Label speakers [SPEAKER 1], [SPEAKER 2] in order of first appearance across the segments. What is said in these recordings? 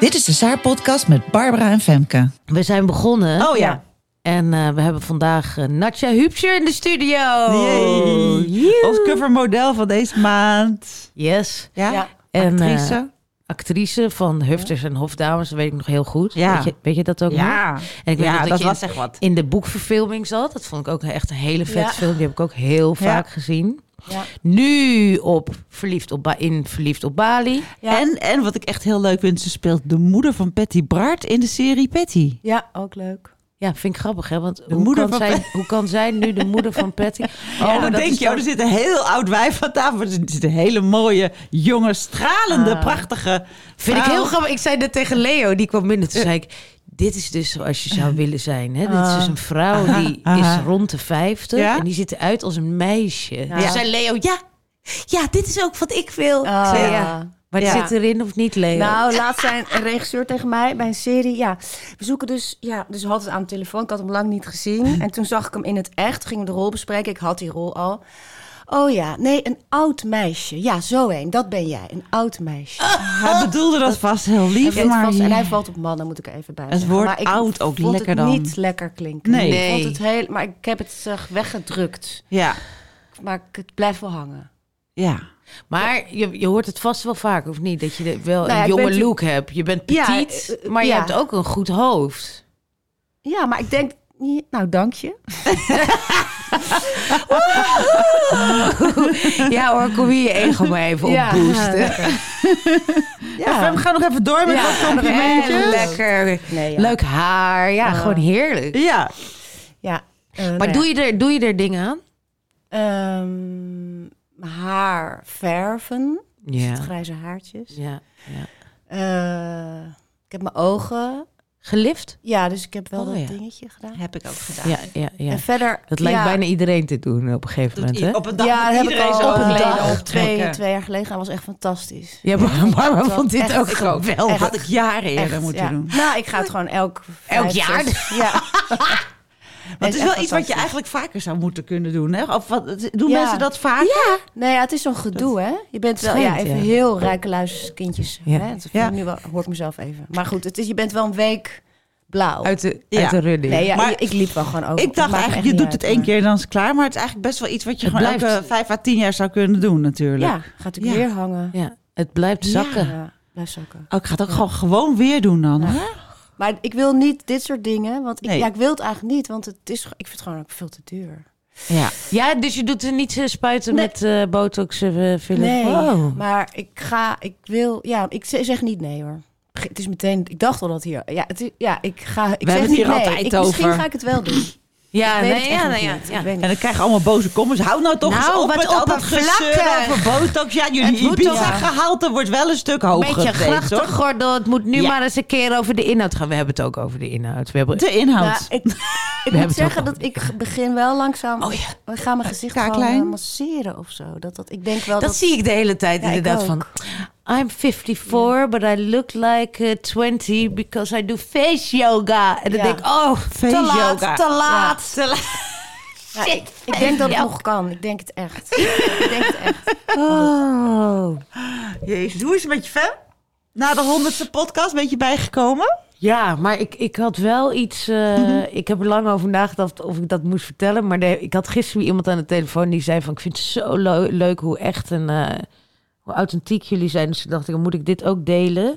[SPEAKER 1] Dit is de Saar-podcast met Barbara en Femke.
[SPEAKER 2] We zijn begonnen.
[SPEAKER 1] Oh ja.
[SPEAKER 2] En eh, we hebben vandaag eh, Natja Hupscher in de studio.
[SPEAKER 1] Yay.
[SPEAKER 2] Joe.
[SPEAKER 1] Oh, Ons covermodel van deze maand.
[SPEAKER 2] Yes.
[SPEAKER 1] Ja,
[SPEAKER 3] Ja.
[SPEAKER 2] En, eh,
[SPEAKER 1] actrice.
[SPEAKER 2] actrice van Hufters en Hofdames, dat weet ik nog heel goed.
[SPEAKER 1] Ja.
[SPEAKER 2] Weet, je, weet je dat ook nog? En ik weet
[SPEAKER 1] Ja,
[SPEAKER 2] nog dat,
[SPEAKER 1] dat
[SPEAKER 2] je
[SPEAKER 1] was
[SPEAKER 2] in,
[SPEAKER 1] echt wat.
[SPEAKER 2] in de boekverfilming zat. Dat vond ik ook echt een hele vette
[SPEAKER 3] Ja.
[SPEAKER 2] film. Die heb ik ook heel vaak gezien.
[SPEAKER 3] Ja.
[SPEAKER 2] Nu op Verliefd op, ba in Verliefd op Bali.
[SPEAKER 3] Ja.
[SPEAKER 1] En, en wat ik echt heel leuk vind, ze speelt de moeder van Patty Bart in de serie Patty.
[SPEAKER 3] Ja, ook leuk.
[SPEAKER 2] Ja, vind ik grappig, hè? Want hoe
[SPEAKER 1] moeder
[SPEAKER 2] kan,
[SPEAKER 1] van
[SPEAKER 2] zij,
[SPEAKER 1] Patty.
[SPEAKER 2] hoe kan zij nu de moeder van Patty... Oh,
[SPEAKER 1] en
[SPEAKER 2] maar
[SPEAKER 1] dan
[SPEAKER 2] dat
[SPEAKER 1] denk
[SPEAKER 2] is
[SPEAKER 1] je, oh,
[SPEAKER 2] toch-
[SPEAKER 1] er zit een heel oud wijf aan tafel. Er zit een hele mooie, jonge, stralende, prachtige
[SPEAKER 2] Vind ik
[SPEAKER 1] vrouw.
[SPEAKER 2] heel grappig. Ik zei dat tegen Leo, die kwam binnen. Toen zei ik, dit is dus zoals je zou willen zijn. Hè? Dit is dus een vrouw die is rond de 50
[SPEAKER 1] Ja?
[SPEAKER 2] en die ziet eruit als een meisje. Toen zei Leo, ja, ja, dit is ook wat ik wil. Ik
[SPEAKER 3] Ah.
[SPEAKER 2] zei, ja. Maar het
[SPEAKER 1] Ja.
[SPEAKER 2] zit erin of niet, Leo?
[SPEAKER 3] Nou, laatst zei een regisseur tegen mij bij een serie. Ja, we zoeken dus. Ja, dus we hadden het aan de telefoon. Ik had hem lang niet
[SPEAKER 1] Mhm.
[SPEAKER 3] gezien. En toen zag ik hem in het echt. Gingen we de rol bespreken. Ik had die rol al. Oh ja, nee, een oud meisje. Ja, zo een. Dat ben jij. Een oud meisje.
[SPEAKER 1] Ah, Hij bedoelde dat vast heel
[SPEAKER 3] Hij
[SPEAKER 1] lief,
[SPEAKER 3] weet
[SPEAKER 1] maar...
[SPEAKER 3] vast- en hij valt op mannen, moet ik er even bij
[SPEAKER 1] Het
[SPEAKER 3] zeggen.
[SPEAKER 1] woord
[SPEAKER 3] maar ik
[SPEAKER 1] oud ook
[SPEAKER 3] vond
[SPEAKER 1] lekker
[SPEAKER 3] het
[SPEAKER 1] dan.
[SPEAKER 3] niet lekker klinken.
[SPEAKER 1] Nee.
[SPEAKER 3] Ik vond het heel, maar ik heb het zeg, weggedrukt.
[SPEAKER 1] Ja,
[SPEAKER 3] Maar ik- het blijft wel hangen.
[SPEAKER 1] ja.
[SPEAKER 2] maar je, je hoort het vast wel vaak, of niet? Dat je de- wel
[SPEAKER 3] Nou ja,
[SPEAKER 2] een
[SPEAKER 3] ik
[SPEAKER 2] jonge
[SPEAKER 3] ben tu-
[SPEAKER 2] look hebt. Je bent
[SPEAKER 3] Ja,
[SPEAKER 2] petit,
[SPEAKER 3] eh, eh,
[SPEAKER 2] maar je
[SPEAKER 3] ja.
[SPEAKER 2] hebt ook een goed hoofd.
[SPEAKER 3] Ja, maar ik denk... Nou, dank je.
[SPEAKER 2] Ja hoor, kom hier je ego maar even op.
[SPEAKER 3] Ja, lekker.
[SPEAKER 1] Ja, we gaan nog even door met
[SPEAKER 3] Ja,
[SPEAKER 1] wat
[SPEAKER 2] Heel
[SPEAKER 1] complimentjes.
[SPEAKER 2] lekker.
[SPEAKER 3] Nee, ja.
[SPEAKER 2] Leuk haar. Ja, gewoon heerlijk.
[SPEAKER 1] Ja,
[SPEAKER 3] Ja. eh,
[SPEAKER 2] Maar doe, je er, doe je er dingen aan?
[SPEAKER 3] Ehm, haar verven.
[SPEAKER 2] Ja.
[SPEAKER 3] Het grijze haartjes.
[SPEAKER 2] Ja.
[SPEAKER 3] Eh, ik heb mijn ogen.
[SPEAKER 2] Gelift?
[SPEAKER 3] Ja, dus ik heb wel
[SPEAKER 2] Oh,
[SPEAKER 3] dat
[SPEAKER 2] ja.
[SPEAKER 3] dingetje gedaan.
[SPEAKER 1] heb ik ook gedaan.
[SPEAKER 2] Ja, ja, ja.
[SPEAKER 3] En verder...
[SPEAKER 2] Dat lijkt
[SPEAKER 3] ja,
[SPEAKER 2] bijna iedereen te doen op een gegeven moment, hè?
[SPEAKER 1] Op een dag
[SPEAKER 3] ja,
[SPEAKER 1] moet
[SPEAKER 3] dat heb ik
[SPEAKER 1] iedereen
[SPEAKER 3] al
[SPEAKER 1] zo
[SPEAKER 3] op een
[SPEAKER 1] geleden
[SPEAKER 3] dag, twee,
[SPEAKER 1] optrekken.
[SPEAKER 3] twee jaar geleden. Dat was echt fantastisch.
[SPEAKER 2] Ja, maar Barbara
[SPEAKER 3] dat
[SPEAKER 2] vond dit
[SPEAKER 3] echt-
[SPEAKER 2] ook
[SPEAKER 3] ik ook.
[SPEAKER 2] geweldig.
[SPEAKER 1] Had ik jaren eerder
[SPEAKER 3] Echt,
[SPEAKER 1] moeten
[SPEAKER 3] ja.
[SPEAKER 1] doen.
[SPEAKER 3] Nou, ik ga het gewoon elk... vijf,
[SPEAKER 2] jaar?
[SPEAKER 3] zes- Ja.
[SPEAKER 1] Want het is wel iets
[SPEAKER 3] echt
[SPEAKER 1] wat je
[SPEAKER 3] fantastisch.
[SPEAKER 1] eigenlijk vaker zou moeten kunnen doen. Hè? Of wat, doen
[SPEAKER 3] Ja.
[SPEAKER 1] mensen dat vaak?
[SPEAKER 3] Ja. Nee, ja, het is zo'n gedoe, hè? Je bent wel ja,
[SPEAKER 2] Schijnt,
[SPEAKER 3] even
[SPEAKER 2] ja.
[SPEAKER 3] heel rijke luiskindjes.
[SPEAKER 2] Ja.
[SPEAKER 3] Hè? Dat vind
[SPEAKER 1] Ja.
[SPEAKER 3] ik Nu wel, hoor ik mezelf even. Maar goed, het is, je bent wel een week blauw.
[SPEAKER 2] Uit de,
[SPEAKER 1] Ja.
[SPEAKER 2] uit de running.
[SPEAKER 3] nee, ja,
[SPEAKER 1] maar-
[SPEAKER 3] ik, ik liep wel gewoon over.
[SPEAKER 1] Ik dacht
[SPEAKER 3] Het maakt me
[SPEAKER 1] eigenlijk, je
[SPEAKER 3] echt
[SPEAKER 1] doet
[SPEAKER 3] niet
[SPEAKER 1] het
[SPEAKER 3] uit,
[SPEAKER 1] één keer en dan is het klaar. Maar het is eigenlijk best wel iets wat je
[SPEAKER 2] Het
[SPEAKER 1] gewoon
[SPEAKER 2] blijft-
[SPEAKER 1] elke vijf à tien jaar zou kunnen doen
[SPEAKER 3] maar-
[SPEAKER 1] natuurlijk.
[SPEAKER 3] Ja, gaat ik
[SPEAKER 1] Ja.
[SPEAKER 3] weer hangen.
[SPEAKER 2] Ja, het blijft zakken.
[SPEAKER 3] Ja, blijf zakken.
[SPEAKER 1] Oh, ik ga het ook gewoon, gewoon weer doen dan. hè?
[SPEAKER 3] Maar ik wil niet dit soort dingen, want ik,
[SPEAKER 1] Nee.
[SPEAKER 3] ja, ik wil het eigenlijk niet, want het is, ik vind het gewoon ook veel te duur.
[SPEAKER 2] Ja. ja, dus je doet er niet eh, spuiten
[SPEAKER 3] Nee.
[SPEAKER 2] met eh, botox eh filler.
[SPEAKER 3] Nee,
[SPEAKER 2] Wow.
[SPEAKER 3] maar ik ga, ik wil, ja, ik ze- zeg niet nee hoor. Ge- Het is meteen, ik dacht al dat hier, ja, het is- ja ik ga, ik
[SPEAKER 1] hebben
[SPEAKER 3] zeg
[SPEAKER 1] het
[SPEAKER 3] niet
[SPEAKER 1] hier
[SPEAKER 3] nee.
[SPEAKER 1] altijd
[SPEAKER 3] ik, Misschien
[SPEAKER 1] over.
[SPEAKER 3] ga ik het wel doen.
[SPEAKER 2] Ja,
[SPEAKER 3] Ik weet
[SPEAKER 2] nee,
[SPEAKER 3] het echt
[SPEAKER 2] ja,
[SPEAKER 3] nog
[SPEAKER 2] nee, ja,
[SPEAKER 3] niet.
[SPEAKER 2] ja.
[SPEAKER 3] Ik weet
[SPEAKER 1] En
[SPEAKER 3] niet.
[SPEAKER 1] dan krijg je allemaal boze comments. Hou nou toch
[SPEAKER 2] Nou,
[SPEAKER 1] eens op
[SPEAKER 2] wat
[SPEAKER 1] met
[SPEAKER 2] op
[SPEAKER 1] al dat
[SPEAKER 2] het
[SPEAKER 1] gezeur
[SPEAKER 2] vlakken.
[SPEAKER 1] over botox. Ja,
[SPEAKER 2] Het
[SPEAKER 1] jullie
[SPEAKER 2] moet toch-
[SPEAKER 1] Ibiza-gehalte wordt wel een stuk hoger
[SPEAKER 2] Beetje
[SPEAKER 1] geweest, hoor.
[SPEAKER 2] grachtig gordel. Het moet nu
[SPEAKER 1] Ja.
[SPEAKER 2] maar eens een keer over de inhoud gaan. We hebben het ook over de inhoud. We hebben
[SPEAKER 1] De inhoud.
[SPEAKER 3] Nou, ik ik
[SPEAKER 2] hebben
[SPEAKER 3] moet
[SPEAKER 2] het
[SPEAKER 3] zeggen
[SPEAKER 2] ook al
[SPEAKER 3] dat ik begin wel langzaam.
[SPEAKER 2] Oh ja.
[SPEAKER 3] Ik ga mijn gezicht
[SPEAKER 1] Kaaklijn.
[SPEAKER 3] gewoon eh, masseren of zo. Dat, dat, ik denk wel
[SPEAKER 2] Dat, zie ik de hele tijd
[SPEAKER 3] Ja, ik
[SPEAKER 2] inderdaad
[SPEAKER 3] ook.
[SPEAKER 2] van. I'm 54, but I look like eh, 20 because I do face yoga. En dan
[SPEAKER 3] Ja.
[SPEAKER 2] denk ik, oh,
[SPEAKER 1] Face
[SPEAKER 2] te laat,
[SPEAKER 1] yoga.
[SPEAKER 2] te laat, te laat.
[SPEAKER 3] Ja,
[SPEAKER 2] Shit,
[SPEAKER 3] ik, ik denk dat het
[SPEAKER 2] ja.
[SPEAKER 3] nog kan. Ik denk het echt. ik denk het echt.
[SPEAKER 2] Oh.
[SPEAKER 1] Jezus, hoe is het met je fan? Na de honderdste podcast ben je bijgekomen?
[SPEAKER 2] Ja, maar ik, ik had wel iets... eh, ik heb er lang over nagedacht of ik dat moest vertellen. Maar de- ik had gisteren iemand aan de telefoon die zei van... Ik vind het zo leu- leuk hoe echt en eh, hoe authentiek jullie zijn. Dus toen dacht ik, moet ik dit ook delen?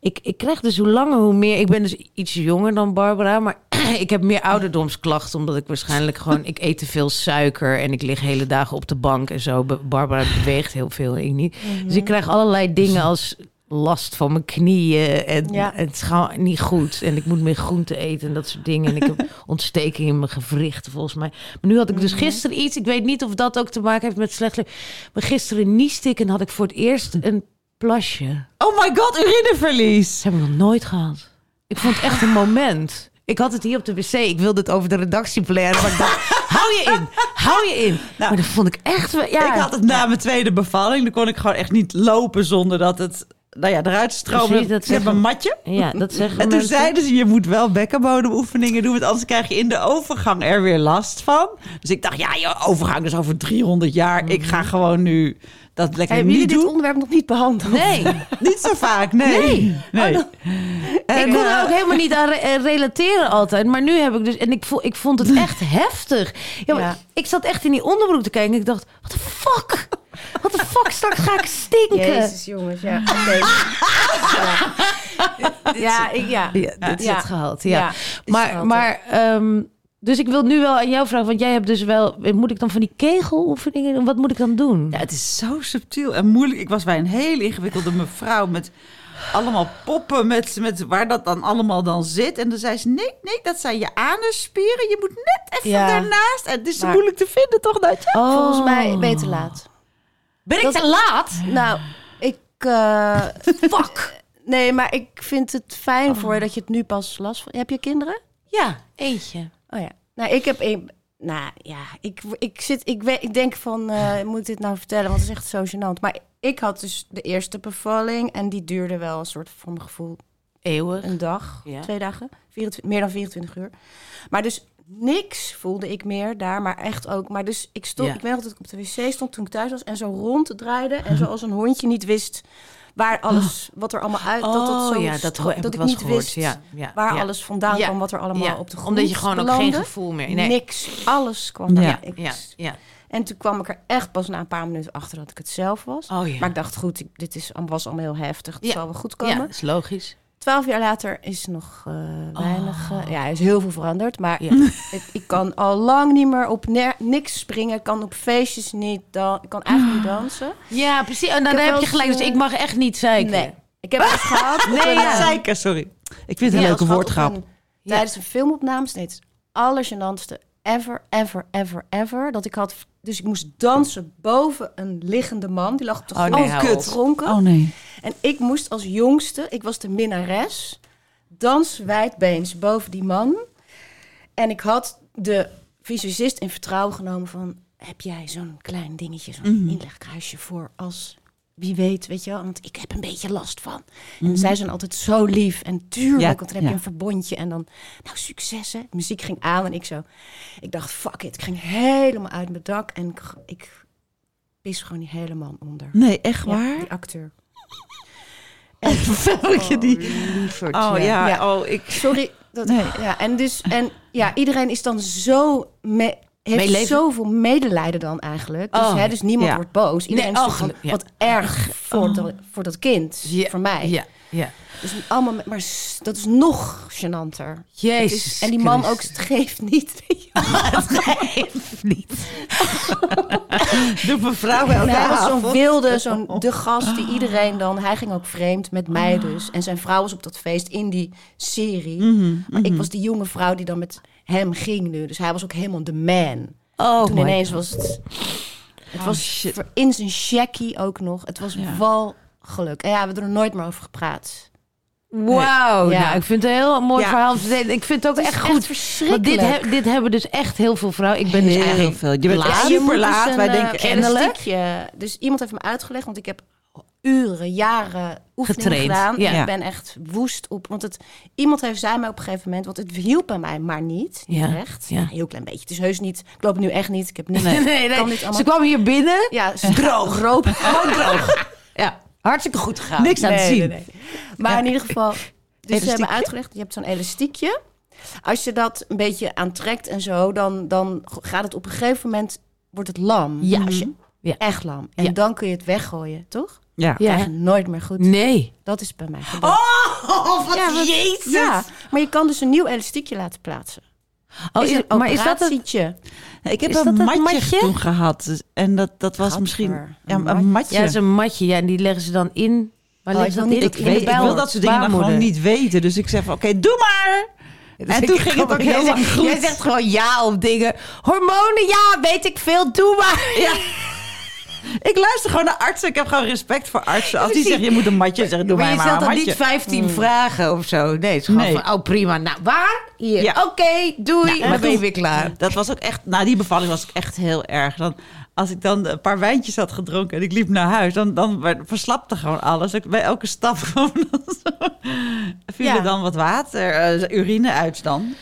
[SPEAKER 2] Ik, ik krijg dus hoe langer hoe meer... Ik ben dus iets jonger dan Barbara, maar... Ik heb meer ouderdomsklachten, omdat ik waarschijnlijk gewoon... Ik eet te veel suiker en ik lig hele dagen op de bank en zo. Be- Barbara beweegt heel veel, ik niet. Dus ik krijg allerlei dingen als last van mijn knieën en,
[SPEAKER 3] Ja.
[SPEAKER 2] en het is gewoon niet goed. En ik moet meer groente eten en dat soort dingen. En ik heb ontsteking in mijn gewrichten volgens mij. Maar nu had ik dus gisteren iets, ik weet niet of dat ook te maken heeft met slecht leven. Maar gisteren nieste ik en had ik voor het eerst een plasje.
[SPEAKER 1] Oh my god, urineverlies.
[SPEAKER 2] Dat hebben we nog nooit gehad. Ik vond het echt een moment. Ik had het hier op de wc. Ik wilde het over de redactie pleren. Maar ik dacht, hou je in. Hou je in. maar dat vond Nou, ik echt... wel- Ja,
[SPEAKER 1] Ik had het na mijn tweede bevalling. Dan kon ik gewoon echt niet lopen zonder dat het nou ja, eruit stroomde.
[SPEAKER 2] Precies, dat
[SPEAKER 1] ik heb
[SPEAKER 2] zeggen-
[SPEAKER 1] een matje.
[SPEAKER 2] ja dat zeggen
[SPEAKER 1] En toen
[SPEAKER 2] mensen.
[SPEAKER 1] zeiden ze, je moet wel bekkenbodemoefeningen doen, want anders krijg je in de overgang er weer last van. Dus ik dacht, ja, joh, overgang is over 300 jaar. Ik
[SPEAKER 2] Mhm.
[SPEAKER 1] ga gewoon nu dat lekker
[SPEAKER 3] Hebben jullie
[SPEAKER 1] niet
[SPEAKER 3] dit
[SPEAKER 1] doen.
[SPEAKER 3] onderwerp nog niet behandeld?
[SPEAKER 2] Nee.
[SPEAKER 1] Niet zo vaak, nee.
[SPEAKER 2] Nee. Oh,
[SPEAKER 1] Nee. En,
[SPEAKER 2] ik kon er
[SPEAKER 1] eh,
[SPEAKER 2] ook helemaal niet aan re- eh, relateren altijd. Maar nu heb ik dus... En ik, vo- ik vond het echt heftig. Ja, maar
[SPEAKER 3] Ja.
[SPEAKER 2] Ik zat echt in die onderbroek te kijken. En ik dacht, wat de fuck? Wat de fuck? Straks ga ik stinken.
[SPEAKER 3] Jezus, jongens, ja. Oké. ja. Ja, ik, ja.
[SPEAKER 2] Ja, dit is
[SPEAKER 3] Ja.
[SPEAKER 2] het gehaald. Ja.
[SPEAKER 3] Ja,
[SPEAKER 2] maar,
[SPEAKER 3] gehaald,
[SPEAKER 2] maar ehm, dus ik wil nu wel aan jou vragen, want jij hebt dus wel, moet ik dan van die kegeloefeningen, doen? wat moet ik dan doen?
[SPEAKER 1] Ja, het is zo subtiel en moeilijk. Ik was bij een heel ingewikkelde mevrouw met allemaal poppen, met, met waar dat dan allemaal dan zit. En dan zei ze, nee, nee, dat zijn je anusspieren. Je moet net even
[SPEAKER 3] Ja.
[SPEAKER 1] daarnaast. En het is
[SPEAKER 3] Maar-
[SPEAKER 1] moeilijk te vinden, toch, Natje?
[SPEAKER 2] Oh.
[SPEAKER 3] Volgens mij beter laat.
[SPEAKER 2] ben ik te laat?
[SPEAKER 3] Nou, ik... eh,
[SPEAKER 2] Fuck!
[SPEAKER 3] nee, maar ik vind het fijn voor je dat je het nu pas last van... Heb je kinderen?
[SPEAKER 2] Ja, eentje.
[SPEAKER 3] Oh ja. Nou, ik heb een. Nou ja, ik, ik, zit, ik, we- ik denk van, eh, moet ik dit nou vertellen? Want het is echt zo gênant. Maar ik had dus de eerste bevalling en die duurde wel een soort, voor mijn gevoel,
[SPEAKER 2] Eeuwig.
[SPEAKER 3] een dag,
[SPEAKER 2] Ja.
[SPEAKER 3] twee dagen, 24, meer dan 24 uur. Maar dus niks voelde ik meer daar, maar echt ook. Maar dus ik stond,
[SPEAKER 1] Ja.
[SPEAKER 3] ik weet nog dat ik op de wc stond toen ik thuis was en zo ronddraaide en zoals een hondje niet wist waar alles, wat er allemaal uit, dat dat zo
[SPEAKER 2] Oh. ja, dat
[SPEAKER 3] stro-
[SPEAKER 2] ho- heb ik
[SPEAKER 3] ik
[SPEAKER 2] wel eens
[SPEAKER 3] niet
[SPEAKER 2] gehoord.
[SPEAKER 3] wist
[SPEAKER 2] Ja, ja,
[SPEAKER 3] waar
[SPEAKER 2] ja.
[SPEAKER 3] alles vandaan
[SPEAKER 2] Ja,
[SPEAKER 3] kwam, wat er allemaal
[SPEAKER 2] ja.
[SPEAKER 3] op de grond
[SPEAKER 2] Omdat je gewoon ook geen
[SPEAKER 3] belandde.
[SPEAKER 2] gevoel meer- nee.
[SPEAKER 3] Niks, alles kwam ja. ik,
[SPEAKER 2] Ja, ja.
[SPEAKER 3] En toen kwam ik er echt pas na een paar minuten achter dat ik het zelf was.
[SPEAKER 2] Oh ja.
[SPEAKER 3] Maar ik dacht, goed, ik- dit is, was allemaal heel heftig. Het
[SPEAKER 2] Ja.
[SPEAKER 3] zal wel goed komen.
[SPEAKER 2] Ja, dat is logisch.
[SPEAKER 3] Twaalf jaar later is nog eh, weinig. eh, ja, er is heel veel veranderd. Maar
[SPEAKER 2] Ja.
[SPEAKER 3] het- ik kan al lang niet meer op ne- niks springen. Ik kan op feestjes niet. Dan, ik kan eigenlijk niet dansen.
[SPEAKER 2] Ja, precies. En dan
[SPEAKER 3] heb
[SPEAKER 2] heb
[SPEAKER 3] wel
[SPEAKER 2] je gelijk, dus
[SPEAKER 3] eens,
[SPEAKER 2] ik
[SPEAKER 3] eh,
[SPEAKER 2] mag echt niet zeiken.
[SPEAKER 3] Nee. Ik heb het gehad. op een,
[SPEAKER 1] Nee,
[SPEAKER 3] eh,
[SPEAKER 1] zeker, sorry. Ik vind het
[SPEAKER 3] ja,
[SPEAKER 1] een
[SPEAKER 3] het
[SPEAKER 1] leuke
[SPEAKER 3] gehad
[SPEAKER 1] woordgrap.
[SPEAKER 3] op een- Tijdens een filmopname steeds het allergenantste ever, ever, ever, ever. Dat ik had. Dus ik moest dansen boven een liggende man. Die lag op de
[SPEAKER 2] Oh,
[SPEAKER 3] grond.
[SPEAKER 2] nee, hou op.
[SPEAKER 3] dronken.
[SPEAKER 1] Oh nee.
[SPEAKER 3] En ik moest als jongste, ik was de minnares, dans wijdbeens boven die man. En ik had de visagist in vertrouwen genomen van... heb jij zo'n klein dingetje, zo'n
[SPEAKER 1] Mhm.
[SPEAKER 3] inlegkruisje voor als... Wie weet, weet je wel, want ik heb een beetje last van. En zij zijn altijd zo lief en tuurlijk,
[SPEAKER 1] Mhm. Ja,
[SPEAKER 3] want dan heb
[SPEAKER 1] ja.
[SPEAKER 3] je een verbondje. En dan, nou succes hè. Muziek ging aan en ik zo, ik dacht fuck it. Ik ging helemaal uit mijn dak en ik, ik pis gewoon die hele man onder.
[SPEAKER 1] Nee, echt
[SPEAKER 3] Ja,
[SPEAKER 1] waar?
[SPEAKER 3] die acteur.
[SPEAKER 1] Velgje die... Oh ja, oh ik...
[SPEAKER 3] Sorry. Dat,
[SPEAKER 1] Nee.
[SPEAKER 3] ja, en dus, en, ja, iedereen is dan zo... Me, heeft
[SPEAKER 2] Meeleven.
[SPEAKER 3] zoveel medelijden dan eigenlijk. Dus,
[SPEAKER 2] Oh,
[SPEAKER 3] hè, dus niemand
[SPEAKER 1] ja.
[SPEAKER 3] wordt boos. Iedereen
[SPEAKER 2] Nee, oh,
[SPEAKER 3] is toch van,
[SPEAKER 2] gelu- ja. Oh.
[SPEAKER 3] wat erg voor, dat, voor dat kind.
[SPEAKER 2] Ja,
[SPEAKER 3] Voor mij.
[SPEAKER 2] Ja, ja.
[SPEAKER 3] Dus allemaal, met- maar s- dat is nog gênanter. Het
[SPEAKER 2] Jezus
[SPEAKER 3] is- en die man ook,
[SPEAKER 2] Christus.
[SPEAKER 3] het geeft niet.
[SPEAKER 2] niet.
[SPEAKER 1] Doe mevrouw elke
[SPEAKER 3] hij was
[SPEAKER 1] avond.
[SPEAKER 3] zo'n wilde, zo'n de gast die iedereen dan... Hij ging ook vreemd, met
[SPEAKER 2] Ah.
[SPEAKER 3] mij dus. En zijn vrouw was op dat feest in die serie.
[SPEAKER 2] Mhm,
[SPEAKER 3] Maar ik was die jonge vrouw die dan met hem ging nu. Dus hij was ook helemaal de man.
[SPEAKER 2] Oh,
[SPEAKER 3] Toen
[SPEAKER 2] my
[SPEAKER 3] ineens was het... Het
[SPEAKER 2] Oh,
[SPEAKER 3] was
[SPEAKER 1] shit.
[SPEAKER 3] ver- in zijn checkie ook nog. Het was wel geluk. En ja, we hebben er nooit meer over gepraat.
[SPEAKER 2] Wauw,
[SPEAKER 3] Ja.
[SPEAKER 2] nou, ik vind het een heel mooi
[SPEAKER 1] Ja.
[SPEAKER 2] verhaal. om te delen. Ik vind het ook
[SPEAKER 3] Het is
[SPEAKER 2] echt
[SPEAKER 3] echt
[SPEAKER 2] goed.
[SPEAKER 3] verschrikkelijk.
[SPEAKER 2] Want dit, heb- dit hebben dus echt heel veel vrouwen. Ik ben dus
[SPEAKER 1] Heel
[SPEAKER 2] eigenlijk
[SPEAKER 1] veel. Je bent
[SPEAKER 2] laat.
[SPEAKER 1] echt
[SPEAKER 3] je moet
[SPEAKER 1] super laat.
[SPEAKER 3] eens
[SPEAKER 1] Wij
[SPEAKER 3] een,
[SPEAKER 1] denken
[SPEAKER 3] eh,
[SPEAKER 2] kennelijk.
[SPEAKER 3] een stukje. Dus iemand heeft me uitgelegd, want ik heb uren, jaren oefeningen
[SPEAKER 2] Getraind,
[SPEAKER 3] gedaan.
[SPEAKER 2] ja.
[SPEAKER 3] Ik ben echt woest op. Want het, iemand heeft zei mij op een gegeven moment, want het hielp bij mij, maar niet. niet
[SPEAKER 2] Ja,
[SPEAKER 3] echt.
[SPEAKER 2] ja.
[SPEAKER 3] Een heel klein beetje. Het is heus niet. Ik loop nu echt niet. Ik heb niet.
[SPEAKER 2] Nee, nee,
[SPEAKER 3] Kan dit allemaal.
[SPEAKER 2] Ze Oh, kwam hier binnen.
[SPEAKER 3] ja, droog. Roop. Gewoon droog.
[SPEAKER 2] Ja, hartstikke goed gegaan.
[SPEAKER 1] Niks aan te
[SPEAKER 3] Nee,
[SPEAKER 1] zien.
[SPEAKER 3] nee, Maar in ieder geval, dus ze hebben
[SPEAKER 1] Elastiekje?
[SPEAKER 3] uitgelegd, je hebt zo'n elastiekje. Als je dat een beetje aantrekt en zo, dan, dan gaat het op een gegeven moment, wordt het lam.
[SPEAKER 2] Ja.
[SPEAKER 3] Als je,
[SPEAKER 2] Ja.
[SPEAKER 3] Echt lam. En
[SPEAKER 2] Ja.
[SPEAKER 3] dan kun je het weggooien, toch?
[SPEAKER 1] Ja.
[SPEAKER 3] Ja.
[SPEAKER 2] Ja.
[SPEAKER 3] nooit meer goed.
[SPEAKER 2] Nee.
[SPEAKER 3] Dat is bij mij gebeurd.
[SPEAKER 1] Oh, wat
[SPEAKER 3] Ja, want-
[SPEAKER 1] jezus.
[SPEAKER 3] Ja, maar je kan dus een nieuw elastiekje laten plaatsen.
[SPEAKER 2] Oh,
[SPEAKER 3] is
[SPEAKER 2] is-
[SPEAKER 3] een
[SPEAKER 2] maar is dat het?
[SPEAKER 3] operatietje.
[SPEAKER 1] Ik heb
[SPEAKER 2] Is dat
[SPEAKER 1] een
[SPEAKER 2] dat
[SPEAKER 1] matje,
[SPEAKER 2] matje?
[SPEAKER 1] toen gehad. Dus- En dat, dat was misschien...
[SPEAKER 3] Gadver,
[SPEAKER 1] Ja,
[SPEAKER 3] een
[SPEAKER 1] een matje.
[SPEAKER 2] Ja, dat is een matje. Ja, en die leggen ze dan in. Maar
[SPEAKER 3] Oh,
[SPEAKER 2] ligt
[SPEAKER 3] ik wil
[SPEAKER 2] dat
[SPEAKER 3] niet
[SPEAKER 2] in?
[SPEAKER 3] dat
[SPEAKER 1] Ik, weet, ik wil
[SPEAKER 3] baarmoeder.
[SPEAKER 1] dat soort dingen nou gewoon niet weten. Dus ik zeg van, oké, doe maar. Dus en toen ging het ook heel
[SPEAKER 2] jij
[SPEAKER 1] lang
[SPEAKER 2] zegt,
[SPEAKER 1] goed.
[SPEAKER 2] Jij zegt gewoon ja op dingen. Hormonen, ja, weet ik veel, doe maar.
[SPEAKER 1] Ja. Ik luister gewoon naar artsen. Ik heb gewoon respect voor artsen. Als die
[SPEAKER 2] Precies.
[SPEAKER 1] zeggen, je moet een matje zeggen, doe
[SPEAKER 2] maar
[SPEAKER 1] mij
[SPEAKER 2] je
[SPEAKER 1] maar een
[SPEAKER 2] stelt dan
[SPEAKER 1] matje.
[SPEAKER 2] niet 15 vragen of zo. Nee, het is gewoon
[SPEAKER 1] Nee.
[SPEAKER 2] van, oh prima. Nou, waar? Hier.
[SPEAKER 1] Ja.
[SPEAKER 2] Oké, doei.
[SPEAKER 1] en
[SPEAKER 2] maar ben je
[SPEAKER 1] toen-
[SPEAKER 2] weer klaar.
[SPEAKER 1] Dat was ook echt, na die bevalling was ik echt heel erg. Dan, als ik dan een paar wijntjes had gedronken en ik liep naar huis, dan, dan werd- verslapte gewoon alles. Ik, bij elke stap gewoon zo- viel
[SPEAKER 3] Ja.
[SPEAKER 1] er dan wat water, eh, urine uit dan.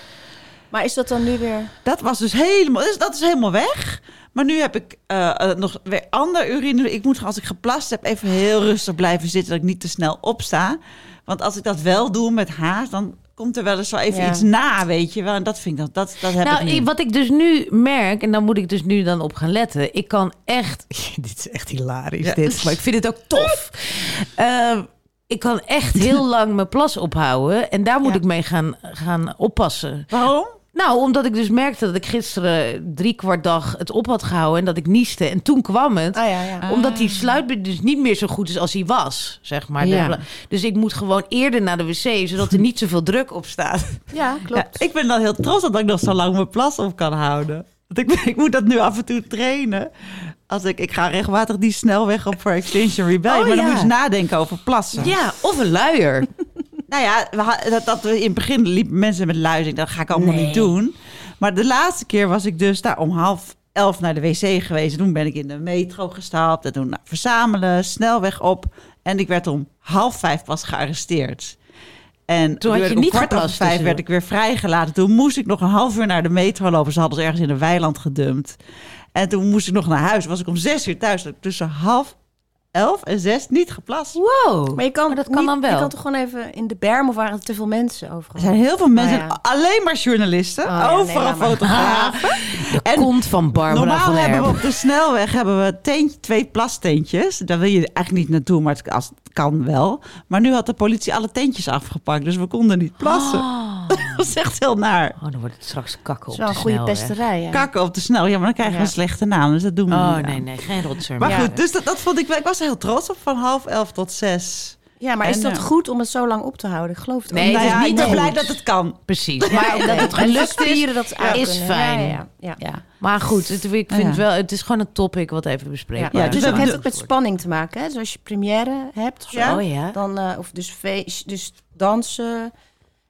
[SPEAKER 3] Maar is dat dan nu weer...
[SPEAKER 1] Dat was dus helemaal, dus dat is helemaal weg. Maar nu heb ik eh, eh, nog weer ander urine. Ik moet als ik geplast heb even heel rustig blijven zitten, dat ik niet te snel opsta. Want als ik dat wel doe met haast, dan komt er wel eens zo even
[SPEAKER 3] Ja.
[SPEAKER 1] iets na, weet je wel. En dat vind ik, dat, dat, dat heb ik
[SPEAKER 2] Nou,
[SPEAKER 1] niet.
[SPEAKER 2] ik- wat ik dus nu merk, en daar moet ik dus nu dan op gaan letten. Ik kan echt. dit is echt hilarisch,
[SPEAKER 1] Ja.
[SPEAKER 2] dit. Maar ik vind het ook tof. Ehm, ik kan echt heel lang mijn plas ophouden. En daar moet
[SPEAKER 3] Ja.
[SPEAKER 2] ik mee gaan, gaan oppassen.
[SPEAKER 1] Waarom?
[SPEAKER 2] Nou, omdat ik dus merkte dat ik gisteren drie kwart dag het op had gehouden. En dat ik nieste. En toen kwam het.
[SPEAKER 3] Ah ja, ja.
[SPEAKER 2] Omdat die sluitbeurt dus niet meer zo goed is als hij was, zeg maar.
[SPEAKER 3] Ja.
[SPEAKER 2] Dus ik moet gewoon eerder naar de wc, zodat er niet zoveel druk op staat.
[SPEAKER 3] Ja, klopt.
[SPEAKER 1] Ja, ik ben dan heel trots dat ik nog zo lang mijn plas op kan houden. Want ik, ik moet dat nu af en toe trainen. Als ik, ik ga regelmatig die snelweg op voor Extinction Rebellion.
[SPEAKER 3] Oh,
[SPEAKER 1] maar dan
[SPEAKER 3] ja.
[SPEAKER 1] moet je eens nadenken over plassen.
[SPEAKER 2] Ja, of een luier.
[SPEAKER 1] Nou ja, we ha- dat, dat we in het begin liepen mensen met luizing. Dat ga ik allemaal niet doen. Maar de laatste keer was ik dus daar om half elf naar de wc geweest. Toen ben ik in de metro gestapt. En toen nou, verzamelen, snelweg op. En ik werd om half vijf pas gearresteerd. En
[SPEAKER 2] Toen had
[SPEAKER 1] werd
[SPEAKER 2] je
[SPEAKER 1] om
[SPEAKER 2] niet
[SPEAKER 1] kwart over
[SPEAKER 2] geplast,
[SPEAKER 1] vijf
[SPEAKER 2] dus,
[SPEAKER 1] werd ik weer vrijgelaten. Toen moest ik nog een half uur naar de metro lopen. Ze hadden ze ergens in een weiland gedumpt. En toen moest ik nog naar huis. Was ik om zes uur thuis. Had ik Tussen half elf en zes niet geplast.
[SPEAKER 2] Wow.
[SPEAKER 3] Maar je kan,
[SPEAKER 2] Maar dat kan
[SPEAKER 3] niet-
[SPEAKER 2] dan wel.
[SPEAKER 3] Je kan toch gewoon even in de berm of waren er te veel mensen overal?
[SPEAKER 1] Er zijn heel veel mensen,
[SPEAKER 3] Nou ja.
[SPEAKER 1] alleen maar journalisten,
[SPEAKER 3] ja, nee,
[SPEAKER 1] overal
[SPEAKER 3] laat maar.
[SPEAKER 1] fotografen.
[SPEAKER 2] De kont van Barbara
[SPEAKER 1] Normaal
[SPEAKER 2] van
[SPEAKER 1] hebben we
[SPEAKER 2] Herp.
[SPEAKER 1] op de snelweg hebben we teentje, twee plasteentjes. Daar wil je eigenlijk niet naartoe, maar het, als, het kan wel. Maar nu had de politie alle teentjes afgepakt, dus we konden niet plassen. Dat is echt heel naar.
[SPEAKER 2] Oh, dan wordt het straks kakken op
[SPEAKER 3] Dat is wel
[SPEAKER 2] de
[SPEAKER 3] een goede
[SPEAKER 2] snelweg.
[SPEAKER 3] pesterij. Ja.
[SPEAKER 1] Kakken op de snelweg, ja, maar dan krijgen we
[SPEAKER 3] Ja.
[SPEAKER 1] een slechte naam, dus dat doen we
[SPEAKER 2] Oh,
[SPEAKER 1] niet.
[SPEAKER 2] nee, nee, geen rotser.
[SPEAKER 1] Maar
[SPEAKER 2] meer.
[SPEAKER 1] goed, dus dat, dat vond ik wel. Ik was er heel trots op, van half elf tot zes.
[SPEAKER 3] Ja, maar is
[SPEAKER 1] En,
[SPEAKER 3] dat
[SPEAKER 1] eh,
[SPEAKER 3] goed om het zo lang op te houden? Ik geloof het
[SPEAKER 2] Nee,
[SPEAKER 3] ook
[SPEAKER 2] het
[SPEAKER 1] nou
[SPEAKER 2] is
[SPEAKER 1] ja,
[SPEAKER 2] niet
[SPEAKER 1] ik ben
[SPEAKER 2] goed.
[SPEAKER 1] blij dat het kan.
[SPEAKER 2] Precies. Maar dat het gelukt is,
[SPEAKER 3] spieren dat ze aan
[SPEAKER 2] is
[SPEAKER 3] kunnen.
[SPEAKER 2] fijn.
[SPEAKER 3] Ja, ja, ja. ja.
[SPEAKER 2] Maar goed, het, ik vind
[SPEAKER 1] Ja.
[SPEAKER 2] wel, het is gewoon een topic wat even
[SPEAKER 3] Ja,
[SPEAKER 2] bespreekbaar
[SPEAKER 3] dus
[SPEAKER 1] we
[SPEAKER 3] dat
[SPEAKER 1] hebben
[SPEAKER 3] heeft
[SPEAKER 1] de-
[SPEAKER 3] ook met spanning te maken. Hè? Dus als je première hebt, of zo,
[SPEAKER 1] Ja.
[SPEAKER 2] Oh ja.
[SPEAKER 3] dan, eh, of dus, feest, dus dansen.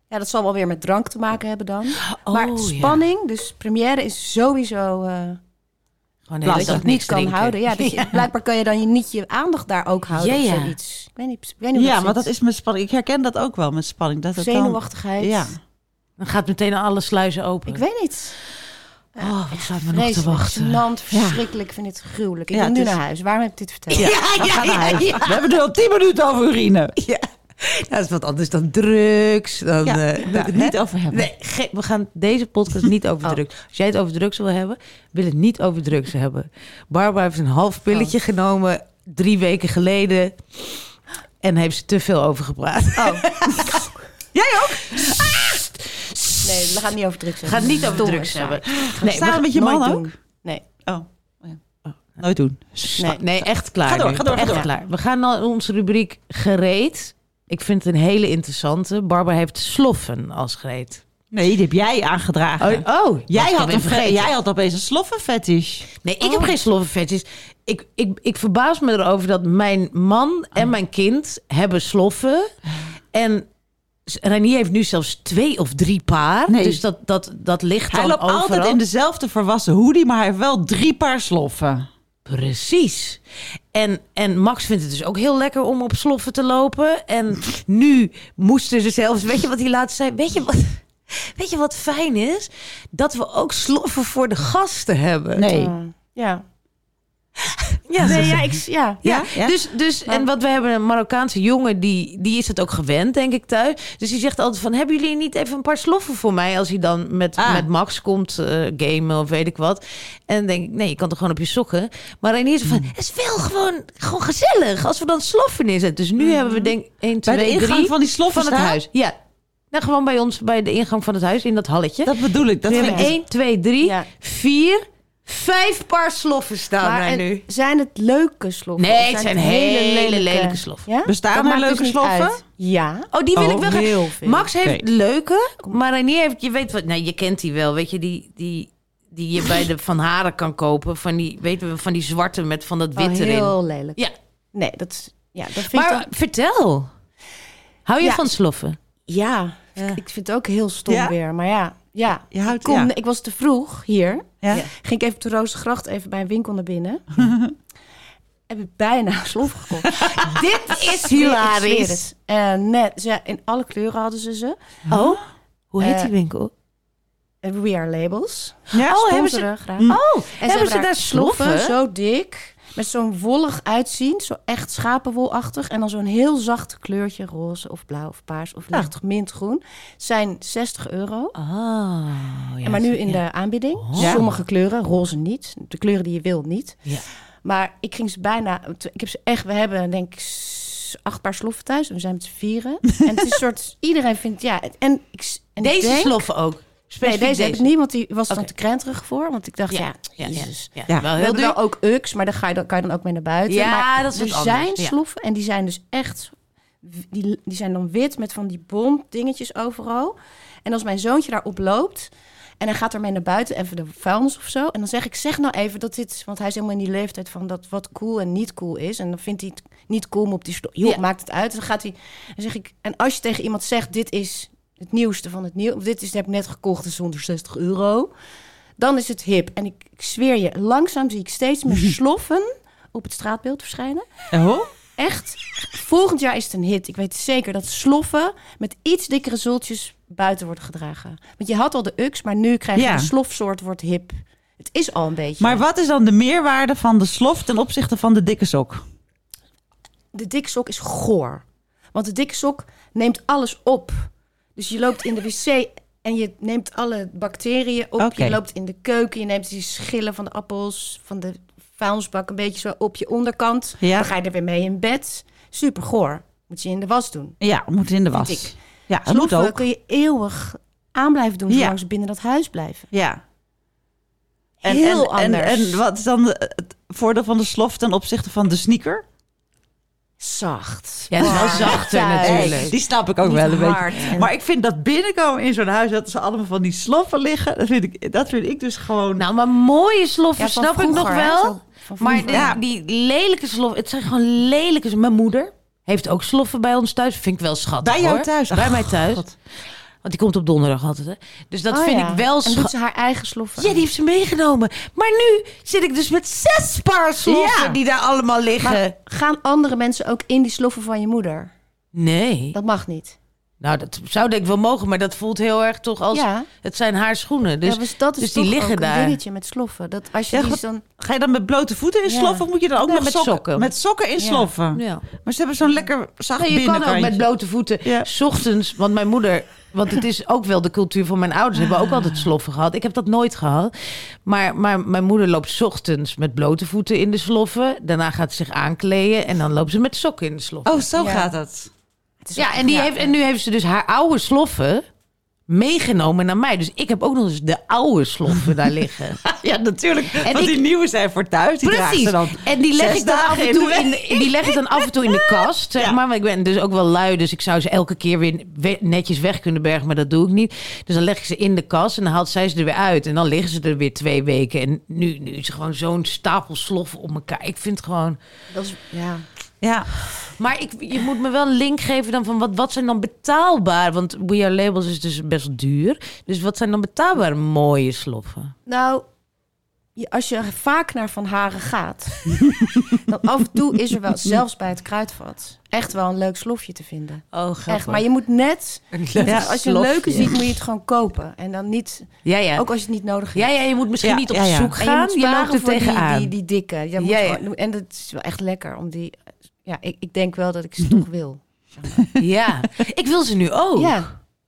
[SPEAKER 3] Ja, dat zal wel weer met drank te maken hebben dan.
[SPEAKER 2] Oh,
[SPEAKER 3] maar
[SPEAKER 2] ja.
[SPEAKER 3] spanning, dus première is sowieso... eh
[SPEAKER 2] Gewoon
[SPEAKER 3] dat
[SPEAKER 2] hele
[SPEAKER 3] je
[SPEAKER 2] dag
[SPEAKER 3] dat niet
[SPEAKER 2] niks
[SPEAKER 3] kan
[SPEAKER 2] drinken.
[SPEAKER 3] houden. Ja, dus je- blijkbaar kan je dan je, niet je aandacht daar ook houden
[SPEAKER 2] Ja,
[SPEAKER 3] of
[SPEAKER 2] ja.
[SPEAKER 3] zoiets. Ik weet niet, ik weet niet hoe
[SPEAKER 1] Ja, want dat
[SPEAKER 3] zit.
[SPEAKER 1] is mijn spanning. Ik herken dat ook wel, mijn spanning. Dat het dan-
[SPEAKER 3] Zenuwachtigheid.
[SPEAKER 1] Ja.
[SPEAKER 2] Dan gaat meteen alle sluizen open.
[SPEAKER 3] Ik weet niet.
[SPEAKER 2] oh, wat staat me nog te
[SPEAKER 3] Vreselijk,
[SPEAKER 2] wachten.
[SPEAKER 3] gênant, verschrikkelijk. Ik vind het gruwelijk. Ik
[SPEAKER 1] Ja,
[SPEAKER 3] wil nu
[SPEAKER 1] het is-
[SPEAKER 3] naar huis. Waarom heb ik dit verteld?
[SPEAKER 2] ja, ja, ja, ja.
[SPEAKER 1] We hebben er al tien minuten over urine.
[SPEAKER 2] Ja, Nou, dat is wat anders dan drugs. Dan,
[SPEAKER 1] Ja,
[SPEAKER 2] eh,
[SPEAKER 1] daar wil ik het niet over hebben.
[SPEAKER 2] Nee, ge- we gaan deze podcast niet over drugs. Als jij het over drugs wil hebben, wil het niet over drugs hebben. Barbara heeft een half pilletje genomen drie weken geleden. En heeft ze te veel over gepraat.
[SPEAKER 1] Jij ook?
[SPEAKER 3] Nee, we gaan het niet over drugs hebben.
[SPEAKER 2] Gaat niet over
[SPEAKER 3] Stomme
[SPEAKER 2] drugs
[SPEAKER 3] saai.
[SPEAKER 2] hebben.
[SPEAKER 1] Nee,
[SPEAKER 2] we-
[SPEAKER 1] Samen met je
[SPEAKER 3] Nooit
[SPEAKER 1] man
[SPEAKER 3] doen.
[SPEAKER 1] ook?
[SPEAKER 3] Nee.
[SPEAKER 1] Oh. ja. Oh, Nooit doen.
[SPEAKER 2] nee,
[SPEAKER 3] Nee.
[SPEAKER 2] echt klaar.
[SPEAKER 1] Ga door,
[SPEAKER 2] nu.
[SPEAKER 1] ga door, ga
[SPEAKER 2] echt
[SPEAKER 1] door.
[SPEAKER 2] klaar. We gaan naar onze rubriek gereed. Ik vind het een hele interessante. Barbara heeft sloffen als gereed.
[SPEAKER 1] Nee, die heb jij
[SPEAKER 2] Oh,
[SPEAKER 3] Oh,
[SPEAKER 1] aangedragen.
[SPEAKER 2] was
[SPEAKER 1] jij,
[SPEAKER 2] ik
[SPEAKER 1] had
[SPEAKER 2] alweer
[SPEAKER 1] een fe- jij had opeens een sloffenfetish.
[SPEAKER 2] Nee, ik
[SPEAKER 1] Oh.
[SPEAKER 2] heb geen sloffenfetish. Ik, ik, ik verbaas me erover dat mijn man
[SPEAKER 1] Oh.
[SPEAKER 2] en mijn kind hebben sloffen. En Renier heeft nu zelfs twee of drie paar.
[SPEAKER 1] Nee.
[SPEAKER 2] Dus dat, dat, dat ligt
[SPEAKER 1] Hij
[SPEAKER 2] dan
[SPEAKER 1] loopt
[SPEAKER 2] overal.
[SPEAKER 1] altijd in dezelfde verwassen hoodie, maar hij heeft wel drie paar sloffen.
[SPEAKER 2] Precies. En, en Max vindt het dus ook heel lekker om op sloffen te lopen. En nu moesten ze zelfs... Weet je wat hij laatst zei? Weet je wat, weet je wat fijn is? Dat we ook sloffen voor de gasten hebben.
[SPEAKER 1] Nee.
[SPEAKER 3] Oh. Mm. Ja.
[SPEAKER 2] Ja,
[SPEAKER 3] Nee, ja, ik, ja.
[SPEAKER 1] Ja,
[SPEAKER 2] Ja,
[SPEAKER 1] ja.
[SPEAKER 2] Dus, dus en wat we hebben, een Marokkaanse jongen, die, die is het ook gewend, denk ik, thuis. Dus die zegt altijd van, hebben jullie niet even een paar sloffen voor mij? Als hij dan met,
[SPEAKER 1] Ah.
[SPEAKER 2] met Max komt eh, gamen of weet ik wat. En dan denk ik, nee, je kan toch gewoon op je sokken. Maar Reinier is
[SPEAKER 1] Hmm.
[SPEAKER 2] van, het is wel gewoon, gewoon gezellig als we dan sloffen inzetten. Dus nu hebben we denk 1,
[SPEAKER 1] Hmm. Bij
[SPEAKER 2] 2,
[SPEAKER 1] de
[SPEAKER 2] 3
[SPEAKER 1] ingang van die sloffen
[SPEAKER 2] van het
[SPEAKER 1] staan?
[SPEAKER 2] huis. Ja, nou, gewoon bij ons, bij de ingang van het huis, in dat halletje.
[SPEAKER 1] Dat bedoel ik. Dat
[SPEAKER 2] we
[SPEAKER 1] vind
[SPEAKER 2] hebben
[SPEAKER 1] ik dus-
[SPEAKER 2] 1, 2, 3,
[SPEAKER 3] Ja.
[SPEAKER 2] 4, Vijf paar sloffen staan
[SPEAKER 3] Maar
[SPEAKER 2] daar
[SPEAKER 3] en
[SPEAKER 2] nu.
[SPEAKER 3] zijn het leuke sloffen?
[SPEAKER 2] Nee,
[SPEAKER 3] Of
[SPEAKER 2] het zijn hele lelijke sloffen.
[SPEAKER 3] Ja?
[SPEAKER 1] Bestaan
[SPEAKER 3] Dat
[SPEAKER 1] er
[SPEAKER 3] maakt
[SPEAKER 1] leuke
[SPEAKER 3] dus niet
[SPEAKER 1] sloffen?
[SPEAKER 3] uit. Ja.
[SPEAKER 2] Oh, die wil
[SPEAKER 1] Oh,
[SPEAKER 2] ik wel. graag-
[SPEAKER 3] heel veel.
[SPEAKER 2] Max heeft
[SPEAKER 1] Oké.
[SPEAKER 2] leuke, maar Reinier heeft, je weet wat, nou, je kent die wel, weet je, die, die, die je bij de Van Haren kan kopen. Van die, weten we, van die zwarte met van dat
[SPEAKER 3] Oh,
[SPEAKER 2] wit erin.
[SPEAKER 3] heel lelijk.
[SPEAKER 2] Ja,
[SPEAKER 3] Nee, dat, is- ja, dat vind
[SPEAKER 2] maar
[SPEAKER 3] ik dan-
[SPEAKER 2] vertel. Hou je
[SPEAKER 3] Ja.
[SPEAKER 2] van sloffen?
[SPEAKER 3] Ja,
[SPEAKER 2] Ja.
[SPEAKER 3] ik vind het ook heel stom
[SPEAKER 1] Ja?
[SPEAKER 3] weer. Maar ja, ja.
[SPEAKER 1] Je houdt-
[SPEAKER 3] ik, kom,
[SPEAKER 1] ja.
[SPEAKER 3] ik was te vroeg hier.
[SPEAKER 1] Ja.
[SPEAKER 3] Ging ik even op de Rozengracht even bij een winkel naar binnen. Heb ik bijna een slof gekocht. Dit is
[SPEAKER 2] hilarisch.
[SPEAKER 3] En Eh, net, ze, in alle kleuren hadden ze ze.
[SPEAKER 2] Oh, hoe heet
[SPEAKER 3] Eh,
[SPEAKER 2] die winkel?
[SPEAKER 3] En We are labels.
[SPEAKER 1] Ja,
[SPEAKER 2] Oh,
[SPEAKER 3] Hebben
[SPEAKER 2] hebben
[SPEAKER 3] ze
[SPEAKER 2] ze,
[SPEAKER 3] er graag.
[SPEAKER 1] Hm.
[SPEAKER 2] oh,
[SPEAKER 3] En
[SPEAKER 2] hebben ze daar sloffen?
[SPEAKER 3] Zo dik. Met zo'n wollig uitzien. Zo echt schapenwolachtig. En dan zo'n heel zacht kleurtje. Roze of blauw of paars of licht mintgroen. Zijn 60 euro.
[SPEAKER 2] Oh, ja,
[SPEAKER 3] maar nu
[SPEAKER 2] zo-
[SPEAKER 3] in
[SPEAKER 2] ja.
[SPEAKER 3] de aanbieding.
[SPEAKER 2] Oh.
[SPEAKER 3] Sommige kleuren. Roze niet. De kleuren die je wil niet.
[SPEAKER 2] Ja.
[SPEAKER 3] Maar ik ging ze bijna... Ik heb ze echt... We hebben denk ik s- acht paar sloffen thuis. En we zijn met z'n vieren. en het is een soort... Iedereen vindt... Ja, het- en ik, en ik
[SPEAKER 2] Deze
[SPEAKER 3] denk-
[SPEAKER 2] sloffen ook.
[SPEAKER 3] Nee,
[SPEAKER 2] Specifiek
[SPEAKER 3] deze, heb ik niet, want die was
[SPEAKER 2] Oké.
[SPEAKER 3] dan te krenterig voor. Want ik dacht, ja,
[SPEAKER 2] Ja, ja, ja,
[SPEAKER 3] jezus.
[SPEAKER 2] ja.
[SPEAKER 1] Ja.
[SPEAKER 2] Wel
[SPEAKER 3] We
[SPEAKER 2] heel
[SPEAKER 3] hebben
[SPEAKER 2] duur.
[SPEAKER 3] wel ook UX, maar daar ga je dan, kan je dan ook mee naar buiten.
[SPEAKER 2] Ja,
[SPEAKER 3] maar
[SPEAKER 2] dat is
[SPEAKER 3] er
[SPEAKER 2] wat
[SPEAKER 3] zijn
[SPEAKER 2] anders, ja.
[SPEAKER 3] sloffen en die zijn dus echt... Die, die zijn dan wit met van die bom dingetjes overal. En als mijn zoontje daarop loopt... en hij gaat ermee naar buiten, even de vuilnis of zo... en dan zeg ik, zeg nou even dat dit... want hij is helemaal in die leeftijd van dat wat cool en niet cool is... en dan vindt hij het niet cool om op die slof... joh,
[SPEAKER 2] Ja.
[SPEAKER 3] maakt het uit. En dan gaat hij... Dan zeg ik, en als je tegen iemand zegt, dit is het nieuwste van het nieuw... of dit is, heb ik net gekocht, is 160 euro dan is het hip. En ik, ik zweer je, langzaam zie ik steeds meer sloffen op het straatbeeld verschijnen.
[SPEAKER 1] Oh?
[SPEAKER 3] Echt, volgend jaar is het een hit. Ik weet zeker dat sloffen met iets dikkere zultjes buiten worden gedragen. Want je had al de UX, maar nu krijg je
[SPEAKER 1] Ja.
[SPEAKER 3] een slofsoort wordt hip. Het is al een beetje.
[SPEAKER 1] Maar wat is dan de meerwaarde van de slof ten opzichte van de dikke sok?
[SPEAKER 3] de dikke sok is goor. Want de dikke sok neemt alles op. Dus je loopt in de wc en je neemt alle bacteriën op.
[SPEAKER 1] Oké.
[SPEAKER 3] Je loopt in de keuken, je neemt die schillen van de appels, van de vuilnisbak een beetje zo op je onderkant.
[SPEAKER 1] Ja.
[SPEAKER 3] Dan ga je er weer mee in bed. Super goor. Moet je in de was doen.
[SPEAKER 1] Ja, moet in de
[SPEAKER 3] Vind
[SPEAKER 1] was.
[SPEAKER 3] ik.
[SPEAKER 1] Ja, dat moet
[SPEAKER 3] Sloffen
[SPEAKER 1] ook.
[SPEAKER 3] kun je eeuwig aan blijven doen,
[SPEAKER 1] Ja.
[SPEAKER 3] zolang ze binnen dat huis blijven.
[SPEAKER 1] Ja.
[SPEAKER 3] Heel
[SPEAKER 1] en, en-
[SPEAKER 3] anders.
[SPEAKER 1] En, wat is dan de- het voordeel van de slof ten opzichte van de sneaker?
[SPEAKER 3] Zacht.
[SPEAKER 2] Ja, het is wel
[SPEAKER 3] Warm.
[SPEAKER 2] zachter
[SPEAKER 3] Thuis.
[SPEAKER 2] natuurlijk.
[SPEAKER 1] Die snap ik ook
[SPEAKER 3] Niet
[SPEAKER 1] wel een
[SPEAKER 3] hard
[SPEAKER 1] beetje.
[SPEAKER 3] en-
[SPEAKER 1] Maar ik vind dat binnenkomen in zo'n huis, dat ze allemaal van die sloffen liggen, dat vind ik, dat vind ik dus gewoon...
[SPEAKER 2] Nou, maar mooie sloffen
[SPEAKER 3] Ja, van
[SPEAKER 2] snap ik nog
[SPEAKER 3] vroeger, hè?
[SPEAKER 2] wel.
[SPEAKER 3] Zo van
[SPEAKER 2] Maar
[SPEAKER 3] vroeger.
[SPEAKER 2] de-
[SPEAKER 1] Ja.
[SPEAKER 2] die lelijke sloffen, het zijn gewoon lelijke. Mijn moeder heeft ook sloffen bij ons thuis. Vind ik wel schattig.
[SPEAKER 1] Bij jou
[SPEAKER 2] hoor.
[SPEAKER 1] thuis?
[SPEAKER 2] Bij
[SPEAKER 1] Ach,
[SPEAKER 2] mij thuis.
[SPEAKER 1] God.
[SPEAKER 2] Want die komt op donderdag altijd. Hè. Dus dat
[SPEAKER 3] Oh
[SPEAKER 2] vind
[SPEAKER 3] ja.
[SPEAKER 2] ik wel
[SPEAKER 3] En doet
[SPEAKER 2] schattig.
[SPEAKER 3] ze haar eigen sloffen.
[SPEAKER 2] Ja, die heeft ze meegenomen. Maar nu zit ik dus met zes paar sloffen
[SPEAKER 1] Ja.
[SPEAKER 2] die daar allemaal liggen.
[SPEAKER 3] Maar gaan andere mensen ook in die sloffen van je moeder?
[SPEAKER 2] nee.
[SPEAKER 3] Dat mag niet.
[SPEAKER 2] Nou, dat zou denk ik wel mogen, maar dat voelt heel erg toch als...
[SPEAKER 3] Ja.
[SPEAKER 2] Het zijn haar schoenen. Dus,
[SPEAKER 3] ja, dus dat is
[SPEAKER 2] dus die
[SPEAKER 3] toch
[SPEAKER 2] liggen
[SPEAKER 3] ook een
[SPEAKER 2] daar.
[SPEAKER 3] dingetje met sloffen. Dat als je
[SPEAKER 1] Ja,
[SPEAKER 3] die
[SPEAKER 1] goed.
[SPEAKER 3] dan...
[SPEAKER 1] Ga je dan met blote voeten in
[SPEAKER 3] Ja.
[SPEAKER 1] sloffen of moet je dan ook
[SPEAKER 2] Nee,
[SPEAKER 1] nog
[SPEAKER 2] met sokken.
[SPEAKER 1] Met sokken in
[SPEAKER 3] Ja.
[SPEAKER 1] sloffen.
[SPEAKER 2] Ja.
[SPEAKER 1] Maar ze hebben zo'n lekker zacht
[SPEAKER 2] Nee, je kan ook
[SPEAKER 1] binnenkantje.
[SPEAKER 2] met blote voeten.
[SPEAKER 1] Ja.
[SPEAKER 2] S ochtends, want mijn moeder. Want het is ook wel de cultuur van mijn ouders. Hebben ook altijd sloffen gehad. Ik heb dat nooit gehad. Maar, maar mijn moeder loopt 's ochtends met blote voeten in de sloffen. Daarna gaat ze zich aankleden. En dan loopt ze met sokken in de sloffen.
[SPEAKER 1] Oh, zo
[SPEAKER 3] Ja.
[SPEAKER 1] gaat dat.
[SPEAKER 3] Het is
[SPEAKER 2] ja,
[SPEAKER 3] ook-
[SPEAKER 2] en, die Heeft, en nu heeft ze dus haar oude sloffen meegenomen naar mij. Dus ik heb ook nog eens de oude sloffen daar liggen.
[SPEAKER 1] Ja, natuurlijk.
[SPEAKER 2] En
[SPEAKER 1] Want
[SPEAKER 2] ik-
[SPEAKER 1] die nieuwe zijn voor thuis. Die draagt
[SPEAKER 2] Precies.
[SPEAKER 1] ze dan
[SPEAKER 2] en die leg,
[SPEAKER 1] zes
[SPEAKER 2] ik dan af
[SPEAKER 1] dagen
[SPEAKER 2] en
[SPEAKER 1] in
[SPEAKER 2] toe
[SPEAKER 1] de
[SPEAKER 2] in,
[SPEAKER 1] week.
[SPEAKER 2] die leg ik dan af en toe in de kast. Zeg
[SPEAKER 1] Ja.
[SPEAKER 2] maar. maar ik ben dus ook wel lui, dus ik zou ze elke keer weer we- netjes weg kunnen bergen, maar dat doe ik niet. Dus dan leg ik ze in de kast en dan haalt zij ze er weer uit. En dan liggen ze er weer twee weken. En nu, nu is er gewoon zo'n stapel sloffen op elkaar. Ik vind het gewoon.
[SPEAKER 3] Dat is, ja.
[SPEAKER 1] Ja.
[SPEAKER 2] Maar ik, je moet me wel een link geven dan van wat, wat zijn dan betaalbaar? Want We Are Labels is dus best duur. Dus wat zijn dan betaalbaar mooie sloffen?
[SPEAKER 3] Nou, je- als je vaak naar Van Haren gaat... dan af en toe is er wel, zelfs bij het kruidvat... echt wel een leuk slofje te vinden.
[SPEAKER 2] Oh, grappig.
[SPEAKER 3] Echt, maar je moet net...
[SPEAKER 1] Ja,
[SPEAKER 3] als je een leuke ziet, moet je het gewoon kopen. En dan niet...
[SPEAKER 2] Ja, ja.
[SPEAKER 3] Ook als je het niet nodig hebt.
[SPEAKER 2] ja, ja, je moet misschien
[SPEAKER 1] Ja,
[SPEAKER 2] niet op
[SPEAKER 1] ja, ja.
[SPEAKER 2] zoek
[SPEAKER 3] En je
[SPEAKER 2] gaan.
[SPEAKER 3] moet
[SPEAKER 2] Je, loopt
[SPEAKER 3] sparen
[SPEAKER 2] er
[SPEAKER 3] voor die,
[SPEAKER 2] tegenaan.
[SPEAKER 3] die, die dikke. Je moet
[SPEAKER 2] Ja, ja.
[SPEAKER 3] gewoon- en dat is wel echt lekker om die... Ja, ik, ik denk wel dat ik ze toch wil.
[SPEAKER 2] Ja, ik wil ze nu ook.
[SPEAKER 3] Ja,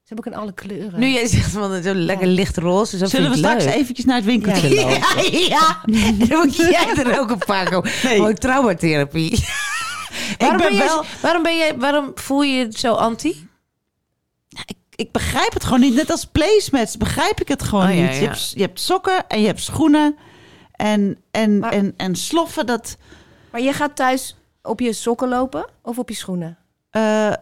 [SPEAKER 3] ze heb ik in alle kleuren.
[SPEAKER 2] Nu jij zegt van eh, zo lekker licht roze. Zo
[SPEAKER 1] Zullen we
[SPEAKER 2] vind ik
[SPEAKER 1] straks
[SPEAKER 2] leuk.
[SPEAKER 1] eventjes naar het winkeltje
[SPEAKER 2] Ja,
[SPEAKER 1] lopen?
[SPEAKER 2] ja. En dan moet jij er ook een paar komen.
[SPEAKER 1] Nee.
[SPEAKER 2] Oh, traumatherapie. waarom,
[SPEAKER 1] ben
[SPEAKER 2] ben jij,
[SPEAKER 1] wel-
[SPEAKER 2] waarom, ben jij, waarom voel je het zo anti?
[SPEAKER 1] Ik, ik begrijp het gewoon niet. Net als placemats begrijp ik het gewoon
[SPEAKER 2] Oh, ja,
[SPEAKER 1] niet. Je,
[SPEAKER 2] ja.
[SPEAKER 1] hebt, je hebt sokken en je hebt schoenen. En, en,
[SPEAKER 3] Maar-
[SPEAKER 1] en, en sloffen, dat...
[SPEAKER 3] Maar je gaat thuis op je sokken lopen of op je schoenen?
[SPEAKER 1] eh,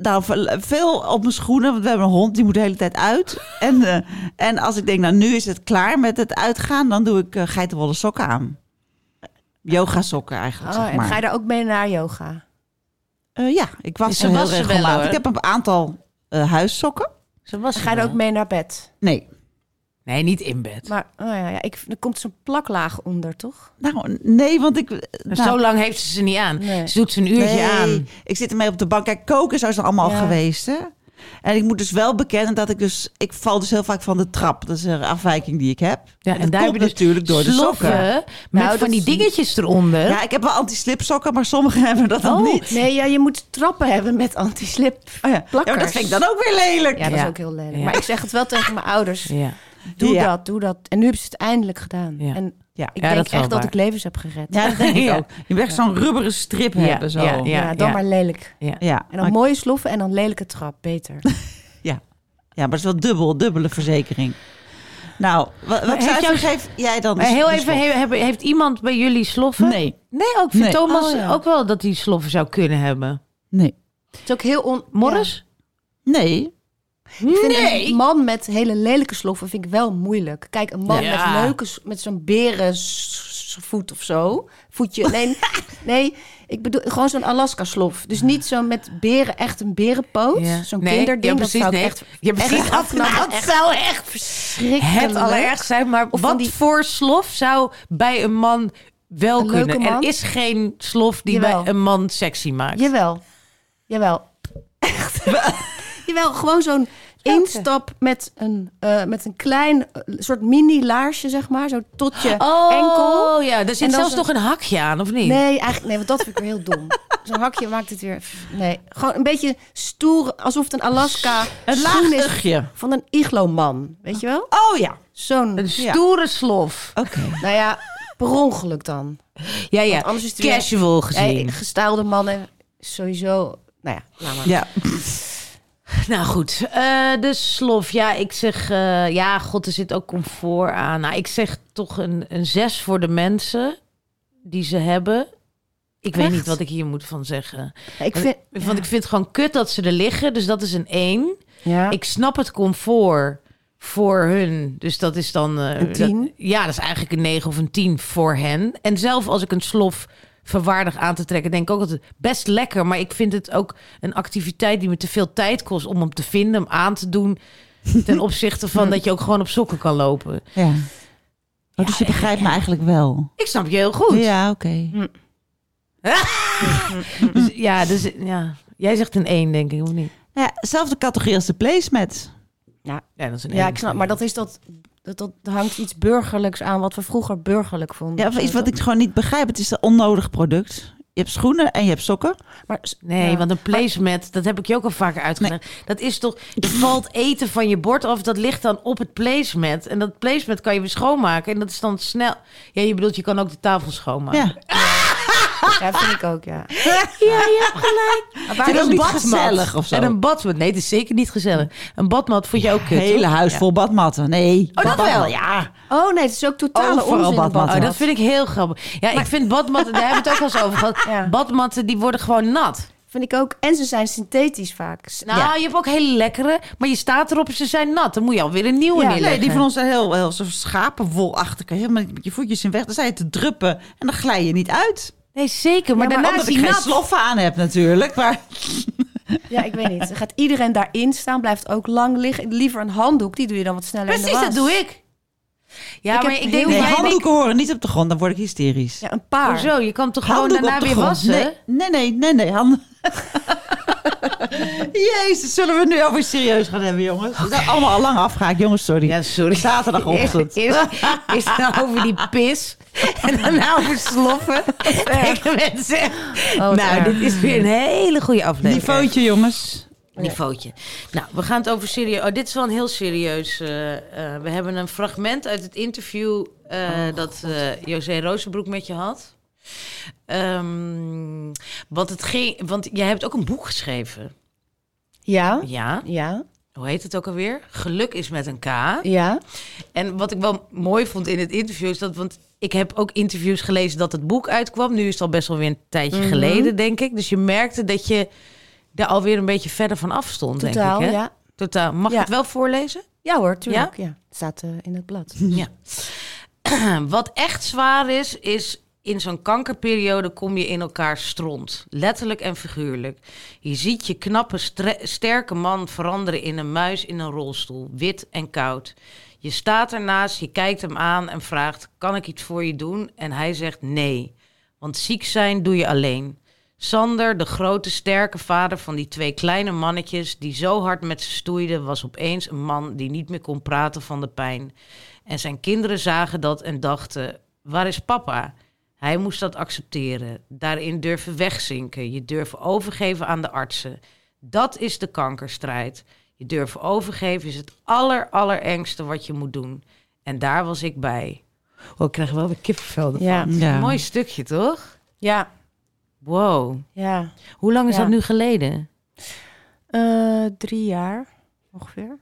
[SPEAKER 1] nou, ve- veel op mijn schoenen, want we hebben een hond, die moet de hele tijd uit. En, eh, en als ik denk, nou nu is het klaar met het uitgaan, dan doe ik eh, geitenwolle sokken aan. Yoga sokken eigenlijk,
[SPEAKER 3] Oh,
[SPEAKER 1] zeg
[SPEAKER 3] en
[SPEAKER 1] maar.
[SPEAKER 3] ga je daar ook mee naar yoga?
[SPEAKER 1] Eh, ja, ik was
[SPEAKER 2] Ze
[SPEAKER 1] ze heel
[SPEAKER 2] was ze wel,
[SPEAKER 1] regelmatig.
[SPEAKER 2] hoor.
[SPEAKER 1] ik heb een aantal eh, huissokken.
[SPEAKER 2] Ze was
[SPEAKER 3] Ga je daar ook mee naar bed?
[SPEAKER 1] Nee,
[SPEAKER 2] Nee, niet in bed.
[SPEAKER 3] Maar oh ja, ja, ik, er komt zo'n plaklaag onder, toch?
[SPEAKER 1] nou, nee, want ik...
[SPEAKER 2] Maar
[SPEAKER 1] nou,
[SPEAKER 2] zo lang heeft ze ze niet aan.
[SPEAKER 3] Nee.
[SPEAKER 2] Ze doet ze een uurtje
[SPEAKER 1] nee,
[SPEAKER 2] aan.
[SPEAKER 1] Ik zit ermee op de bank. Kijk, koken zou ze allemaal
[SPEAKER 3] Ja.
[SPEAKER 1] geweest, hè? En ik moet dus wel bekennen dat ik dus... Ik val dus heel vaak van de trap. Dat is een afwijking die ik heb.
[SPEAKER 2] Ja,
[SPEAKER 1] dat
[SPEAKER 2] daar
[SPEAKER 1] komt
[SPEAKER 2] heb je dus
[SPEAKER 1] natuurlijk door de
[SPEAKER 2] sloffen
[SPEAKER 1] sokken.
[SPEAKER 2] Met
[SPEAKER 3] Nou,
[SPEAKER 2] van
[SPEAKER 3] dat
[SPEAKER 2] die
[SPEAKER 3] is-
[SPEAKER 2] dingetjes eronder.
[SPEAKER 1] Ja, ik heb wel anti-slipsokken, maar sommigen hebben dat
[SPEAKER 2] Oh,
[SPEAKER 1] dan niet.
[SPEAKER 3] Oh. Nee, ja, je moet trappen hebben met anti-slip.
[SPEAKER 1] Oh ja. Ja, maar dat
[SPEAKER 3] plakkers.
[SPEAKER 1] vind ik dan ook weer lelijk.
[SPEAKER 3] Ja, dat
[SPEAKER 2] Ja.
[SPEAKER 3] is ook heel lelijk.
[SPEAKER 2] Ja.
[SPEAKER 3] Maar ik zeg het wel tegen mijn ouders.
[SPEAKER 2] ja.
[SPEAKER 3] Doe
[SPEAKER 1] Ja.
[SPEAKER 3] dat, doe dat. En nu hebben ze het eindelijk gedaan.
[SPEAKER 2] Ja.
[SPEAKER 3] En
[SPEAKER 1] Ja.
[SPEAKER 3] ik
[SPEAKER 2] Ja, dat
[SPEAKER 3] denk
[SPEAKER 2] is wel
[SPEAKER 3] echt dat
[SPEAKER 2] waar.
[SPEAKER 3] ik levens heb gered.
[SPEAKER 1] Ja, dat denk ik
[SPEAKER 2] Ja.
[SPEAKER 1] ook. Je moet echt zo'n rubberen strip
[SPEAKER 2] Ja,
[SPEAKER 1] hebben, zo.
[SPEAKER 2] ja,
[SPEAKER 3] Ja, dan
[SPEAKER 2] ja.
[SPEAKER 3] maar lelijk.
[SPEAKER 2] ja.
[SPEAKER 1] Ja.
[SPEAKER 3] En dan mooie sloffen en dan lelijke trap. Beter.
[SPEAKER 1] Ja, ja maar het is wel dubbel, dubbele verzekering. Nou, wat, wat
[SPEAKER 2] heeft
[SPEAKER 1] cijfer
[SPEAKER 2] jou-
[SPEAKER 1] geef jij dan?
[SPEAKER 2] Maar
[SPEAKER 1] de-
[SPEAKER 2] heel
[SPEAKER 1] de
[SPEAKER 2] even,
[SPEAKER 1] slot?
[SPEAKER 2] he- hebben- heeft iemand bij jullie sloffen?
[SPEAKER 1] Nee,
[SPEAKER 2] Nee, ook vindt
[SPEAKER 1] Nee.
[SPEAKER 2] Thomas
[SPEAKER 3] Oh, ja.
[SPEAKER 2] ook wel dat hij sloffen zou kunnen hebben.
[SPEAKER 1] nee,
[SPEAKER 3] Het is ook heel on...
[SPEAKER 2] Morris?
[SPEAKER 1] nee.
[SPEAKER 3] Ja. Ik vind een man met hele lelijke sloffen vind ik wel moeilijk. Kijk, een man
[SPEAKER 2] Ja.
[SPEAKER 3] met leuke... s- Met zo'n berenvoet of zo. Voetje. Nee, nee ik bedoel gewoon zo'n Alaska-slof. Dus niet zo met beren, echt een berenpoot.
[SPEAKER 2] Ja.
[SPEAKER 3] Zo'n
[SPEAKER 2] Nee,
[SPEAKER 3] kinderding.
[SPEAKER 2] ja,
[SPEAKER 3] dat
[SPEAKER 2] precies,
[SPEAKER 3] zou ik
[SPEAKER 2] nee.
[SPEAKER 3] echt...
[SPEAKER 2] Ja, precies,
[SPEAKER 3] echt
[SPEAKER 2] dat-
[SPEAKER 3] afknappen.
[SPEAKER 2] dat
[SPEAKER 3] Echt
[SPEAKER 2] zou echt
[SPEAKER 3] verschrikkelijk.
[SPEAKER 2] het allerergst zijn. Maar
[SPEAKER 3] Of van
[SPEAKER 2] wat
[SPEAKER 3] die-
[SPEAKER 2] voor slof zou bij een man wel
[SPEAKER 3] Een leuke
[SPEAKER 2] kunnen?
[SPEAKER 3] man?
[SPEAKER 2] Er is geen slof die
[SPEAKER 3] Jawel.
[SPEAKER 2] bij een man sexy maakt.
[SPEAKER 3] Jawel. Jawel. Echt. Jawel, gewoon zo'n instap met een, eh, met een klein eh, soort mini laarsje, zeg maar. Zo tot je
[SPEAKER 2] Oh,
[SPEAKER 3] enkel.
[SPEAKER 2] ja. Daar
[SPEAKER 3] En
[SPEAKER 2] zit
[SPEAKER 3] dan
[SPEAKER 2] zelfs
[SPEAKER 3] zo'n-
[SPEAKER 2] nog een hakje aan, of niet?
[SPEAKER 3] Nee, eigenlijk, nee, want dat vind ik weer heel dom. Zo'n hakje maakt het weer... Nee, gewoon een beetje stoer, alsof het een Alaska
[SPEAKER 1] Een laag
[SPEAKER 3] schoen is
[SPEAKER 1] luchtje.
[SPEAKER 3] van een iglo-man. Weet je wel?
[SPEAKER 1] Oh ja,
[SPEAKER 3] Zo'n,
[SPEAKER 2] Een stoere slof.
[SPEAKER 1] oké.
[SPEAKER 3] nou ja, per ongeluk dan.
[SPEAKER 2] Ja, ja.
[SPEAKER 3] Want anders is het weer-
[SPEAKER 2] Casual gezien.
[SPEAKER 3] Hey, gestaalde mannen, sowieso... Nou ja, laat maar.
[SPEAKER 1] Ja.
[SPEAKER 2] Nou goed, eh, de slof. Ja, ik zeg, eh, ja, god, er zit ook comfort aan. Nou, ik zeg toch een, een zes voor de mensen die ze hebben. Ik weet
[SPEAKER 3] Echt?
[SPEAKER 2] niet wat ik hier moet van zeggen.
[SPEAKER 3] Ik vind...
[SPEAKER 2] Want ik vind het gewoon kut dat ze er liggen, dus dat is een één.
[SPEAKER 3] Ja.
[SPEAKER 2] Ik snap het comfort voor hun, dus dat is dan... eh,
[SPEAKER 3] Een tien?
[SPEAKER 2] dat- ja, dat is eigenlijk een negen of een tien voor hen. En zelf als ik een slof verwaardig aan te trekken, denk ik ook dat het best lekker, maar ik vind het ook een activiteit die me te veel tijd kost om hem te vinden, hem aan te doen, ten opzichte van dat je ook gewoon op sokken kan lopen.
[SPEAKER 1] ja. Oh, dus je begrijpt me eigenlijk wel.
[SPEAKER 2] Ik snap je heel goed.
[SPEAKER 1] Ja, oké.
[SPEAKER 2] Dus, ja, dus ja. Jij zegt een één, denk ik, of niet?
[SPEAKER 1] Ja, zelfde categorie als de placemats.
[SPEAKER 3] Ja.
[SPEAKER 2] Ja, dat is een
[SPEAKER 3] Ja,
[SPEAKER 2] één.
[SPEAKER 3] ik snap. Maar dat is dat, dat, dat hangt iets burgerlijks aan wat we vroeger burgerlijk vonden.
[SPEAKER 1] Ja, of
[SPEAKER 3] Zo
[SPEAKER 1] iets wat
[SPEAKER 3] dat-
[SPEAKER 1] ik gewoon niet begrijp. Het is een onnodig product. Je hebt schoenen en je hebt sokken.
[SPEAKER 3] Maar, s-
[SPEAKER 2] Nee,
[SPEAKER 3] ja.
[SPEAKER 2] want een placemat, dat heb ik je ook al vaker uitgelegd. Dat is toch, er valt eten van je bord af, dat ligt dan op het placemat. En dat placemat kan je weer schoonmaken en dat is dan snel. Ja, je bedoelt, je kan ook de tafel schoonmaken.
[SPEAKER 1] Ja.
[SPEAKER 3] Ja, vind ik ook, ja.
[SPEAKER 2] Ja, je hebt gelijk.
[SPEAKER 1] Vind je dat niet gezellig of zo?
[SPEAKER 2] En een badmat, nee, het is zeker niet gezellig. Een badmat vond je ook kut.
[SPEAKER 1] Hele
[SPEAKER 2] hoor?
[SPEAKER 1] huis
[SPEAKER 2] Ja.
[SPEAKER 1] vol badmatten. Nee.
[SPEAKER 2] Oh, dat wel?
[SPEAKER 1] Ja.
[SPEAKER 3] Oh nee, het is ook totale
[SPEAKER 1] Overal
[SPEAKER 3] onzin.
[SPEAKER 1] badmatten.
[SPEAKER 3] badmat.
[SPEAKER 2] Oh, dat vind ik heel grappig. Ja, ik vind badmatten, daar hebben we het ook al eens over gehad.
[SPEAKER 3] Ja.
[SPEAKER 2] Badmatten, die worden gewoon nat.
[SPEAKER 3] vind ik ook. En ze zijn synthetisch vaak. S-
[SPEAKER 2] Nou,
[SPEAKER 3] ja.
[SPEAKER 2] je hebt ook hele lekkere, maar je staat erop en ze zijn nat. Dan moet je alweer een nieuwe
[SPEAKER 3] Ja.
[SPEAKER 2] neerleggen.
[SPEAKER 1] Nee, die van ons zijn heel, heel zo schapenwolachtig. Kan je Helemaal niet met je voetjes in weg. Dan zijn je te druppen en dan glij je niet uit.
[SPEAKER 2] Nee, zeker. Maar,
[SPEAKER 3] Ja, maar
[SPEAKER 2] daarna
[SPEAKER 1] Omdat
[SPEAKER 2] is
[SPEAKER 1] ik
[SPEAKER 2] die
[SPEAKER 1] geen
[SPEAKER 2] nat.
[SPEAKER 1] sloffen aan heb natuurlijk. Maar
[SPEAKER 3] ja, ik weet niet. Dan gaat iedereen daarin staan, blijft ook lang liggen. Liever een handdoek, die doe je dan wat sneller in
[SPEAKER 2] Precies,
[SPEAKER 3] de was.
[SPEAKER 2] dat doe ik. Ja,
[SPEAKER 3] Ik
[SPEAKER 2] maar
[SPEAKER 3] heb
[SPEAKER 2] ik denk dat
[SPEAKER 1] nee,
[SPEAKER 2] jij en ik-
[SPEAKER 1] handdoeken horen niet op de grond. Dan word ik hysterisch.
[SPEAKER 3] Ja, een paar.
[SPEAKER 2] Hoezo? Je kan toch gewoon
[SPEAKER 1] Handdoeken
[SPEAKER 2] daarna
[SPEAKER 1] op de
[SPEAKER 2] weer
[SPEAKER 1] grond.
[SPEAKER 2] wassen?
[SPEAKER 1] Nee, nee, nee, nee. nee handen. Jezus, zullen we nu over serieus gaan hebben, jongens? We zijn allemaal al lang afgehaakt, jongens, sorry.
[SPEAKER 2] Ja, sorry.
[SPEAKER 1] Zaterdagochtend.
[SPEAKER 2] Eerst, eerst dan over die pis en daarna over sloffen. Tegen mensen.
[SPEAKER 3] wat
[SPEAKER 2] nou,
[SPEAKER 3] erg.
[SPEAKER 2] dit is weer een hele goede aflevering.
[SPEAKER 1] Niveautje, jongens.
[SPEAKER 2] Niveautje. Nou, we gaan het over serieus. Oh, dit is wel een heel serieus. eh, eh, we hebben een fragment uit het interview eh, dat eh José Rozenbroek met je had. Ehm, want het ging. Want jij hebt ook een boek geschreven.
[SPEAKER 3] Ja.
[SPEAKER 2] Ja.
[SPEAKER 3] Ja.
[SPEAKER 2] hoe heet het ook alweer? Geluk is met een K.
[SPEAKER 3] Ja.
[SPEAKER 2] En wat ik wel mooi vond in het interview is dat, want ik heb ook interviews gelezen dat het boek uitkwam. Nu is het al best wel weer een tijdje
[SPEAKER 3] Mhm.
[SPEAKER 2] geleden, denk ik. Dus je merkte dat je daar alweer een beetje verder van afstond,
[SPEAKER 3] Totaal,
[SPEAKER 2] denk ik. Hè?
[SPEAKER 3] ja.
[SPEAKER 2] Totaal. Mag
[SPEAKER 3] Ja.
[SPEAKER 2] ik het wel voorlezen?
[SPEAKER 3] Ja hoor, tuurlijk. Ja? Het staat eh, in het blad.
[SPEAKER 2] Ja. Wat echt zwaar is, is in zo'n kankerperiode kom je in elkaar stront. Letterlijk en figuurlijk. Je ziet je knappe, stre- sterke man veranderen in een muis in een rolstoel. Wit en koud. Je staat ernaast, je kijkt hem aan en vraagt: Kan ik iets voor je doen? En hij zegt nee. Want ziek zijn doe je alleen. Sander, de grote sterke vader van die twee kleine mannetjes die zo hard met ze stoeiden, was opeens een man die niet meer kon praten van de pijn. En zijn kinderen zagen dat en dachten: waar is papa? Hij moest dat accepteren. Daarin durven wegzinken. Je durven overgeven aan de artsen. Dat is de kankerstrijd. Je durven overgeven is het aller, allerengste wat je moet doen. En daar was ik bij. Oh, ik krijg wel weer kippenvel ervan.
[SPEAKER 3] Ja.
[SPEAKER 1] Ja.
[SPEAKER 2] Mooi stukje, toch?
[SPEAKER 3] Ja,
[SPEAKER 2] Wow.
[SPEAKER 3] ja.
[SPEAKER 2] Hoe lang is
[SPEAKER 3] Ja.
[SPEAKER 2] dat nu geleden?
[SPEAKER 3] Eh, drie jaar ongeveer.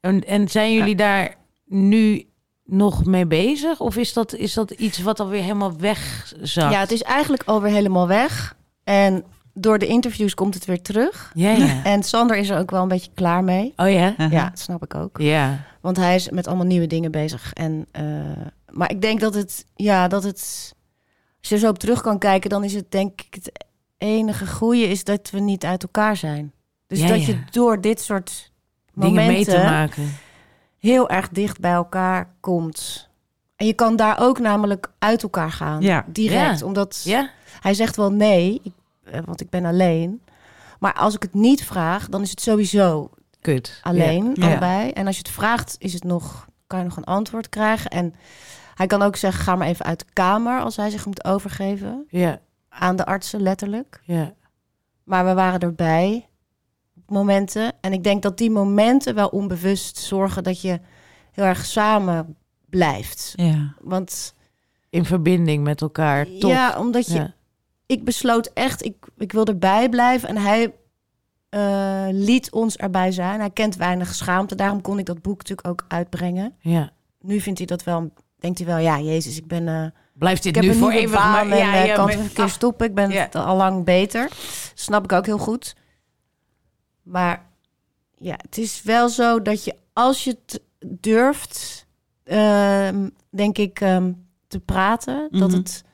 [SPEAKER 2] En, en zijn jullie daar nu nog mee bezig? Of is dat, is dat iets wat alweer helemaal wegzakt?
[SPEAKER 3] Ja, het is eigenlijk alweer helemaal weg. En door de interviews komt het weer terug.
[SPEAKER 2] Ja, ja.
[SPEAKER 3] En Sander is er ook wel een beetje klaar mee.
[SPEAKER 2] Oh ja?
[SPEAKER 3] Ja, dat snap ik ook.
[SPEAKER 2] Ja.
[SPEAKER 3] Want hij is met allemaal nieuwe dingen bezig. En, eh, maar ik denk dat het, ja, dat het... Als je er zo op terug kan kijken, dan is het denk ik het enige goede is dat we niet uit elkaar zijn. Dus
[SPEAKER 2] Ja,
[SPEAKER 3] dat
[SPEAKER 2] ja.
[SPEAKER 3] je door dit soort
[SPEAKER 2] Dingen
[SPEAKER 3] momenten
[SPEAKER 2] mee te maken.
[SPEAKER 3] heel erg dicht bij elkaar komt. En je kan daar ook namelijk uit elkaar gaan.
[SPEAKER 1] Ja.
[SPEAKER 3] Direct.
[SPEAKER 2] Ja.
[SPEAKER 3] Omdat
[SPEAKER 2] Ja?
[SPEAKER 3] hij zegt wel nee, ik- eh, want ik ben alleen. Maar als ik het niet vraag, dan is het sowieso
[SPEAKER 2] Kut.
[SPEAKER 3] alleen,
[SPEAKER 1] Ja.
[SPEAKER 3] allebei. En als je het vraagt, is het nog, kan je nog een antwoord krijgen. En hij kan ook zeggen, ga maar even uit de kamer als hij zich moet overgeven.
[SPEAKER 2] Ja.
[SPEAKER 3] Aan de artsen, letterlijk.
[SPEAKER 2] Ja.
[SPEAKER 3] Maar we waren erbij op momenten. En ik denk dat die momenten wel onbewust zorgen dat je heel erg samen blijft.
[SPEAKER 1] Ja.
[SPEAKER 3] Want
[SPEAKER 2] In verbinding met elkaar. Top.
[SPEAKER 3] ja, omdat je,
[SPEAKER 2] Ja.
[SPEAKER 3] ik besloot echt, ik, ik wil erbij blijven. En hij eh, liet ons erbij zijn. Hij kent weinig schaamte. Daarom kon ik dat boek natuurlijk ook uitbrengen.
[SPEAKER 2] Ja.
[SPEAKER 3] Nu vindt hij dat wel, denkt hij wel, ja, Jezus, ik ben. eh,
[SPEAKER 2] Blijft
[SPEAKER 3] ik
[SPEAKER 2] dit
[SPEAKER 3] heb
[SPEAKER 2] nu
[SPEAKER 3] een
[SPEAKER 2] voor
[SPEAKER 3] nieuwe
[SPEAKER 2] eeuwig
[SPEAKER 3] baan en
[SPEAKER 2] ja,
[SPEAKER 3] eh,
[SPEAKER 2] ja,
[SPEAKER 3] kan
[SPEAKER 2] maar-
[SPEAKER 3] het een keer
[SPEAKER 2] Ah,
[SPEAKER 3] stoppen. Ik ben
[SPEAKER 2] Ja.
[SPEAKER 3] het al lang beter. Snap ik ook heel goed. Maar ja, het is wel zo dat je als je het durft, ehm, denk ik, ehm, te praten, dat,
[SPEAKER 2] Mhm.
[SPEAKER 3] het,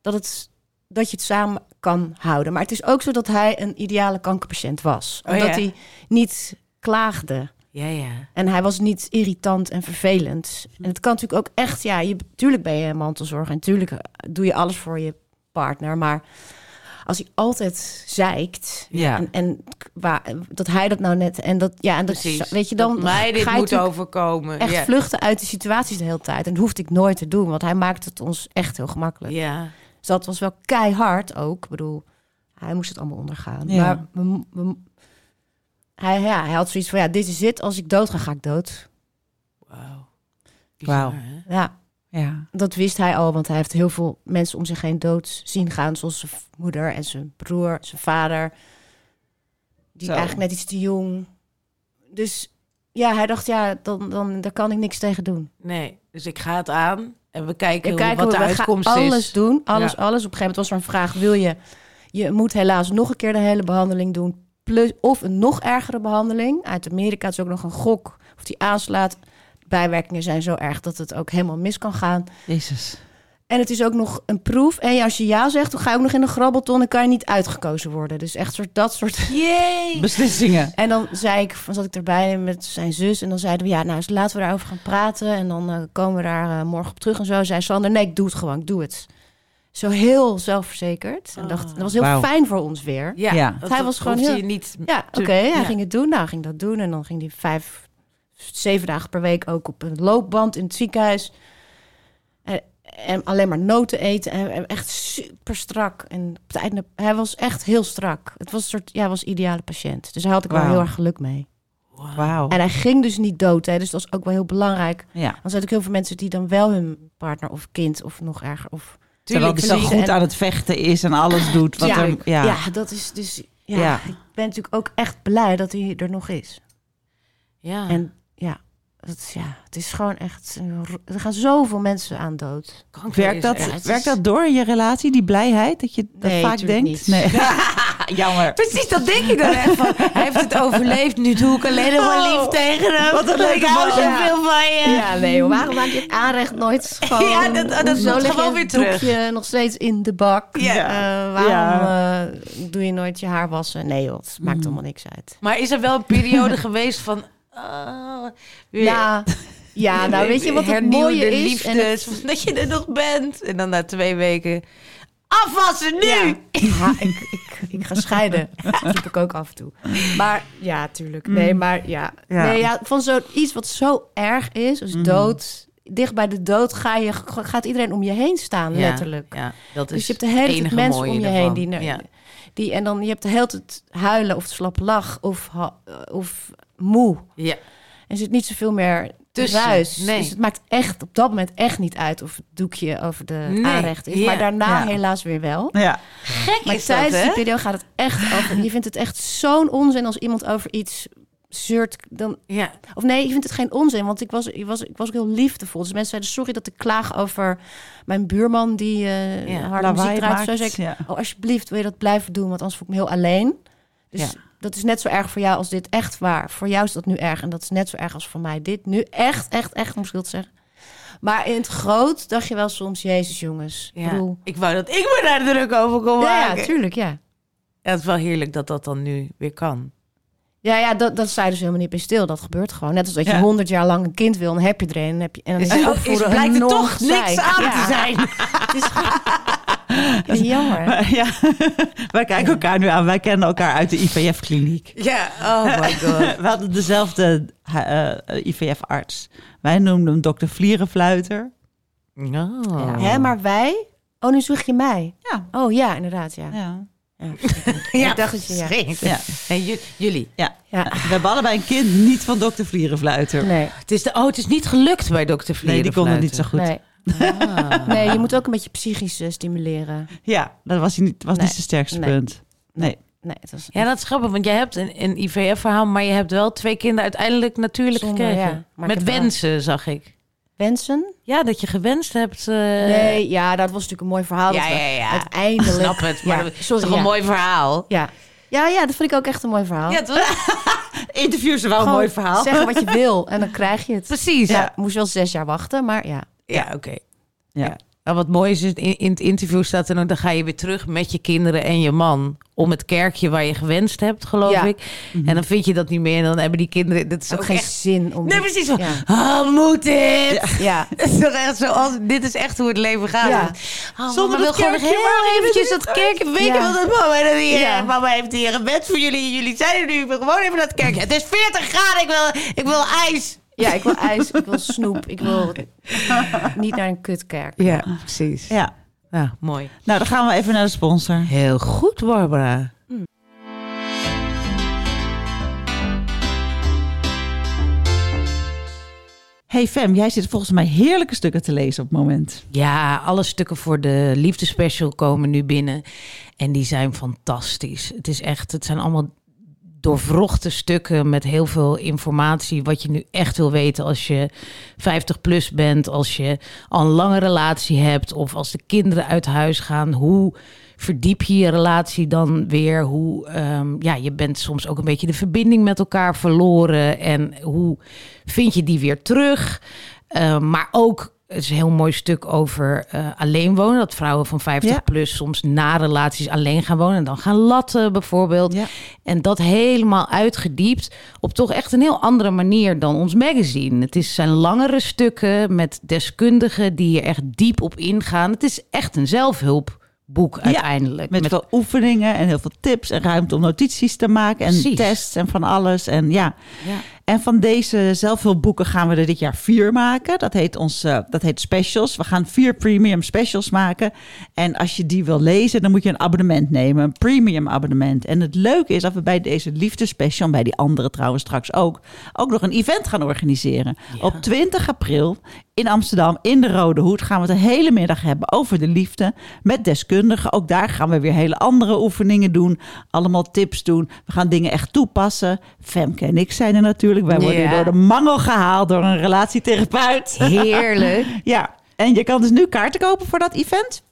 [SPEAKER 3] dat, het, dat je het samen kan houden. Maar het is ook zo dat hij een ideale kankerpatiënt was.
[SPEAKER 2] Oh,
[SPEAKER 3] Omdat
[SPEAKER 2] ja.
[SPEAKER 3] hij niet klaagde.
[SPEAKER 2] Ja, ja.
[SPEAKER 3] En hij was niet irritant en vervelend. En het kan natuurlijk ook echt, ja, je, tuurlijk ben je mantelzorger en tuurlijk eh, doe je alles voor je partner. Maar als hij altijd zeikt
[SPEAKER 2] Ja.
[SPEAKER 3] en, en k- waar, dat hij dat nou net en dat, ja, en dat
[SPEAKER 2] Precies.
[SPEAKER 3] weet je dan
[SPEAKER 2] dat mij dit
[SPEAKER 3] ga je
[SPEAKER 2] moet
[SPEAKER 3] natuurlijk
[SPEAKER 2] overkomen.
[SPEAKER 3] echt
[SPEAKER 2] ja.
[SPEAKER 3] vluchten uit de situaties de hele tijd. En dat hoefde ik nooit te doen, want hij maakt het ons echt heel gemakkelijk.
[SPEAKER 2] Ja.
[SPEAKER 3] Dus dat was wel keihard ook. Ik bedoel, hij moest het allemaal ondergaan.
[SPEAKER 1] Ja.
[SPEAKER 3] Maar we mo- we mo- hij, ja, hij had zoiets van, ja, dit is het. Als ik dood ga, ga ik dood.
[SPEAKER 2] Wauw.
[SPEAKER 1] Wauw.
[SPEAKER 2] Bizar, hè?
[SPEAKER 3] Ja,
[SPEAKER 1] Ja.
[SPEAKER 3] dat wist hij al, want hij heeft heel veel mensen om zich heen dood zien gaan. Zoals zijn v- moeder en zijn broer, zijn vader. Die
[SPEAKER 1] Zo.
[SPEAKER 3] eigenlijk net iets te jong. Dus ja, hij dacht, ja, dan, dan, daar kan ik niks tegen doen.
[SPEAKER 2] Nee. Dus ik ga het aan en we
[SPEAKER 3] Ik
[SPEAKER 2] kijken, hoe-
[SPEAKER 3] kijk
[SPEAKER 2] wat de
[SPEAKER 3] we gaan
[SPEAKER 2] uitkomst
[SPEAKER 3] alles
[SPEAKER 2] is.
[SPEAKER 3] doen, alles,
[SPEAKER 2] Ja.
[SPEAKER 3] alles. Op een gegeven moment was er een vraag, wil je... Je moet helaas nog een keer de hele behandeling doen. Plus, of een nog ergere behandeling. Uit Amerika is ook nog een gok of die aanslaat. Bijwerkingen zijn zo erg dat het ook helemaal mis kan gaan.
[SPEAKER 1] Jezus.
[SPEAKER 3] En het is ook nog een proef. En als je ja zegt, dan ga je ook nog in een grabbelton en kan je niet uitgekozen worden. Dus echt soort, dat soort.
[SPEAKER 2] Jee!
[SPEAKER 1] Beslissingen.
[SPEAKER 3] En dan zei ik, van zat ik erbij met zijn zus. En dan zeiden we, ja, nou, laten we daarover gaan praten. En dan eh, komen we daar eh, morgen op terug. En zo zei Sander, nee, ik doe het gewoon, ik doe het. Zo heel zelfverzekerd. En dacht, dat was heel
[SPEAKER 1] Wauw.
[SPEAKER 3] fijn voor ons weer.
[SPEAKER 2] Ja,
[SPEAKER 1] Ja.
[SPEAKER 2] want
[SPEAKER 3] Hij
[SPEAKER 2] dat
[SPEAKER 3] was gewoon
[SPEAKER 2] hoefde
[SPEAKER 3] heel-
[SPEAKER 2] je niet.
[SPEAKER 3] Ja,
[SPEAKER 2] te-
[SPEAKER 3] oké, hij
[SPEAKER 2] ja.
[SPEAKER 3] ging het doen. Nou, hij ging dat doen. En dan ging hij vijf, zeven dagen per week ook op een loopband in het ziekenhuis. En, en alleen maar noten eten. En, en echt super strak. En op het einde, hij was echt heel strak. Het was een soort, ja, hij was ideale patiënt. Dus daar had ik wel
[SPEAKER 1] Wauw.
[SPEAKER 3] heel erg geluk mee.
[SPEAKER 1] Wauw.
[SPEAKER 3] En hij ging dus niet dood, hè, dus dat was ook wel heel belangrijk.
[SPEAKER 1] Ja.
[SPEAKER 3] Dan zijn ook heel veel mensen die dan wel hun partner of kind of nog erger. Of,
[SPEAKER 1] Terwijl
[SPEAKER 2] Tuurlijk,
[SPEAKER 1] die zo
[SPEAKER 3] ziek
[SPEAKER 1] goed
[SPEAKER 3] en-
[SPEAKER 1] aan het vechten is en alles doet. Wat
[SPEAKER 3] ja,
[SPEAKER 1] er, ja.
[SPEAKER 3] ja, dat is dus. Ja,
[SPEAKER 1] Ja.
[SPEAKER 3] ik ben natuurlijk ook echt blij dat hij er nog is.
[SPEAKER 2] Ja.
[SPEAKER 3] En ja, het, is- ja, het is gewoon echt... een ro- Er gaan zoveel mensen aan dood.
[SPEAKER 2] Kanker
[SPEAKER 1] Werkt
[SPEAKER 2] is
[SPEAKER 1] dat,
[SPEAKER 2] echt-
[SPEAKER 1] werkt dat door in je relatie, die blijheid, dat je dat
[SPEAKER 3] Nee,
[SPEAKER 1] vaak
[SPEAKER 3] tuurlijk
[SPEAKER 1] denkt?
[SPEAKER 3] niet.
[SPEAKER 1] Nee. Jammer.
[SPEAKER 2] Precies, dat denk je dan echt van. Hij heeft het overleefd, nu doe ik alleen nog maar
[SPEAKER 3] Oh,
[SPEAKER 2] lief tegen hem.
[SPEAKER 1] wat een leuke
[SPEAKER 2] Ik hou
[SPEAKER 1] boodschap.
[SPEAKER 2] zoveel van je.
[SPEAKER 3] Ja, nee, hoor. waarom maak je het aanrecht nooit schoon?
[SPEAKER 2] Ja, dat- dat
[SPEAKER 3] Hoezo
[SPEAKER 2] moet
[SPEAKER 3] leg
[SPEAKER 2] gewoon
[SPEAKER 3] je het
[SPEAKER 2] weer terug.
[SPEAKER 3] doekje nog steeds in de bak?
[SPEAKER 1] Ja.
[SPEAKER 3] Eh, waarom
[SPEAKER 1] Ja.
[SPEAKER 3] eh, doe je nooit je haar wassen? Nee joh, het maakt allemaal niks uit.
[SPEAKER 2] Maar is er wel een periode geweest van... ah, weer-
[SPEAKER 3] Ja, ja nou weet je wat het
[SPEAKER 2] hernieuwde
[SPEAKER 3] mooie is?
[SPEAKER 2] liefdes,
[SPEAKER 3] En het-
[SPEAKER 2] dat je er nog bent. En dan na twee weken... Afwassen nu!
[SPEAKER 3] Ja, Ja, ik, ik, ik ga scheiden. Dat doe ik ook af en toe. Maar ja, tuurlijk. Nee,
[SPEAKER 2] Mm.
[SPEAKER 3] maar ja.
[SPEAKER 1] Ja.
[SPEAKER 3] Nee, ja van zo'n iets wat zo erg is,
[SPEAKER 2] Mm.
[SPEAKER 3] dus dood. Dicht bij de dood ga je, gaat iedereen om je heen staan,
[SPEAKER 2] Ja,
[SPEAKER 3] letterlijk.
[SPEAKER 2] Ja, dat is
[SPEAKER 3] Dus je hebt de hele tijd
[SPEAKER 2] enige
[SPEAKER 3] mensen om
[SPEAKER 2] mooie
[SPEAKER 3] je
[SPEAKER 2] ervan.
[SPEAKER 3] heen die, naar-
[SPEAKER 2] Ja.
[SPEAKER 3] die en dan je hebt de hele tijd huilen of slap lach of, ha- of moe.
[SPEAKER 2] Ja.
[SPEAKER 3] Er zit niet zoveel meer
[SPEAKER 2] Tussen,
[SPEAKER 3] tussen. Ruis.
[SPEAKER 2] nee.
[SPEAKER 3] Dus het maakt echt op dat moment echt niet uit of het doekje over de
[SPEAKER 2] Nee,
[SPEAKER 3] aanrecht is.
[SPEAKER 2] ja.
[SPEAKER 3] Maar daarna
[SPEAKER 1] Ja.
[SPEAKER 3] helaas weer wel.
[SPEAKER 1] Ja.
[SPEAKER 2] Gek
[SPEAKER 3] Maar
[SPEAKER 2] is dat,
[SPEAKER 3] tijdens
[SPEAKER 2] hè?
[SPEAKER 3] die periode gaat het echt over. Je vindt het echt zo'n onzin als iemand over iets zeurt. Dan,
[SPEAKER 2] Ja.
[SPEAKER 3] of nee, je vindt het geen onzin. Want ik was, ik, was, ik was ook heel liefdevol. Dus mensen zeiden, sorry dat ik klaag over mijn buurman die eh
[SPEAKER 2] Ja,
[SPEAKER 3] harde muziek
[SPEAKER 1] lawaai
[SPEAKER 3] draait. Zo
[SPEAKER 1] maakt,
[SPEAKER 3] zei ik,
[SPEAKER 1] ja.
[SPEAKER 3] oh, alsjeblieft, wil je dat blijven doen? Want anders voel ik me heel alleen. Dus
[SPEAKER 2] Ja.
[SPEAKER 3] dat is net zo erg voor jou als dit echt waar. Voor jou is dat nu erg. En dat is net zo erg als voor mij dit. Nu echt, echt, echt, om schuld te zeggen. Maar in het groot dacht je wel soms, jezus jongens.
[SPEAKER 2] Ja.
[SPEAKER 3] Ik bedoel,
[SPEAKER 2] Ik wou dat ik me daar druk over kon
[SPEAKER 3] ja,
[SPEAKER 2] maken.
[SPEAKER 3] ja, tuurlijk, ja.
[SPEAKER 2] Ja, het is wel heerlijk dat dat dan nu weer kan.
[SPEAKER 3] Ja, ja dat, dat sta je dus helemaal niet bij stil. Dat gebeurt gewoon. Net als dat je
[SPEAKER 1] Ja.
[SPEAKER 3] honderd jaar lang een kind wil, dan heb je er een. En, heb je, en dan
[SPEAKER 2] Is-
[SPEAKER 3] is het
[SPEAKER 2] is-
[SPEAKER 3] opvoeden
[SPEAKER 2] blijkt er
[SPEAKER 3] een
[SPEAKER 2] toch niks
[SPEAKER 3] nongezeik.
[SPEAKER 2] aan te
[SPEAKER 3] zijn. het is gewoon- jammer. hè?
[SPEAKER 1] Maar ja. Wij kijken elkaar nu aan. Wij kennen elkaar uit de IVF-kliniek.
[SPEAKER 2] Ja, oh my god.
[SPEAKER 1] We hadden dezelfde eh, eh, IVF-arts. Wij noemden hem dokter Vlierenfluiter.
[SPEAKER 2] Oh.
[SPEAKER 3] Hè, maar wij... Oh, nu zoeg je mij.
[SPEAKER 1] Ja.
[SPEAKER 3] Oh ja, inderdaad, ja.
[SPEAKER 1] Ja.
[SPEAKER 2] Ja,
[SPEAKER 3] Ik dacht dat je- ja.
[SPEAKER 2] verschrikkelijk.
[SPEAKER 1] Ja.
[SPEAKER 2] En ju- jullie.
[SPEAKER 1] ja.
[SPEAKER 3] Ja.
[SPEAKER 1] We hebben allebei een kind niet van dokter Vlierenfluiter.
[SPEAKER 3] Nee,
[SPEAKER 2] Het is de, oh, het is niet gelukt bij dokter Vlier.
[SPEAKER 1] Nee, die kon het niet zo goed.
[SPEAKER 3] nee.
[SPEAKER 2] Ah.
[SPEAKER 3] nee, je moet ook een beetje psychisch eh, stimuleren.
[SPEAKER 1] Ja, dat was, hij niet, was
[SPEAKER 3] Nee.
[SPEAKER 1] niet zijn sterkste
[SPEAKER 3] Nee.
[SPEAKER 1] punt. Nee.
[SPEAKER 3] Nee, het was
[SPEAKER 2] Ja, dat is grappig, want jij hebt een, een IVF-verhaal, maar je hebt wel twee kinderen uiteindelijk natuurlijk
[SPEAKER 3] Zonder,
[SPEAKER 2] gekregen.
[SPEAKER 3] ja. Maar
[SPEAKER 2] Met
[SPEAKER 3] ik heb wel-
[SPEAKER 2] wensen, zag ik.
[SPEAKER 3] wensen.
[SPEAKER 2] Ja, dat je gewenst hebt. eh,
[SPEAKER 3] Nee, ja, dat was natuurlijk een mooi verhaal.
[SPEAKER 2] Ja,
[SPEAKER 3] dat we
[SPEAKER 2] ja, ja.
[SPEAKER 3] Uiteindelijk.
[SPEAKER 2] Snap het, maar
[SPEAKER 3] Ja,
[SPEAKER 2] dat is
[SPEAKER 3] sorry,
[SPEAKER 2] toch een
[SPEAKER 3] ja.
[SPEAKER 2] mooi verhaal?
[SPEAKER 3] Ja. Ja, ja, dat vind ik ook echt een mooi verhaal.
[SPEAKER 2] Ja, toch?
[SPEAKER 1] Interviews zijn wel een
[SPEAKER 3] Gewoon
[SPEAKER 1] mooi verhaal.
[SPEAKER 3] Zeggen wat je wil en dan krijg je het.
[SPEAKER 2] Precies.
[SPEAKER 3] Ja,
[SPEAKER 2] Ja,
[SPEAKER 3] moest wel zes jaar wachten, maar ja.
[SPEAKER 2] oké.
[SPEAKER 1] Ja.
[SPEAKER 2] Nou, wat mooi is, is in, in het interview staat er ook, dan ga je weer terug met je kinderen en je man om het kerkje waar je gewenst hebt, geloof
[SPEAKER 3] Ja.
[SPEAKER 2] ik. En dan vind je dat niet meer en dan hebben die kinderen, dat is
[SPEAKER 3] Ook
[SPEAKER 2] ook
[SPEAKER 3] geen
[SPEAKER 2] echt...
[SPEAKER 3] zin om.
[SPEAKER 2] Nee, precies. Van,
[SPEAKER 3] Ja.
[SPEAKER 2] Ah, moet dit?
[SPEAKER 3] Ja.
[SPEAKER 2] Het is toch echt zo, als, dit is echt hoe het leven gaat.
[SPEAKER 3] Ja.
[SPEAKER 2] Oh,
[SPEAKER 1] Zonder
[SPEAKER 2] mama wil
[SPEAKER 1] dat
[SPEAKER 2] gewoon nog
[SPEAKER 1] kerkje,
[SPEAKER 2] helemaal
[SPEAKER 1] ja,
[SPEAKER 2] eventjes
[SPEAKER 1] dat
[SPEAKER 2] dat kerkje. Weet je
[SPEAKER 3] Ja.
[SPEAKER 2] wat dat mama dat hier,
[SPEAKER 3] Ja.
[SPEAKER 2] Mama heeft hier een wet voor jullie. Jullie zijn er nu ik wil gewoon even naar het kerkje. Het is 40 graden, ik wil, ik wil ijs.
[SPEAKER 3] Ja, ik wil ijs, ik wil snoep, ik wil niet naar een kutkerk.
[SPEAKER 2] Ja, precies.
[SPEAKER 1] ja.
[SPEAKER 2] Nou, mooi.
[SPEAKER 1] Nou, dan gaan we even naar de sponsor.
[SPEAKER 2] Heel goed, Barbara.
[SPEAKER 1] Hey Fem, jij zit volgens mij heerlijke stukken te lezen op het moment.
[SPEAKER 2] Ja, alle stukken voor de liefdespecial komen nu binnen. En die zijn fantastisch. Het is echt, het zijn allemaal doorvrochte stukken met heel veel informatie. Wat je nu echt wil weten als je 50 plus bent, als je al een lange relatie hebt of als de kinderen uit huis gaan. Hoe verdiep je je relatie dan weer? Hoe, ehm, ja, je bent soms ook een beetje de verbinding met elkaar verloren. En hoe vind je die weer terug? Eh, maar ook, het is een heel mooi stuk over eh, alleen wonen. Dat vrouwen van 50
[SPEAKER 1] Ja.
[SPEAKER 2] plus soms na relaties alleen gaan wonen. En dan gaan latten bijvoorbeeld.
[SPEAKER 1] Ja.
[SPEAKER 2] En dat helemaal uitgediept op toch echt een heel andere manier dan ons magazine. Het is, zijn langere stukken met deskundigen die er echt diep op ingaan. Het is echt een zelfhulpboek uiteindelijk.
[SPEAKER 1] Met, veel oefeningen en heel veel tips en ruimte om notities te maken en
[SPEAKER 2] Precies.
[SPEAKER 1] tests en van alles. En, ja.
[SPEAKER 2] Ja.
[SPEAKER 1] en van deze zelfhulpboeken gaan we er dit jaar vier maken. Dat heet, ons, eh, dat heet specials. We gaan vier premium specials maken. En als je die wil lezen, dan moet je een abonnement nemen. Een premium abonnement. En het leuke is dat we bij deze liefdespecial, en bij die andere trouwens straks ook, ook nog een event gaan organiseren. Op 20 april in Amsterdam, in de Rode Hoed, gaan we het de hele middag hebben over de liefde met deskundigen. Ook daar gaan we weer hele andere oefeningen doen, allemaal tips doen. We gaan dingen echt toepassen. Femke en ik zijn er natuurlijk. Wij worden
[SPEAKER 2] Ja.
[SPEAKER 1] hier door de mangel gehaald door een relatietherapeut.
[SPEAKER 2] Heerlijk.
[SPEAKER 1] Ja, en je kan dus nu kaarten kopen voor dat event.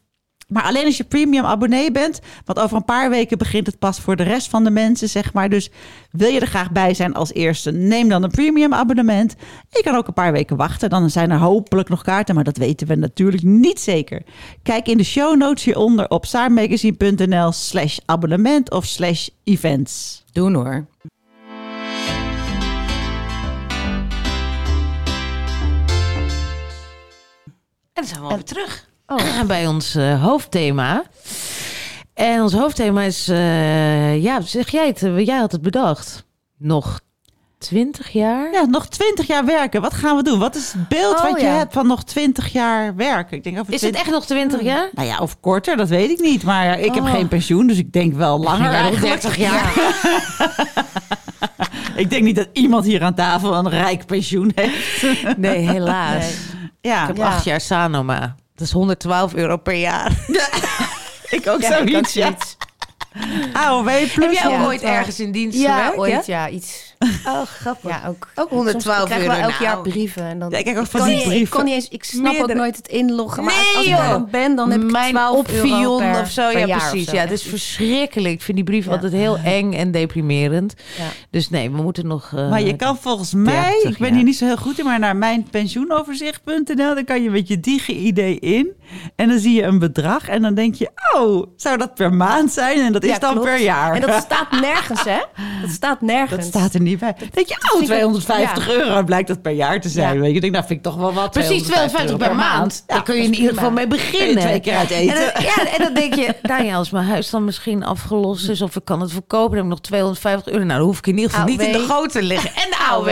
[SPEAKER 1] Maar alleen als je premium abonnee bent. Want over een paar weken begint het pas voor de rest van de mensen, zeg maar. Dus wil je er graag bij zijn als eerste, neem dan een premium abonnement. Je kan ook een paar weken wachten. Dan zijn er hopelijk nog kaarten, maar dat weten we natuurlijk niet zeker. Kijk in de show notes hieronder op saarmagazine.nl slash abonnement of slash events.
[SPEAKER 4] Doen hoor.
[SPEAKER 2] En dan zijn we alweer terug bij ons eh, hoofdthema. En ons hoofdthema is, eh, ja, zeg jij het, eh, jij had het bedacht. Nog twintig jaar?
[SPEAKER 1] Ja, nog twintig jaar werken. Wat gaan we doen? Wat is het beeld
[SPEAKER 3] Oh,
[SPEAKER 1] wat je
[SPEAKER 3] ja.
[SPEAKER 1] hebt van nog twintig jaar werken? Ik denk over
[SPEAKER 2] Is het
[SPEAKER 1] 20
[SPEAKER 2] echt nog twintig jaar?
[SPEAKER 1] Nou ja, of korter, dat weet ik niet. Maar ik heb
[SPEAKER 2] Oh.
[SPEAKER 1] geen pensioen, dus ik denk wel langer
[SPEAKER 2] Ja, nog
[SPEAKER 1] eigenlijk.
[SPEAKER 2] 30 jaar.
[SPEAKER 1] Ik denk niet dat iemand hier aan tafel een rijk pensioen heeft.
[SPEAKER 2] Nee, helaas.
[SPEAKER 1] Ja,
[SPEAKER 2] Ik heb
[SPEAKER 3] Ja.
[SPEAKER 2] acht jaar Sanoma. Dat is 112 euro per jaar.
[SPEAKER 1] ik ook
[SPEAKER 3] Ja, ik
[SPEAKER 1] zoiets.
[SPEAKER 3] had
[SPEAKER 1] Ja.
[SPEAKER 3] zoiets.
[SPEAKER 1] AOW plus.
[SPEAKER 2] Heb jij ook
[SPEAKER 3] Ja,
[SPEAKER 2] ooit
[SPEAKER 3] dat wel.
[SPEAKER 2] ergens in dienst
[SPEAKER 3] Ja,
[SPEAKER 2] gewerkt?
[SPEAKER 3] ooit, ja, iets.
[SPEAKER 2] Oh, grappig.
[SPEAKER 3] Ja, ook.
[SPEAKER 2] Ook 112
[SPEAKER 3] Soms krijg ik wel
[SPEAKER 2] euro,
[SPEAKER 3] elk jaar
[SPEAKER 2] nou.
[SPEAKER 3] brieven. En dan,
[SPEAKER 1] Ja, ik krijg ook van
[SPEAKER 3] kan
[SPEAKER 1] die
[SPEAKER 3] niet- Ik,
[SPEAKER 1] brieven.
[SPEAKER 3] kan niet eens, ik snap ook
[SPEAKER 2] Meerdere.
[SPEAKER 3] nooit het inloggen. Maar
[SPEAKER 2] Nee,
[SPEAKER 3] als ik
[SPEAKER 2] joh.
[SPEAKER 3] er dan ben, dan heb ik
[SPEAKER 2] Mijn
[SPEAKER 3] 12 euro
[SPEAKER 2] opvion
[SPEAKER 3] per,
[SPEAKER 2] of zo.
[SPEAKER 3] per
[SPEAKER 2] Ja,
[SPEAKER 3] jaar of
[SPEAKER 2] precies.
[SPEAKER 3] zo.
[SPEAKER 2] Ja, dus
[SPEAKER 3] Echt
[SPEAKER 2] het is
[SPEAKER 3] iets.
[SPEAKER 2] verschrikkelijk. Ik vind die brief
[SPEAKER 3] Ja.
[SPEAKER 2] altijd heel eng en deprimerend.
[SPEAKER 3] Ja.
[SPEAKER 2] Dus nee, we moeten nog... eh,
[SPEAKER 1] Maar je kan volgens mij,
[SPEAKER 2] 30
[SPEAKER 1] ik ben
[SPEAKER 2] jaar.
[SPEAKER 1] hier niet zo heel goed in, maar naar mijnpensioenoverzicht.nl, dan kan je met je digi-idee in. En dan zie je een bedrag en dan denk je, oh, zou dat per maand zijn? En dat is
[SPEAKER 3] Ja,
[SPEAKER 1] dan
[SPEAKER 3] klopt.
[SPEAKER 1] per jaar.
[SPEAKER 3] En dat staat nergens, hè? Dat staat nergens.
[SPEAKER 1] Dat staat er niet bij. Denk je, oh,
[SPEAKER 3] ik-
[SPEAKER 1] 250
[SPEAKER 3] ja.
[SPEAKER 1] euro blijkt dat per jaar te zijn.
[SPEAKER 3] Ja.
[SPEAKER 1] Weet je, Ik denk, nou vind ik toch wel wat.
[SPEAKER 2] Precies, 250 per maand. Daar kun je in ieder geval mee beginnen.
[SPEAKER 1] Twee keer uit eten.
[SPEAKER 2] En dan, ja, en dan denk je, nou ja, als mijn huis dan misschien afgelost is... of ik kan het verkopen, dan heb ik nog 250 euro. Nou, dan hoef ik in ieder geval niet in de
[SPEAKER 3] AOW.
[SPEAKER 2] goot te liggen. En de AOW.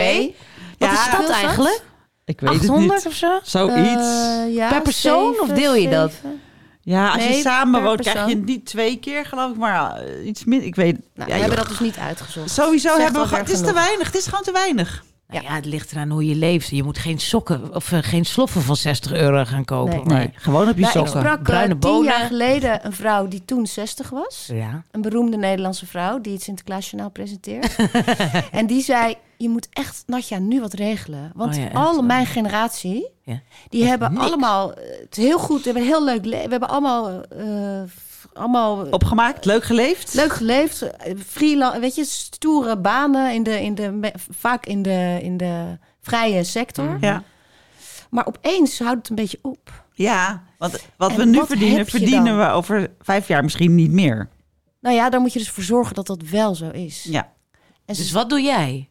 [SPEAKER 2] Wat
[SPEAKER 1] Ja.
[SPEAKER 2] is dat eigenlijk?
[SPEAKER 1] Ik weet
[SPEAKER 2] 800
[SPEAKER 1] het
[SPEAKER 2] of zo?
[SPEAKER 1] niet. Zoiets.
[SPEAKER 3] Eh, ja,
[SPEAKER 2] Per persoon, of deel je dat? Nou,
[SPEAKER 3] zeven.
[SPEAKER 1] ja, als je
[SPEAKER 3] nee,
[SPEAKER 1] samen
[SPEAKER 3] per
[SPEAKER 1] woont krijg je
[SPEAKER 3] persoon.
[SPEAKER 1] het niet twee keer geloof ik, maar eh, iets minder. Ik weet
[SPEAKER 3] Nou,
[SPEAKER 1] ja,
[SPEAKER 3] we
[SPEAKER 1] joh.
[SPEAKER 3] hebben dat dus niet uitgezocht.
[SPEAKER 1] Sowieso
[SPEAKER 3] Zegt
[SPEAKER 1] hebben we
[SPEAKER 3] wel
[SPEAKER 1] gewoon, het
[SPEAKER 3] weer
[SPEAKER 1] is te
[SPEAKER 3] genoeg.
[SPEAKER 1] weinig. Het is gewoon te weinig.
[SPEAKER 2] Nou ja, het ligt eraan hoe je leeft. Je moet geen sokken of eh, geen sloffen van 60 euro gaan kopen.
[SPEAKER 3] Nee. Nee.
[SPEAKER 1] gewoon op je
[SPEAKER 3] Nou, ik sprak eh,
[SPEAKER 2] Bruine
[SPEAKER 3] tien
[SPEAKER 2] bonen.
[SPEAKER 3] jaar geleden een vrouw die toen 60 was.
[SPEAKER 2] Ja.
[SPEAKER 3] Een beroemde Nederlandse vrouw die het Sinterklaasjournaal presenteert. en die zei, je moet echt, Natja, nu wat regelen. Want
[SPEAKER 2] Oh ja, echt
[SPEAKER 3] alle
[SPEAKER 2] waar.
[SPEAKER 3] mijn generatie,
[SPEAKER 2] Ja.
[SPEAKER 3] die hebben
[SPEAKER 2] niks.
[SPEAKER 3] allemaal eh, het heel goed, we hebben een heel leuk leven. We hebben allemaal, eh, f- allemaal
[SPEAKER 1] Opgemaakt, leuk geleefd.
[SPEAKER 3] leuk geleefd. eh, Freelance, weet je, stoere banen, in de, in de, me- vaak in de, in de vrije sector.
[SPEAKER 1] Ja.
[SPEAKER 3] Maar opeens houdt het een beetje op.
[SPEAKER 1] ja, want wat
[SPEAKER 3] En
[SPEAKER 1] we nu
[SPEAKER 3] wat
[SPEAKER 1] verdienen,
[SPEAKER 3] heb je
[SPEAKER 1] verdienen
[SPEAKER 3] dan?
[SPEAKER 1] we over vijf jaar misschien niet meer.
[SPEAKER 3] Nou ja, daar moet je dus voor zorgen dat dat wel zo is.
[SPEAKER 1] Ja.
[SPEAKER 3] En ze
[SPEAKER 2] Dus wat doe jij?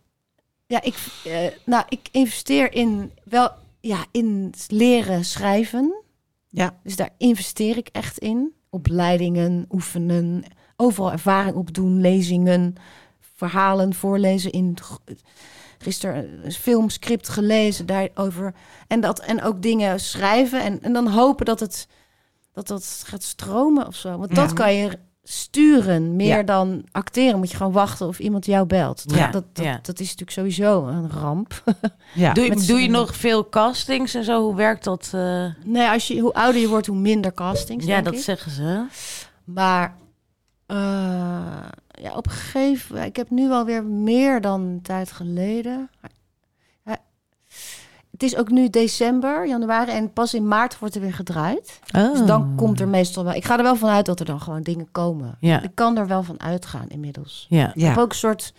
[SPEAKER 3] Ja, ik, eh, nou, ik investeer in wel ja, in het leren schrijven.
[SPEAKER 1] Ja.
[SPEAKER 3] Dus daar investeer ik echt in. Opleidingen, oefenen, overal ervaring opdoen, lezingen, verhalen voorlezen. In, gisteren een filmscript gelezen daarover. En, dat, en ook dingen schrijven. En, en dan hopen dat het dat dat gaat stromen of zo. Want dat kan je sturen, meer
[SPEAKER 1] Ja.
[SPEAKER 3] dan acteren. Moet je gewoon wachten of iemand jou belt. Dat,
[SPEAKER 2] Ja,
[SPEAKER 3] dat, dat,
[SPEAKER 2] ja.
[SPEAKER 3] dat is natuurlijk sowieso een ramp.
[SPEAKER 1] ja.
[SPEAKER 2] Doe, je-
[SPEAKER 3] Met
[SPEAKER 2] doe je
[SPEAKER 3] z'n-
[SPEAKER 2] nog veel castings en zo? Hoe werkt dat? eh?
[SPEAKER 3] nee, als je, hoe ouder je wordt, hoe minder castings.
[SPEAKER 2] Ja,
[SPEAKER 3] denk
[SPEAKER 2] dat
[SPEAKER 3] ik.
[SPEAKER 2] zeggen ze. hè?
[SPEAKER 3] Maar eh, ja, op een gegeven moment... Ik heb nu alweer meer dan een tijd geleden... Ja, Het is ook nu december, januari en pas in maart wordt er weer gedraaid. Dus
[SPEAKER 2] Oh. Ah.
[SPEAKER 3] dan komt er meestal wel... Ik ga er wel vanuit dat er dan gewoon dingen komen.
[SPEAKER 2] Ja.
[SPEAKER 3] Ik kan er wel van uitgaan inmiddels.
[SPEAKER 2] Ja.
[SPEAKER 3] Ik heb
[SPEAKER 1] ja.
[SPEAKER 3] ook een soort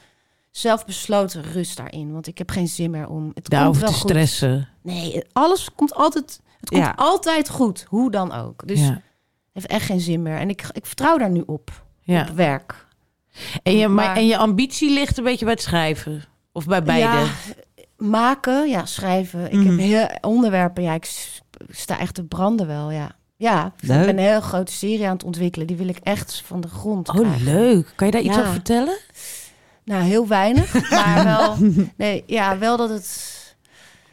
[SPEAKER 3] zelfbesloten rust daarin. Want ik heb geen zin meer om... Het komt
[SPEAKER 2] Daarover
[SPEAKER 3] wel
[SPEAKER 2] te
[SPEAKER 3] goed.
[SPEAKER 2] stressen.
[SPEAKER 3] Nee, alles komt altijd... Het komt
[SPEAKER 1] Ja.
[SPEAKER 3] altijd goed, hoe dan ook. Dus
[SPEAKER 2] ja.
[SPEAKER 3] heeft echt geen zin meer. En ik, ik vertrouw daar nu op,
[SPEAKER 2] Ja.
[SPEAKER 3] op werk.
[SPEAKER 2] En, je, maar,
[SPEAKER 3] maar-
[SPEAKER 2] en je ambitie ligt een beetje bij het schrijven? Of bij beide?
[SPEAKER 3] Ja, maken, ja, schrijven. Ik heb heel onderwerpen, ja, ik s- sta echt te branden wel, ja. Ja, ik
[SPEAKER 1] Leuk.
[SPEAKER 3] ben een heel grote serie aan het ontwikkelen. Die wil ik echt van de grond
[SPEAKER 2] Oh,
[SPEAKER 3] krijgen.
[SPEAKER 2] leuk. Kan je daar iets
[SPEAKER 3] Ja.
[SPEAKER 2] over vertellen?
[SPEAKER 3] Nou, heel weinig, maar wel... Nee, ja, wel dat het...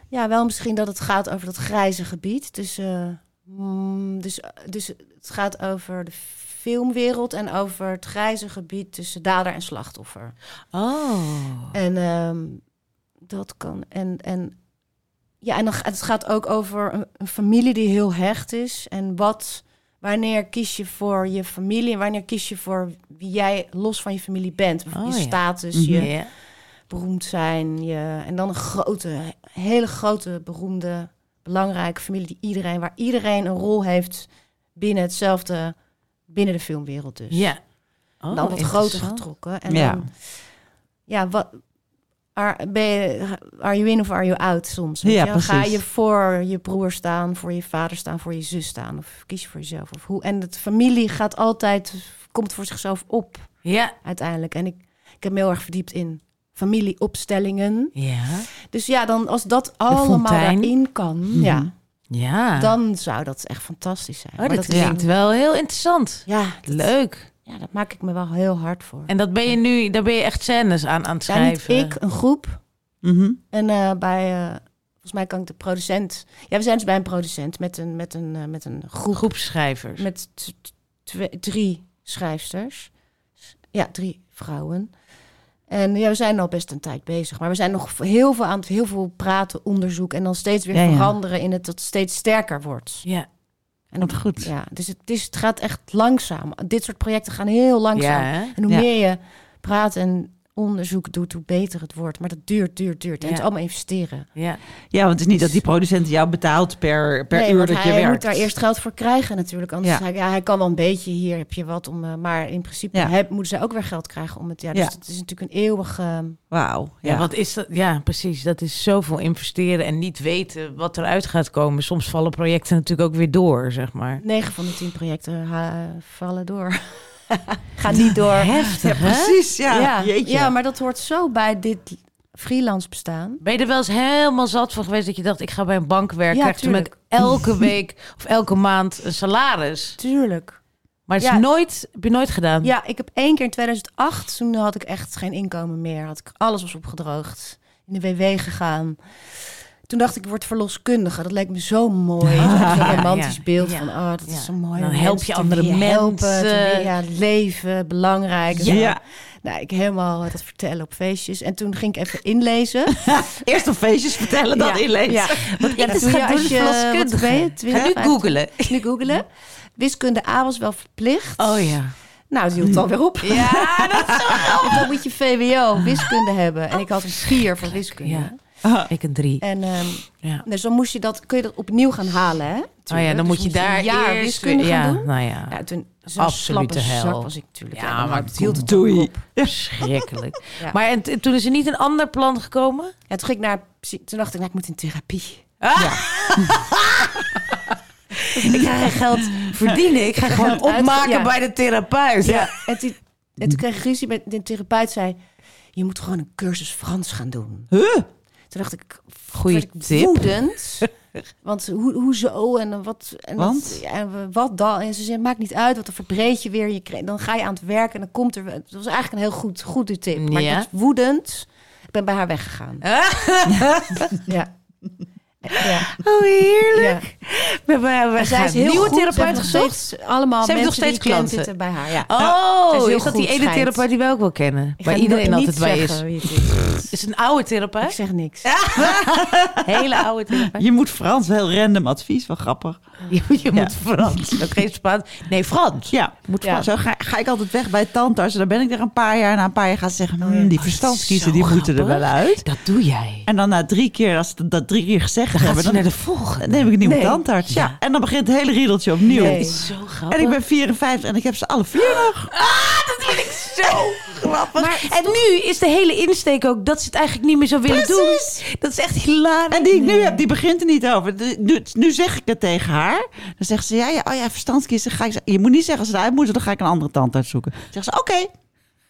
[SPEAKER 3] Ja, wel misschien dat het gaat over dat grijze gebied. Dus, eh, mm, dus, dus het gaat over de filmwereld en over het grijze gebied tussen dader en slachtoffer.
[SPEAKER 2] Oh.
[SPEAKER 3] En ehm, dat kan. En, en Ja, en dan, ga- het gaat ook over een, een familie die heel hecht is. En wat, wanneer kies je voor je familie en wanneer kies je voor wie jij los van je familie bent?
[SPEAKER 2] Oh,
[SPEAKER 3] je
[SPEAKER 2] ja.
[SPEAKER 3] status, je
[SPEAKER 2] Ja.
[SPEAKER 3] beroemd zijn. Je, en dan een grote, hele grote, beroemde, belangrijke familie die iedereen, waar iedereen een rol heeft binnen hetzelfde, binnen de filmwereld dus.
[SPEAKER 2] ja. Oh,
[SPEAKER 3] dan wat groter
[SPEAKER 2] interessant.
[SPEAKER 3] getrokken. En
[SPEAKER 1] Ja.
[SPEAKER 3] dan, ja, wat, are, ben je, are you in of are you out soms? weet
[SPEAKER 1] Ja,
[SPEAKER 3] je wel? Ga
[SPEAKER 1] precies.
[SPEAKER 3] je voor je broer staan, voor je vader staan, voor je zus staan? Of kies je voor jezelf? Of hoe? En het familie gaat altijd, komt voor zichzelf op
[SPEAKER 2] Ja.
[SPEAKER 3] uiteindelijk. En ik, ik heb me heel erg verdiept in familieopstellingen.
[SPEAKER 2] Ja.
[SPEAKER 3] Dus ja, dan als dat allemaal
[SPEAKER 2] fontein. Mhm.
[SPEAKER 3] daarin kan, ja,
[SPEAKER 2] Ja.
[SPEAKER 3] dan zou dat echt fantastisch zijn.
[SPEAKER 2] oh,
[SPEAKER 3] Maar
[SPEAKER 2] dat
[SPEAKER 3] is-
[SPEAKER 2] klinkt wel heel interessant.
[SPEAKER 3] Ja, dat-
[SPEAKER 2] Leuk.
[SPEAKER 3] ja, daar maak ik me wel heel hard voor.
[SPEAKER 2] En dat ben je nu, daar ben je echt scènes aan aan het
[SPEAKER 3] Ja, niet
[SPEAKER 2] schrijven.
[SPEAKER 3] ik, een groep.
[SPEAKER 1] Mhm.
[SPEAKER 3] En eh, bij, eh, volgens mij kan ik de producent... Ja, we zijn dus bij een producent met een, met een, eh, met een groep.
[SPEAKER 2] Groepsschrijvers.
[SPEAKER 3] Met t- t- twee- drie schrijfsters. Ja, drie vrouwen. En ja, we zijn al best een tijd bezig. Maar we zijn nog heel veel aan het heel veel praten, onderzoek. En dan steeds weer
[SPEAKER 1] Ja, ja.
[SPEAKER 3] veranderen in het dat het steeds sterker wordt.
[SPEAKER 2] Ja.
[SPEAKER 3] En
[SPEAKER 1] Wat goed.
[SPEAKER 3] Ja, dus het, is, het gaat echt langzaam. Dit soort projecten gaan heel langzaam.
[SPEAKER 2] Ja, hè?
[SPEAKER 3] en hoe
[SPEAKER 1] Ja.
[SPEAKER 3] meer je praat en onderzoek doet, hoe beter het wordt. Maar dat duurt, duurt, duurt. En het
[SPEAKER 2] Ja.
[SPEAKER 3] is allemaal investeren.
[SPEAKER 2] Ja.
[SPEAKER 1] Ja, want het is niet dat die producent jou betaalt per, per
[SPEAKER 3] Dus- nee,
[SPEAKER 1] uur
[SPEAKER 3] want
[SPEAKER 1] dat
[SPEAKER 3] hij
[SPEAKER 1] je werkt.
[SPEAKER 3] moet daar eerst geld voor krijgen natuurlijk. Anders
[SPEAKER 1] Ja.
[SPEAKER 3] hij, ja, hij kan wel een beetje, hier heb je wat om... eh, maar in principe
[SPEAKER 1] Ja.
[SPEAKER 3] heb- moeten zij ook weer geld krijgen om het... Ja, dus
[SPEAKER 1] Ja.
[SPEAKER 3] het is natuurlijk een ehm, eeuwige...
[SPEAKER 1] Wauw.
[SPEAKER 2] Ja, wat is dat? Ja, precies. Dat is zoveel investeren en niet weten wat eruit gaat komen. Soms vallen projecten natuurlijk ook weer door, zeg maar.
[SPEAKER 3] 9 van de 10 projecten ha, vallen door. Gaan niet door.
[SPEAKER 2] Heftig, hè?
[SPEAKER 1] Precies, ja.
[SPEAKER 3] ja,
[SPEAKER 1] Jeetje.
[SPEAKER 3] ja, maar dat hoort zo bij dit freelance bestaan.
[SPEAKER 2] Ben je er wel eens helemaal zat van geweest dat je dacht, ik ga bij een bank werken.
[SPEAKER 3] Ja,
[SPEAKER 2] krijg toen
[SPEAKER 3] tuurlijk.
[SPEAKER 2] ik elke week of elke maand een salaris.
[SPEAKER 3] Tuurlijk.
[SPEAKER 2] Maar het is
[SPEAKER 3] Ja.
[SPEAKER 2] nooit, heb je nooit gedaan.
[SPEAKER 3] Ja, ik heb één keer in 2008, toen had ik echt geen inkomen meer. Had ik, alles was opgedroogd. In de WW gegaan. Toen dacht ik, ik word verloskundige. Dat leek me zo mooi. Dat was Zo'n romantisch
[SPEAKER 2] ja,
[SPEAKER 3] beeld
[SPEAKER 2] ja,
[SPEAKER 3] van, oh, dat
[SPEAKER 2] ja.
[SPEAKER 3] is zo mooi.
[SPEAKER 2] Dan
[SPEAKER 3] om
[SPEAKER 2] help
[SPEAKER 3] mensen
[SPEAKER 2] je
[SPEAKER 3] te
[SPEAKER 2] andere
[SPEAKER 3] willen
[SPEAKER 2] mensen.
[SPEAKER 3] te willen- ja, het leven, belangrijk. en
[SPEAKER 1] Ja.
[SPEAKER 3] zo. Nou, ik helemaal eh, dat vertellen op feestjes. En toen ging ik even inlezen.
[SPEAKER 1] Eerst op feestjes vertellen, dan inlezen.
[SPEAKER 3] Ja. Wat
[SPEAKER 2] ik dus ga doen, verloskundige. Ga nu googelen.
[SPEAKER 3] Nu googelen. Wiskunde A was wel verplicht.
[SPEAKER 2] Oh ja.
[SPEAKER 3] Nou, het hield dan weer op.
[SPEAKER 2] Ja, dat is
[SPEAKER 3] Want dan moet je VWO, wiskunde hebben. En ik had een vier voor wiskunde.
[SPEAKER 2] Ja. Ik een drie.
[SPEAKER 3] En ehm,
[SPEAKER 2] Ja.
[SPEAKER 3] dus dan moest je dat, kun je dat opnieuw gaan halen, hè?
[SPEAKER 2] Oh ja,
[SPEAKER 3] Tuurlijk.
[SPEAKER 2] dan
[SPEAKER 3] Dus
[SPEAKER 2] moet je daar
[SPEAKER 3] een jaar
[SPEAKER 2] eerst
[SPEAKER 3] wiskunde
[SPEAKER 2] weer-
[SPEAKER 3] gaan
[SPEAKER 2] ja,
[SPEAKER 3] doen.
[SPEAKER 2] nou ja.
[SPEAKER 3] Ja, toen zo'n
[SPEAKER 2] Absolute
[SPEAKER 3] slappe
[SPEAKER 2] hel.
[SPEAKER 3] zak was ik natuurlijk.
[SPEAKER 2] Ja,
[SPEAKER 3] Ja, maar
[SPEAKER 2] maar
[SPEAKER 3] het hield het
[SPEAKER 1] doei.
[SPEAKER 3] toch op.
[SPEAKER 2] Verschrikkelijk.
[SPEAKER 3] Ja.
[SPEAKER 2] Maar en, t- toen is er niet een ander plan gekomen?
[SPEAKER 3] Ja, toen, ging ik naar, psy- toen dacht ik, nou, ik moet in therapie.
[SPEAKER 2] Ik ga geen geld verdienen. Ik ga gewoon
[SPEAKER 3] Geld uit-
[SPEAKER 2] opmaken
[SPEAKER 3] ja.
[SPEAKER 2] bij de therapeut.
[SPEAKER 3] Ja. En, toen, en toen kreeg ik ruzie met de therapeut. zei, je moet gewoon een cursus Frans gaan doen. Huh? Toen dacht ik,
[SPEAKER 2] Goeie
[SPEAKER 3] werd ik
[SPEAKER 2] tip.
[SPEAKER 3] woedend. Want hoe, hoezo en eh, wat, en
[SPEAKER 1] Want?
[SPEAKER 3] dat- ja, en we- wat dan? En ze zei, maakt niet uit, want dan verbreed je weer. Je kre- dan ga je aan het werk en dan komt er... Het was eigenlijk een heel goed, goede tip. Maar
[SPEAKER 2] Ja.
[SPEAKER 3] ik was woedend. Ik ben bij haar weggegaan. ja. ja.
[SPEAKER 2] Oh, heerlijk.
[SPEAKER 3] ja.
[SPEAKER 2] We hebben we
[SPEAKER 3] En zij
[SPEAKER 2] gaan
[SPEAKER 3] is heel
[SPEAKER 2] een nieuwe
[SPEAKER 3] goed. Ze
[SPEAKER 2] therapeut
[SPEAKER 3] heeft nog
[SPEAKER 2] gezocht.
[SPEAKER 3] steeds allemaal
[SPEAKER 2] Ze heeft
[SPEAKER 3] mensen
[SPEAKER 2] nog steeds
[SPEAKER 3] die ik ken
[SPEAKER 2] klanten.
[SPEAKER 3] zitten bij haar. Ja.
[SPEAKER 2] Oh,
[SPEAKER 3] Ze
[SPEAKER 2] is,
[SPEAKER 3] heel
[SPEAKER 2] dat
[SPEAKER 3] goed,
[SPEAKER 2] die ene
[SPEAKER 3] schijnt.
[SPEAKER 2] therapeut die we ook wel kennen?
[SPEAKER 3] Ik
[SPEAKER 2] Waar
[SPEAKER 3] ga
[SPEAKER 2] iedereen
[SPEAKER 3] niet
[SPEAKER 2] altijd bij is.
[SPEAKER 3] zeggen wie het is.
[SPEAKER 2] Is het een oude
[SPEAKER 3] Ik
[SPEAKER 2] therapeut?
[SPEAKER 3] zeg niks.
[SPEAKER 2] Hele oude therapeut.
[SPEAKER 1] Je moet Frans, heel random advies, wel grappig.
[SPEAKER 2] Je, je
[SPEAKER 1] Ja.
[SPEAKER 2] moet Frans. Ook geen Spaans. Nee, Frans.
[SPEAKER 1] Ja,
[SPEAKER 2] Moet
[SPEAKER 3] Ja.
[SPEAKER 2] Frans.
[SPEAKER 1] zo ga, ga ik altijd weg bij tandartsen. Dan ben ik er een paar jaar. Na een paar jaar gaan ze
[SPEAKER 3] Oh
[SPEAKER 1] zeggen, "Hmm, die verstandskiezen,
[SPEAKER 2] Zo
[SPEAKER 1] die moeten er wel
[SPEAKER 2] grappig.
[SPEAKER 1] uit.
[SPEAKER 2] Dat doe jij.
[SPEAKER 1] En dan na drie keer, als ze dat drie keer gezegd
[SPEAKER 2] Dan gaat
[SPEAKER 1] hebben,
[SPEAKER 2] ze
[SPEAKER 1] dan,
[SPEAKER 2] naar de volgende.
[SPEAKER 1] dan neem ik een nieuwe
[SPEAKER 3] Nee.
[SPEAKER 1] tandarts. Ja.
[SPEAKER 2] Ja.
[SPEAKER 1] En dan begint het hele riedeltje opnieuw.
[SPEAKER 3] Nee.
[SPEAKER 2] Zo grappig.
[SPEAKER 1] En ik ben 54 en ik heb ze alle vier nog.
[SPEAKER 2] Ah, dat vind ik zo grappig.
[SPEAKER 3] Maar
[SPEAKER 2] en nu is de hele insteek ook dat ze het eigenlijk niet meer zo willen doen. Dat is echt hilarisch.
[SPEAKER 1] En die ik nu heb, die begint er niet over. De- Nu, nu zeg ik het tegen haar. Dan zegt ze, ja, ja, oh ja, verstandskiezen. Ga ik, ze- je moet niet zeggen als ze eruit moeten, dan ga ik een andere tandarts zoeken. Dan zegt ze, oké.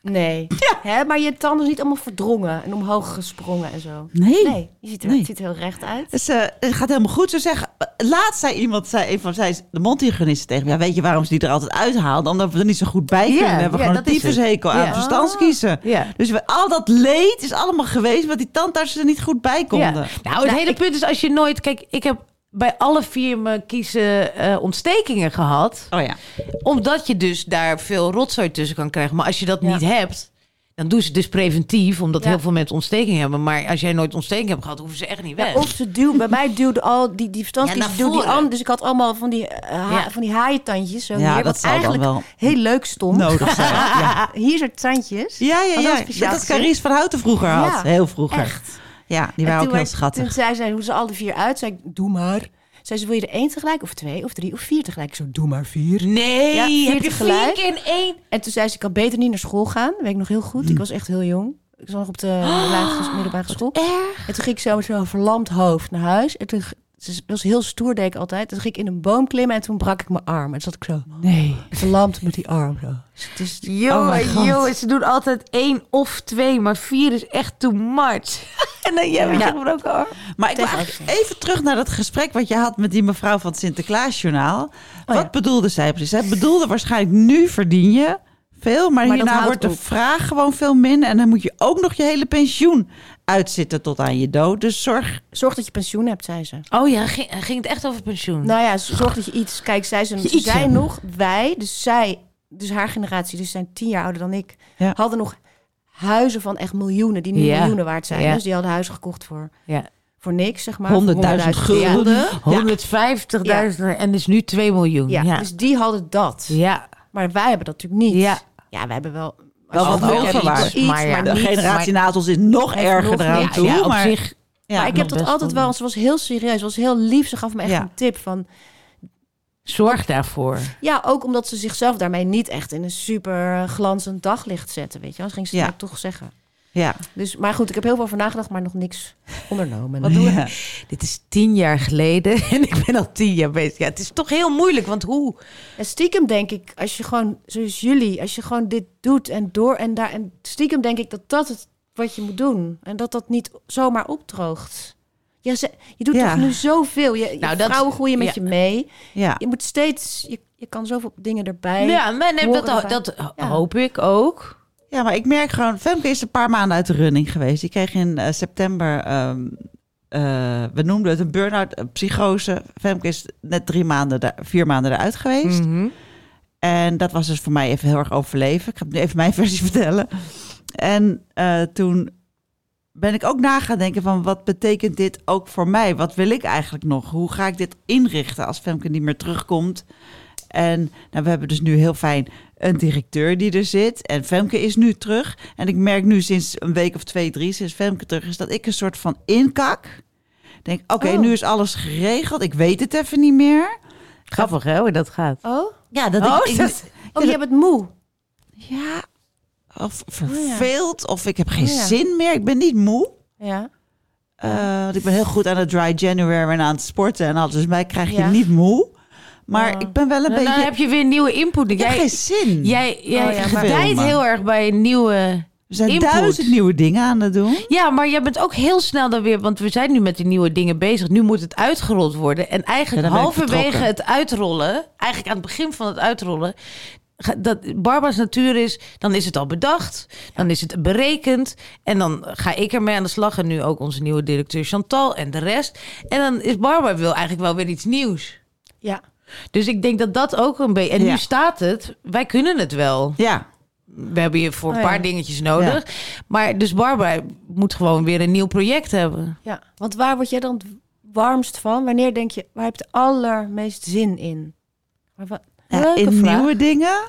[SPEAKER 3] Nee. Hè, maar je tanden is niet allemaal verdrongen en omhoog gesprongen en zo.
[SPEAKER 1] Nee.
[SPEAKER 3] Nee, je ziet er,
[SPEAKER 1] Nee.
[SPEAKER 3] het ziet er heel recht uit.
[SPEAKER 1] Dus, eh, het gaat helemaal goed. Ze zeggen, eh, laatst zei iemand, zei een van zij, de mondhygiënisten tegen me, ja, weet je waarom ze die er altijd uithaalden? Omdat we er niet zo goed bij kunnen. We hebben
[SPEAKER 3] ja,
[SPEAKER 1] gewoon een
[SPEAKER 3] dat is het.
[SPEAKER 1] tyfushekel aan
[SPEAKER 3] Ja.
[SPEAKER 1] verstandskiezen.
[SPEAKER 2] Ja.
[SPEAKER 1] Dus we, al dat leed is allemaal geweest, want die tandartsen er niet goed bij konden. Oh
[SPEAKER 2] Nou, het hele punt is als je nooit... Kijk, ik heb bij alle vier mijn kiezen eh, ontstekingen gehad.
[SPEAKER 1] Oh ja.
[SPEAKER 2] Omdat je dus daar veel rotzooi tussen kan krijgen. Maar als je dat
[SPEAKER 3] Ja.
[SPEAKER 2] niet hebt... Dan doen ze het dus preventief, omdat
[SPEAKER 3] Ja.
[SPEAKER 2] heel veel mensen ontsteking hebben. Maar als jij nooit ontsteking hebt gehad, hoeven ze echt niet weg.
[SPEAKER 3] Of ze duwt, bij mij duwde al die, die verstandskies,
[SPEAKER 2] Ja, naar
[SPEAKER 3] duwde die
[SPEAKER 2] voren.
[SPEAKER 3] aan. Dus ik had allemaal van die, eh, ha-
[SPEAKER 2] Ja.
[SPEAKER 3] van die haaientandjes. Zo
[SPEAKER 1] Ja,
[SPEAKER 3] hier,
[SPEAKER 1] dat
[SPEAKER 3] wat
[SPEAKER 1] zal dan
[SPEAKER 3] eigenlijk
[SPEAKER 1] wel
[SPEAKER 3] heel leuk stond.
[SPEAKER 1] nodig zijn. Ja.
[SPEAKER 3] Hier zijn tandjes.
[SPEAKER 1] Ja, ja,
[SPEAKER 3] Had
[SPEAKER 1] ja.
[SPEAKER 3] Oh, dat
[SPEAKER 1] Dat,
[SPEAKER 3] speciaal
[SPEAKER 1] dat
[SPEAKER 3] gezet.
[SPEAKER 1] Carice van Houten vroeger had.
[SPEAKER 3] Ja,
[SPEAKER 1] heel vroeger.
[SPEAKER 3] Echt.
[SPEAKER 1] Ja, die
[SPEAKER 3] En
[SPEAKER 1] waren ook
[SPEAKER 3] toen
[SPEAKER 1] heel
[SPEAKER 3] wij- Toen
[SPEAKER 1] schattig.
[SPEAKER 3] zei zij hoe ze al die vier uit, zei ik, doe maar. Zei ze, wil je er één tegelijk of twee of drie of vier tegelijk? Ik zo, doe maar vier.
[SPEAKER 2] Nee,
[SPEAKER 3] Ja, vier
[SPEAKER 2] heb je vier
[SPEAKER 3] tegelijk.
[SPEAKER 2] keer in één?
[SPEAKER 3] En toen zei ze, ik kan beter niet naar school gaan. Dat weet ik nog heel goed. Ik was echt heel jong. Ik zat nog op de lagere- middelbare school. En toen ging ik zo met zo'n verlamd hoofd naar huis. En toen, het was heel stoer, deed ik altijd. Toen ging ik in een boom klimmen en toen brak ik mijn arm. En toen zat ik zo
[SPEAKER 1] Nee.
[SPEAKER 3] verlamd met die arm. Zo. Dus het is,
[SPEAKER 1] Oh my
[SPEAKER 2] Jongen,
[SPEAKER 1] God.
[SPEAKER 2] jongen, ze doen altijd één of twee, maar vier is echt too much. en dan jij met je gebroken arm.
[SPEAKER 1] Maar ik wil eigenlijk even terug naar dat gesprek wat je had met die mevrouw van het Sinterklaasjournaal. wat
[SPEAKER 3] Oh ja.
[SPEAKER 1] bedoelde zij precies? Zij bedoelde waarschijnlijk nu verdien je veel, maar,
[SPEAKER 3] dat
[SPEAKER 1] hierna
[SPEAKER 3] houdt
[SPEAKER 1] wordt de
[SPEAKER 3] op.
[SPEAKER 1] vraag gewoon veel minder. En dan moet je ook nog je hele pensioen uitzitten tot aan je dood. Dus zorg...
[SPEAKER 3] zorg dat je pensioen hebt, zei ze.
[SPEAKER 2] Oh ja, ging, ging het echt over pensioen?
[SPEAKER 3] Nou ja, zorg dat je iets... Kijk, zij, ze,
[SPEAKER 2] iets
[SPEAKER 3] zij
[SPEAKER 2] hebt.
[SPEAKER 3] nog, wij, dus zij, dus haar generatie, dus zijn tien jaar ouder dan ik,
[SPEAKER 1] Ja.
[SPEAKER 3] hadden nog huizen van echt miljoenen, die nu
[SPEAKER 2] Ja.
[SPEAKER 3] miljoenen waard zijn.
[SPEAKER 2] Ja.
[SPEAKER 3] Dus die hadden huizen gekoord voor,
[SPEAKER 2] ja.
[SPEAKER 3] voor niks, zeg maar.
[SPEAKER 1] 100.000
[SPEAKER 3] Ja.
[SPEAKER 1] gulden. Ja.
[SPEAKER 2] 150.000 en is nu 2 miljoen.
[SPEAKER 3] Ja,
[SPEAKER 2] Ja. Ja.
[SPEAKER 3] dus die hadden dat. Maar wij hebben dat natuurlijk niet.
[SPEAKER 2] Ja.
[SPEAKER 3] Ja, wij hebben wel...
[SPEAKER 1] Wel
[SPEAKER 3] als je
[SPEAKER 1] wat
[SPEAKER 3] het leuk hebt,
[SPEAKER 1] overwaard,
[SPEAKER 3] iets,
[SPEAKER 2] maar ja.
[SPEAKER 3] maar
[SPEAKER 1] De
[SPEAKER 3] niet-
[SPEAKER 1] generatie na ons is nog
[SPEAKER 3] Heeft
[SPEAKER 1] erger
[SPEAKER 3] nog
[SPEAKER 1] eraan
[SPEAKER 3] meer-
[SPEAKER 1] toe.
[SPEAKER 2] ja, op
[SPEAKER 1] maar,
[SPEAKER 2] zich.
[SPEAKER 1] ja.
[SPEAKER 3] maar ik heb
[SPEAKER 2] nog
[SPEAKER 3] dat
[SPEAKER 2] best
[SPEAKER 3] altijd
[SPEAKER 2] wel.
[SPEAKER 3] wel... Ze was heel serieus, ze was heel lief. Ze gaf me echt
[SPEAKER 1] Ja.
[SPEAKER 3] een tip van...
[SPEAKER 2] Zorg daarvoor.
[SPEAKER 3] Ja, ook omdat ze zichzelf daarmee niet echt in een super eh, glanzend daglicht zetten, weet je wel. Dat ging ze
[SPEAKER 1] Ja.
[SPEAKER 3] mij toch zeggen.
[SPEAKER 1] ja.
[SPEAKER 3] Dus, maar goed, ik heb heel veel over nagedacht, maar nog niks ondernomen.
[SPEAKER 1] Wat doen we?
[SPEAKER 2] Dit is tien jaar geleden en ik ben al tien jaar bezig. Ja, het is toch heel moeilijk, want hoe?
[SPEAKER 3] En stiekem denk ik, als je gewoon, zoals jullie, als je gewoon dit doet en door en daar... En stiekem denk ik dat dat het wat je moet doen. En dat dat niet zomaar opdroogt. Ja, ze, je doet
[SPEAKER 1] Ja.
[SPEAKER 3] toch nu zoveel. Je, je
[SPEAKER 2] Nou, dat-
[SPEAKER 3] vrouwen groeien met
[SPEAKER 2] ja.
[SPEAKER 3] je mee.
[SPEAKER 1] Ja.
[SPEAKER 3] Je moet steeds... Je, je kan zoveel dingen erbij.
[SPEAKER 2] Ja, maar nee,
[SPEAKER 3] horen
[SPEAKER 2] dat, ho-
[SPEAKER 3] erbij.
[SPEAKER 2] dat ho-
[SPEAKER 3] Ja.
[SPEAKER 2] hoop ik ook.
[SPEAKER 1] Ja, maar ik merk gewoon, Femke is een paar maanden uit de running geweest. Die kreeg in eh, september, ehm, eh, we noemden het een burn-out, een psychose. Femke is net drie maanden, daar- vier maanden eruit geweest.
[SPEAKER 3] Mhm.
[SPEAKER 1] En dat was dus voor mij even heel erg overleven. Ik ga nu even mijn versie vertellen. En eh, toen ben ik ook na gaan denken van wat betekent dit ook voor mij? Wat wil ik eigenlijk nog? Hoe ga ik dit inrichten als Femke niet meer terugkomt? En nou, we hebben dus nu heel fijn een directeur die er zit. En Femke is nu terug. En ik merk nu sinds een week of twee, drie, sinds Femke terug is, dat ik een soort van inkak. Denk, oké,
[SPEAKER 3] Oh.
[SPEAKER 1] nu is alles geregeld. Ik weet het even niet meer.
[SPEAKER 2] Grappig hè, hoe dat gaat.
[SPEAKER 3] Oh?
[SPEAKER 1] Ja, dat
[SPEAKER 2] Oh,
[SPEAKER 1] ik,
[SPEAKER 2] dat-
[SPEAKER 3] Oh, je bent moe.
[SPEAKER 1] ja, of
[SPEAKER 2] Oh,
[SPEAKER 1] verveeld, of ik heb geen
[SPEAKER 3] Oh ja.
[SPEAKER 1] zin meer. Ik ben niet moe.
[SPEAKER 3] Ja.
[SPEAKER 1] Eh, want ik ben heel goed aan het dry January en aan het sporten en alles. Dus mij krijg je
[SPEAKER 3] Ja.
[SPEAKER 1] niet moe. Maar
[SPEAKER 3] Oh.
[SPEAKER 1] ik ben wel een
[SPEAKER 2] Nou,
[SPEAKER 1] beetje...
[SPEAKER 2] dan heb je weer nieuwe input.
[SPEAKER 1] Ik heb
[SPEAKER 2] Jij,
[SPEAKER 1] geen zin.
[SPEAKER 2] jij, jij
[SPEAKER 3] Oh ja, maar-
[SPEAKER 2] gedijt heel erg bij een nieuwe...
[SPEAKER 1] we zijn
[SPEAKER 2] input.
[SPEAKER 1] duizend nieuwe dingen aan het doen.
[SPEAKER 2] Ja, maar jij bent ook heel snel dan weer, want we zijn nu met die nieuwe dingen bezig. Nu moet het uitgerold worden. En eigenlijk
[SPEAKER 1] Ja, dan ben ik
[SPEAKER 2] halverwege
[SPEAKER 1] vertrokken.
[SPEAKER 2] het uitrollen, eigenlijk aan het begin van het uitrollen, ga- dat Barbara's natuur is, dan is het al bedacht, dan is het berekend. En dan ga ik ermee aan de slag. En nu ook onze nieuwe directeur Chantal en de rest. En dan is Barbara wil eigenlijk wel weer iets nieuws.
[SPEAKER 3] Ja.
[SPEAKER 2] Dus ik denk dat dat ook een beetje. En
[SPEAKER 1] Ja.
[SPEAKER 2] nu staat het, wij kunnen het wel
[SPEAKER 1] Ja,
[SPEAKER 2] we hebben hier voor een
[SPEAKER 3] Oh ja.
[SPEAKER 2] paar dingetjes nodig. Maar dus Barbara moet gewoon weer een nieuw project hebben.
[SPEAKER 3] Ja, want waar word jij dan het warmst van? Wanneer denk je, waar heb je het allermeest zin in? Maar wa-
[SPEAKER 1] Ja,
[SPEAKER 2] Leuke
[SPEAKER 1] in
[SPEAKER 2] vraag.
[SPEAKER 1] nieuwe dingen.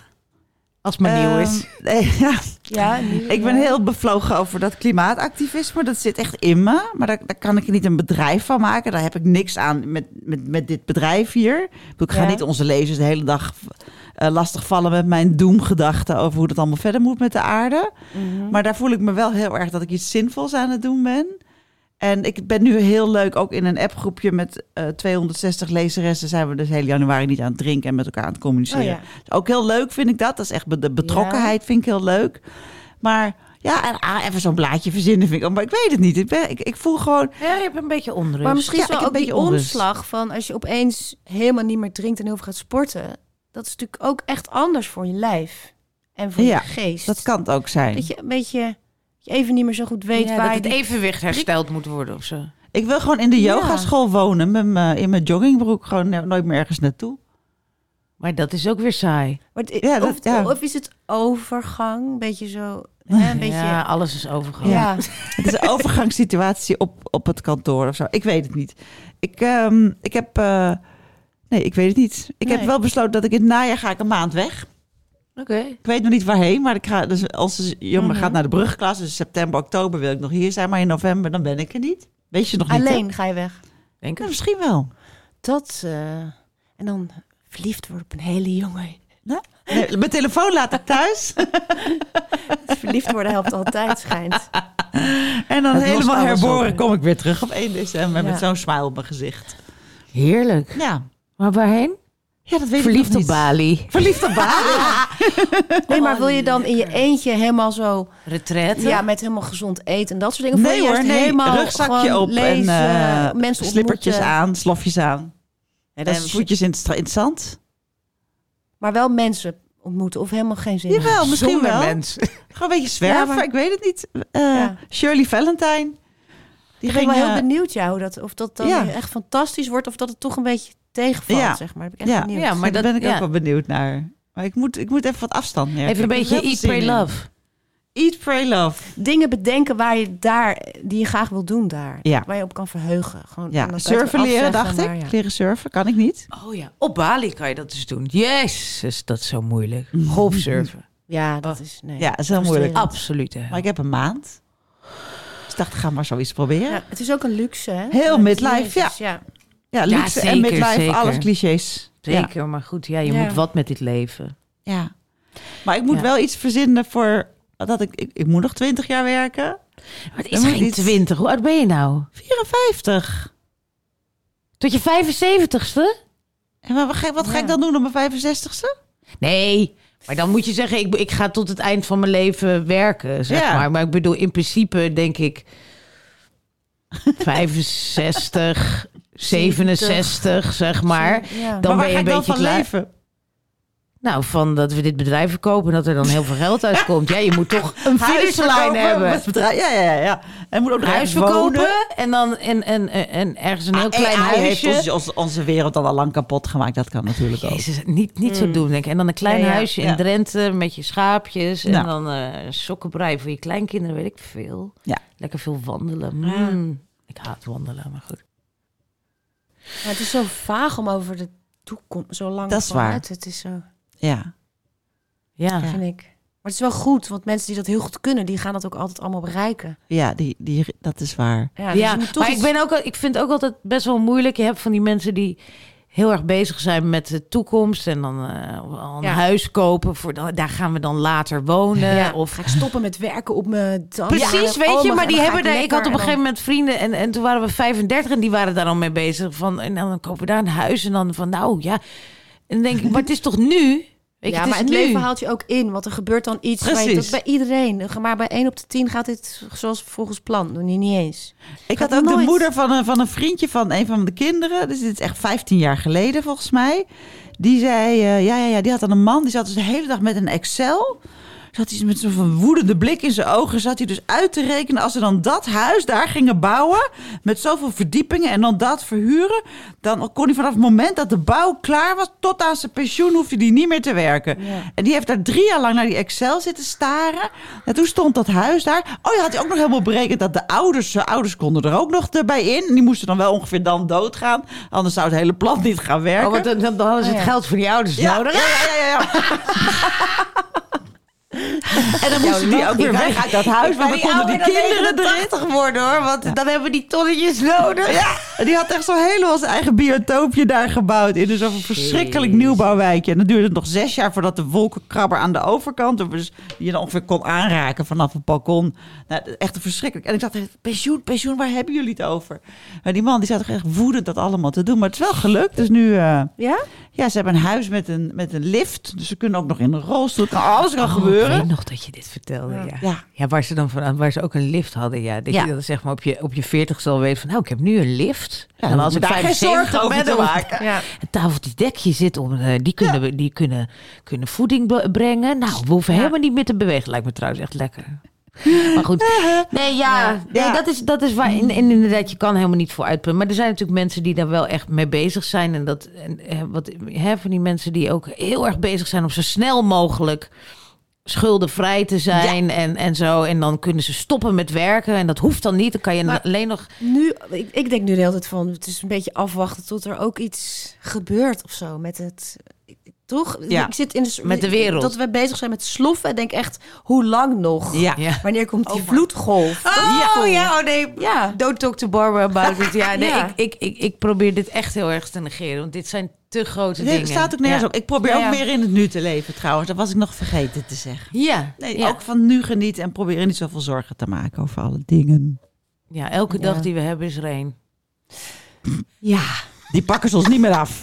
[SPEAKER 2] Als het maar nieuw is.
[SPEAKER 1] Ehm, nee, ja.
[SPEAKER 3] ja, nu-
[SPEAKER 1] Ik ben heel bevlogen over dat klimaatactivisme. Dat zit echt in me. Maar daar, daar kan ik niet een bedrijf van maken. Daar heb ik niks aan met, met, met dit bedrijf hier. Ik, bedoel, ik ga
[SPEAKER 3] Ja.
[SPEAKER 1] niet onze lezers de hele dag eh, lastig vallen met mijn doemgedachten over hoe het allemaal verder moet met de aarde.
[SPEAKER 3] Mhm.
[SPEAKER 1] Maar daar voel ik me wel heel erg dat ik iets zinvols aan het doen ben. En ik ben nu heel leuk ook in een appgroepje met eh, 260 lezeressen. Zijn we dus heel januari niet aan het drinken en met elkaar aan het communiceren.
[SPEAKER 3] Oh ja.
[SPEAKER 1] Dus Ook heel leuk vind ik dat. Dat is echt be- de betrokkenheid vind ik heel leuk. Maar ja, en, ah, even zo'n blaadje verzinnen vind ik. ook- Maar ik weet het niet. Ik, ben, ik, ik voel gewoon.
[SPEAKER 2] Ja, je hebt een beetje onrust.
[SPEAKER 3] Maar misschien
[SPEAKER 1] Ja,
[SPEAKER 3] is wel
[SPEAKER 1] ik heb
[SPEAKER 3] ook
[SPEAKER 1] een
[SPEAKER 3] die
[SPEAKER 1] beetje onrust.
[SPEAKER 3] omslag van als je opeens helemaal niet meer drinkt en heel veel gaat sporten. Dat is natuurlijk ook echt anders voor je lijf en voor
[SPEAKER 1] Ja,
[SPEAKER 3] je geest.
[SPEAKER 1] Dat kan het ook zijn.
[SPEAKER 3] Dat je een beetje dat je even niet meer zo goed weet
[SPEAKER 2] Ja,
[SPEAKER 3] waar
[SPEAKER 2] dat
[SPEAKER 3] je
[SPEAKER 2] het
[SPEAKER 3] die-
[SPEAKER 2] evenwicht hersteld moet worden of zo.
[SPEAKER 1] Ik wil gewoon in de
[SPEAKER 3] Ja.
[SPEAKER 1] yogaschool wonen. Met mijn- in mijn joggingbroek. Gewoon ne- nooit meer ergens naartoe.
[SPEAKER 2] Maar dat is ook weer saai. e-
[SPEAKER 3] Maar het-
[SPEAKER 1] Ja, dat-
[SPEAKER 3] of,
[SPEAKER 1] ja.
[SPEAKER 3] of is het overgang, een beetje zo. Hè, een beetje.
[SPEAKER 2] Ja,
[SPEAKER 3] Ja.
[SPEAKER 2] alles is overgehaald.
[SPEAKER 3] Ja.
[SPEAKER 1] Het is een overgangssituatie op, op het kantoor of zo. Ik weet het niet. Ik, ehm, ik heb... eh, nee, ik weet het niet. Ik heb
[SPEAKER 3] Nee.
[SPEAKER 1] wel besloten dat ik in het najaar ga ik een maand weg.
[SPEAKER 2] Oké.
[SPEAKER 1] Ik weet nog niet waarheen, maar ik ga, dus als de jongen
[SPEAKER 3] Mhm.
[SPEAKER 1] gaat naar de brugklas, dus september, oktober wil ik nog hier zijn, maar in november dan ben ik er niet. Weet je nog niet? hè?
[SPEAKER 3] Alleen ga je weg.
[SPEAKER 2] Denk
[SPEAKER 1] Ja,
[SPEAKER 2] ik.
[SPEAKER 1] misschien wel.
[SPEAKER 3] Dat, eh, en dan verliefd worden op een hele jongen.
[SPEAKER 1] Nee, mijn telefoon laat ik thuis
[SPEAKER 3] Verliefd worden helpt altijd, schijnt.
[SPEAKER 1] en dan
[SPEAKER 2] Het lost
[SPEAKER 1] helemaal
[SPEAKER 2] alles
[SPEAKER 1] herboren
[SPEAKER 2] op.
[SPEAKER 1] kom ik weer terug op 1 december
[SPEAKER 3] Ja.
[SPEAKER 1] met zo'n smile op mijn gezicht.
[SPEAKER 2] Heerlijk.
[SPEAKER 1] Ja,
[SPEAKER 2] Maar waarheen?
[SPEAKER 1] ja dat weet ik
[SPEAKER 2] Verliefd
[SPEAKER 1] nog niet.
[SPEAKER 2] op Bali.
[SPEAKER 1] Verliefd op Bali.
[SPEAKER 3] Nee, maar wil je dan in je eentje helemaal zo...
[SPEAKER 2] Retraite.
[SPEAKER 3] Ja, met helemaal gezond eten en dat soort dingen. Of wil
[SPEAKER 1] nee
[SPEAKER 3] je
[SPEAKER 1] hoor,
[SPEAKER 3] juist
[SPEAKER 1] nee.
[SPEAKER 3] helemaal
[SPEAKER 1] Rugzakje
[SPEAKER 3] gewoon
[SPEAKER 1] op en
[SPEAKER 3] lezen,
[SPEAKER 1] eh,
[SPEAKER 3] mensen
[SPEAKER 1] slippertjes
[SPEAKER 3] ontmoeten.
[SPEAKER 1] aan, slofjes aan.
[SPEAKER 3] Nee, dat
[SPEAKER 1] En eh,
[SPEAKER 3] is-
[SPEAKER 1] voetjes in het, stra- in het zand.
[SPEAKER 3] Maar wel mensen ontmoeten of helemaal geen zin in.
[SPEAKER 1] Jawel, misschien
[SPEAKER 2] Zonder
[SPEAKER 1] wel.
[SPEAKER 2] mens.
[SPEAKER 1] Gewoon een beetje zwerven,
[SPEAKER 3] Ja, maar-
[SPEAKER 1] ik weet het niet. Eh,
[SPEAKER 3] Ja.
[SPEAKER 1] Shirley Valentine. Die
[SPEAKER 3] Ik
[SPEAKER 1] ging,
[SPEAKER 3] ben wel heel
[SPEAKER 1] eh,
[SPEAKER 3] benieuwd, ja, hoe dat, of dat dan
[SPEAKER 1] ja.
[SPEAKER 3] echt fantastisch wordt of dat het toch een beetje tegenvalt,
[SPEAKER 1] Ja.
[SPEAKER 3] zeg maar. Daar Ben ik echt
[SPEAKER 1] Ja.
[SPEAKER 3] benieuwd.
[SPEAKER 2] Ja, maar
[SPEAKER 1] daar
[SPEAKER 2] dat-
[SPEAKER 1] ben ik
[SPEAKER 2] ja.
[SPEAKER 1] ook wel benieuwd naar. Maar ik moet, ik moet even wat afstand nemen.
[SPEAKER 2] Even een
[SPEAKER 1] Ik heb er
[SPEAKER 2] beetje
[SPEAKER 1] heel
[SPEAKER 2] eat,
[SPEAKER 1] veel
[SPEAKER 2] pray,
[SPEAKER 1] zin in.
[SPEAKER 2] love.
[SPEAKER 1] Eat, pray, love.
[SPEAKER 3] Dingen bedenken waar je daar, die je graag wil doen daar.
[SPEAKER 1] Ja.
[SPEAKER 3] Waar je op kan verheugen. Gewoon, en
[SPEAKER 1] Ja,
[SPEAKER 3] dan kan je het
[SPEAKER 1] surfen
[SPEAKER 3] weer
[SPEAKER 1] leren, dacht
[SPEAKER 3] afzeggen,
[SPEAKER 1] ik.
[SPEAKER 3] maar ja.
[SPEAKER 1] Leren surfen, kan ik niet.
[SPEAKER 2] Oh ja, op Bali kan je dat dus doen. Jezus, dat is zo moeilijk. Golfsurfen.
[SPEAKER 3] Ja, dat is... Nee.
[SPEAKER 1] Oh. Ja, dat is heel Mm. moeilijk.
[SPEAKER 3] Frustrerend.
[SPEAKER 2] Absoluut. hè.
[SPEAKER 1] Maar ik heb een maand. Dus ik dacht, ik ga maar zoiets proberen.
[SPEAKER 3] Ja,
[SPEAKER 1] Ja,
[SPEAKER 3] het is ook een luxe, hè?
[SPEAKER 1] Heel
[SPEAKER 3] Met
[SPEAKER 1] midlife,
[SPEAKER 3] Jezus, ja.
[SPEAKER 1] luxe en
[SPEAKER 2] zeker,
[SPEAKER 1] midlife,
[SPEAKER 2] zeker.
[SPEAKER 1] alles clichés.
[SPEAKER 2] Zeker, maar goed, ja, je
[SPEAKER 3] Ja.
[SPEAKER 2] moet wat met dit leven.
[SPEAKER 1] Ja. ja. Maar ik moet
[SPEAKER 2] Ja.
[SPEAKER 1] wel iets verzinnen voor... Dat ik, ik, ik moet nog 20 jaar werken.
[SPEAKER 2] Maar het
[SPEAKER 1] Dan
[SPEAKER 2] is
[SPEAKER 1] moet
[SPEAKER 2] geen
[SPEAKER 1] iets-
[SPEAKER 2] 20. Hoe oud ben je nou?
[SPEAKER 1] 54.
[SPEAKER 2] Tot je 75ste?
[SPEAKER 1] En maar wat ga, wat ga ik dan doen op mijn 65ste?
[SPEAKER 2] Nee. Maar dan moet je zeggen, ik, ik ga tot het eind van mijn leven werken, zeg
[SPEAKER 1] Ja.
[SPEAKER 2] maar. Maar ik bedoel, in principe denk ik 65, 67, zeg maar.
[SPEAKER 3] Ja.
[SPEAKER 2] Dan
[SPEAKER 1] maar waar
[SPEAKER 2] ben
[SPEAKER 1] ga
[SPEAKER 2] je een
[SPEAKER 1] ik dan
[SPEAKER 2] beetje
[SPEAKER 1] van
[SPEAKER 2] klaar.
[SPEAKER 1] leven?
[SPEAKER 2] Nou, van dat we dit bedrijf verkopen en dat er dan heel veel geld uitkomt. Ja, je moet toch een
[SPEAKER 1] Huis
[SPEAKER 2] finishlijn
[SPEAKER 1] verkopen,
[SPEAKER 2] hebben.
[SPEAKER 1] met bedrijf- Ja, ja, ja. En moet ook nog
[SPEAKER 2] Huis
[SPEAKER 1] ergens
[SPEAKER 2] verkopen
[SPEAKER 1] wonen.
[SPEAKER 2] en dan en, en, en, en ergens een heel
[SPEAKER 1] Ah,
[SPEAKER 2] klein
[SPEAKER 1] AI heeft
[SPEAKER 2] huisje.
[SPEAKER 1] ons- ons- onze wereld al lang kapot gemaakt. Dat kan natuurlijk ook.
[SPEAKER 2] Jezus, niet, niet zo doen, denk ik. En dan een klein
[SPEAKER 3] Nee, Mm. ja.
[SPEAKER 2] huisje in
[SPEAKER 1] Ja.
[SPEAKER 2] Drenthe met je schaapjes. En
[SPEAKER 1] Nou.
[SPEAKER 2] dan eh sokkenbrei voor je kleinkinderen, weet ik veel.
[SPEAKER 1] Ja.
[SPEAKER 2] Lekker veel wandelen. Mm. Ik haat wandelen, maar goed.
[SPEAKER 3] Maar het is zo vaag om over de toekomst zo lang
[SPEAKER 1] Dat is
[SPEAKER 3] vooruit.
[SPEAKER 1] waar.
[SPEAKER 3] Het is zo,
[SPEAKER 1] Ja.
[SPEAKER 2] Ja.
[SPEAKER 3] vind ik. Maar het is wel goed, want mensen die dat heel goed kunnen, die gaan dat ook altijd allemaal bereiken.
[SPEAKER 1] Ja, die, die, dat is waar.
[SPEAKER 3] Ja, dus
[SPEAKER 2] Ja,
[SPEAKER 3] je moet toch
[SPEAKER 2] maar
[SPEAKER 3] iets-
[SPEAKER 2] ik, ben ook, al- ik vind het ook altijd best wel moeilijk. Je hebt van die mensen die heel erg bezig zijn met de toekomst. En dan eh, al een
[SPEAKER 3] Ja.
[SPEAKER 2] huis kopen. Voor, dan- daar gaan we dan later wonen.
[SPEAKER 3] Ja,
[SPEAKER 2] eh, Of
[SPEAKER 3] ga ik stoppen met werken op mijn dag.
[SPEAKER 2] Precies,
[SPEAKER 3] Ja,
[SPEAKER 2] weet
[SPEAKER 3] oh,
[SPEAKER 2] je, maar
[SPEAKER 3] dan
[SPEAKER 2] die
[SPEAKER 3] ga
[SPEAKER 2] hebben daar. Ik
[SPEAKER 3] lekker
[SPEAKER 2] had op een
[SPEAKER 3] en dan-
[SPEAKER 2] gegeven moment vrienden en, en toen waren we 35 en die waren daar al mee bezig. Van, en dan kopen we daar een huis en dan van, nou ja. En dan denk ik, maar het is toch nu? Weet je,
[SPEAKER 3] ja,
[SPEAKER 2] is
[SPEAKER 3] maar het
[SPEAKER 2] nu.
[SPEAKER 3] leven haalt je ook in, want er gebeurt dan iets. waar je- Dat
[SPEAKER 1] Precies.
[SPEAKER 3] is bij iedereen. Maar bij 1 op de 10 gaat dit zoals volgens plan. Doe je niet eens.
[SPEAKER 1] Ik
[SPEAKER 3] Gaat
[SPEAKER 1] had ook de
[SPEAKER 3] nooit.
[SPEAKER 1] moeder van een, van een vriendje van een van de kinderen. Dus dit is echt 15 jaar geleden volgens mij. Die zei, eh, ja, ja, ja, die had dan een man. Die zat dus de hele dag met een Excel. Zat hij met zo'n van woedende blik in zijn ogen. Zat hij dus uit te rekenen als ze dan dat huis daar gingen bouwen. Met zoveel verdiepingen en dan dat verhuren. Dan kon hij vanaf het moment dat de bouw klaar was. Tot aan zijn pensioen hoefde hij niet meer te werken. En die heeft daar drie jaar lang naar die Excel zitten staren. En toen stond dat huis daar. Oh ja, had hij ook nog helemaal berekend dat de ouders, zijn ouders konden er ook nog erbij in. En die moesten dan wel ongeveer dan doodgaan. Anders zou het hele plan niet gaan werken.
[SPEAKER 2] Oh, want dan, dan hadden ze
[SPEAKER 3] Ah,
[SPEAKER 2] het
[SPEAKER 3] ja.
[SPEAKER 2] geld voor die ouders
[SPEAKER 1] Ja,
[SPEAKER 2] nodig.
[SPEAKER 1] ja, ja, ja, ja. en dan moesten die ook weer weg uit dat huis, want dan konden die kinderen erin.
[SPEAKER 2] worden hoor, want dan hebben die tonnetjes nodig.
[SPEAKER 1] Ja, en die had echt zo helemaal zijn eigen biotoopje daar gebouwd. In zo'n verschrikkelijk nieuwbouwwijkje. En dan duurde het nog zes jaar voordat de wolkenkrabber aan de overkant... Dus die je dan ongeveer kon aanraken vanaf het balkon. Nou, echt een verschrikkelijk. En ik dacht, echt, pensioen, pensioen, waar hebben jullie het over? Maar die man die zat toch echt woedend dat allemaal te doen. Maar het is wel gelukt, dus nu... eh,
[SPEAKER 3] Ja?
[SPEAKER 1] Ja, ze hebben een huis met een, met een lift. Dus ze kunnen ook nog in een rolstoel. Het kan- alles kan gebeuren.
[SPEAKER 2] Oh, Ik weet nog dat je dit vertelde. Ja,
[SPEAKER 1] Ja.
[SPEAKER 2] ja. waar ze dan van, waar ze ook een lift hadden. Ja, dat
[SPEAKER 1] Ja.
[SPEAKER 2] je dan zeg maar op je op je veertigste al weet van, nou, ik heb nu een lift.
[SPEAKER 1] Ja,
[SPEAKER 2] en
[SPEAKER 1] dan
[SPEAKER 2] als
[SPEAKER 1] hoef
[SPEAKER 2] ik
[SPEAKER 1] ik daar geen
[SPEAKER 2] 75
[SPEAKER 1] zorgen over
[SPEAKER 2] ben,
[SPEAKER 1] te
[SPEAKER 2] dan-
[SPEAKER 1] maken.
[SPEAKER 3] Ja.
[SPEAKER 2] Een tafeltje dekje zit om, eh, die kunnen we- die kunnen, kunnen voeding be- brengen. Nou, we hoeven helemaal niet meer te bewegen. Lijkt me trouwens echt lekker. Maar goed, nee, ja, nee,
[SPEAKER 1] Ja.
[SPEAKER 2] Dat, is, dat is waar. En, en inderdaad, je kan helemaal niet voor uitpunten. Maar er zijn natuurlijk mensen die daar wel echt mee bezig zijn. En dat en, eh, wat, hè, van die mensen die ook heel erg bezig zijn om zo snel mogelijk schuldenvrij te zijn en, en zo. En dan kunnen ze stoppen met werken. En dat hoeft dan niet. Dan kan je
[SPEAKER 3] Maar-
[SPEAKER 2] alleen nog...
[SPEAKER 3] Nu, ik, ik denk nu de hele tijd van, het is een beetje afwachten tot er ook iets gebeurt of zo met het... Toch?
[SPEAKER 1] Ja.
[SPEAKER 3] Ik zit in soort-
[SPEAKER 2] Met de wereld.
[SPEAKER 3] Dat we bezig zijn met sloffen. En denk echt, hoe lang nog?
[SPEAKER 1] Ja.
[SPEAKER 2] Ja.
[SPEAKER 3] Wanneer komt die vloedgolf?
[SPEAKER 2] Oh ja, oh nee.
[SPEAKER 3] Ja.
[SPEAKER 2] Don't talk to Barbara about it. Ja, nee,
[SPEAKER 3] Ja.
[SPEAKER 2] Ik, ik, ik, ik probeer dit echt heel erg te negeren. Want dit zijn te grote
[SPEAKER 1] Er
[SPEAKER 2] dingen.
[SPEAKER 1] staat ook nergens
[SPEAKER 2] ja.
[SPEAKER 1] op. Ik probeer
[SPEAKER 2] Ja,
[SPEAKER 1] ook
[SPEAKER 2] ja.
[SPEAKER 1] meer in het nu te leven trouwens. Dat was ik nog vergeten te zeggen.
[SPEAKER 2] Ja.
[SPEAKER 1] Nee,
[SPEAKER 2] ja.
[SPEAKER 1] ook van nu genieten en probeer niet zoveel zorgen te maken over alle dingen.
[SPEAKER 2] ja, elke dag
[SPEAKER 3] Ja.
[SPEAKER 2] die we hebben is er één.
[SPEAKER 3] Ja.
[SPEAKER 1] Die pakken ze ons niet meer af.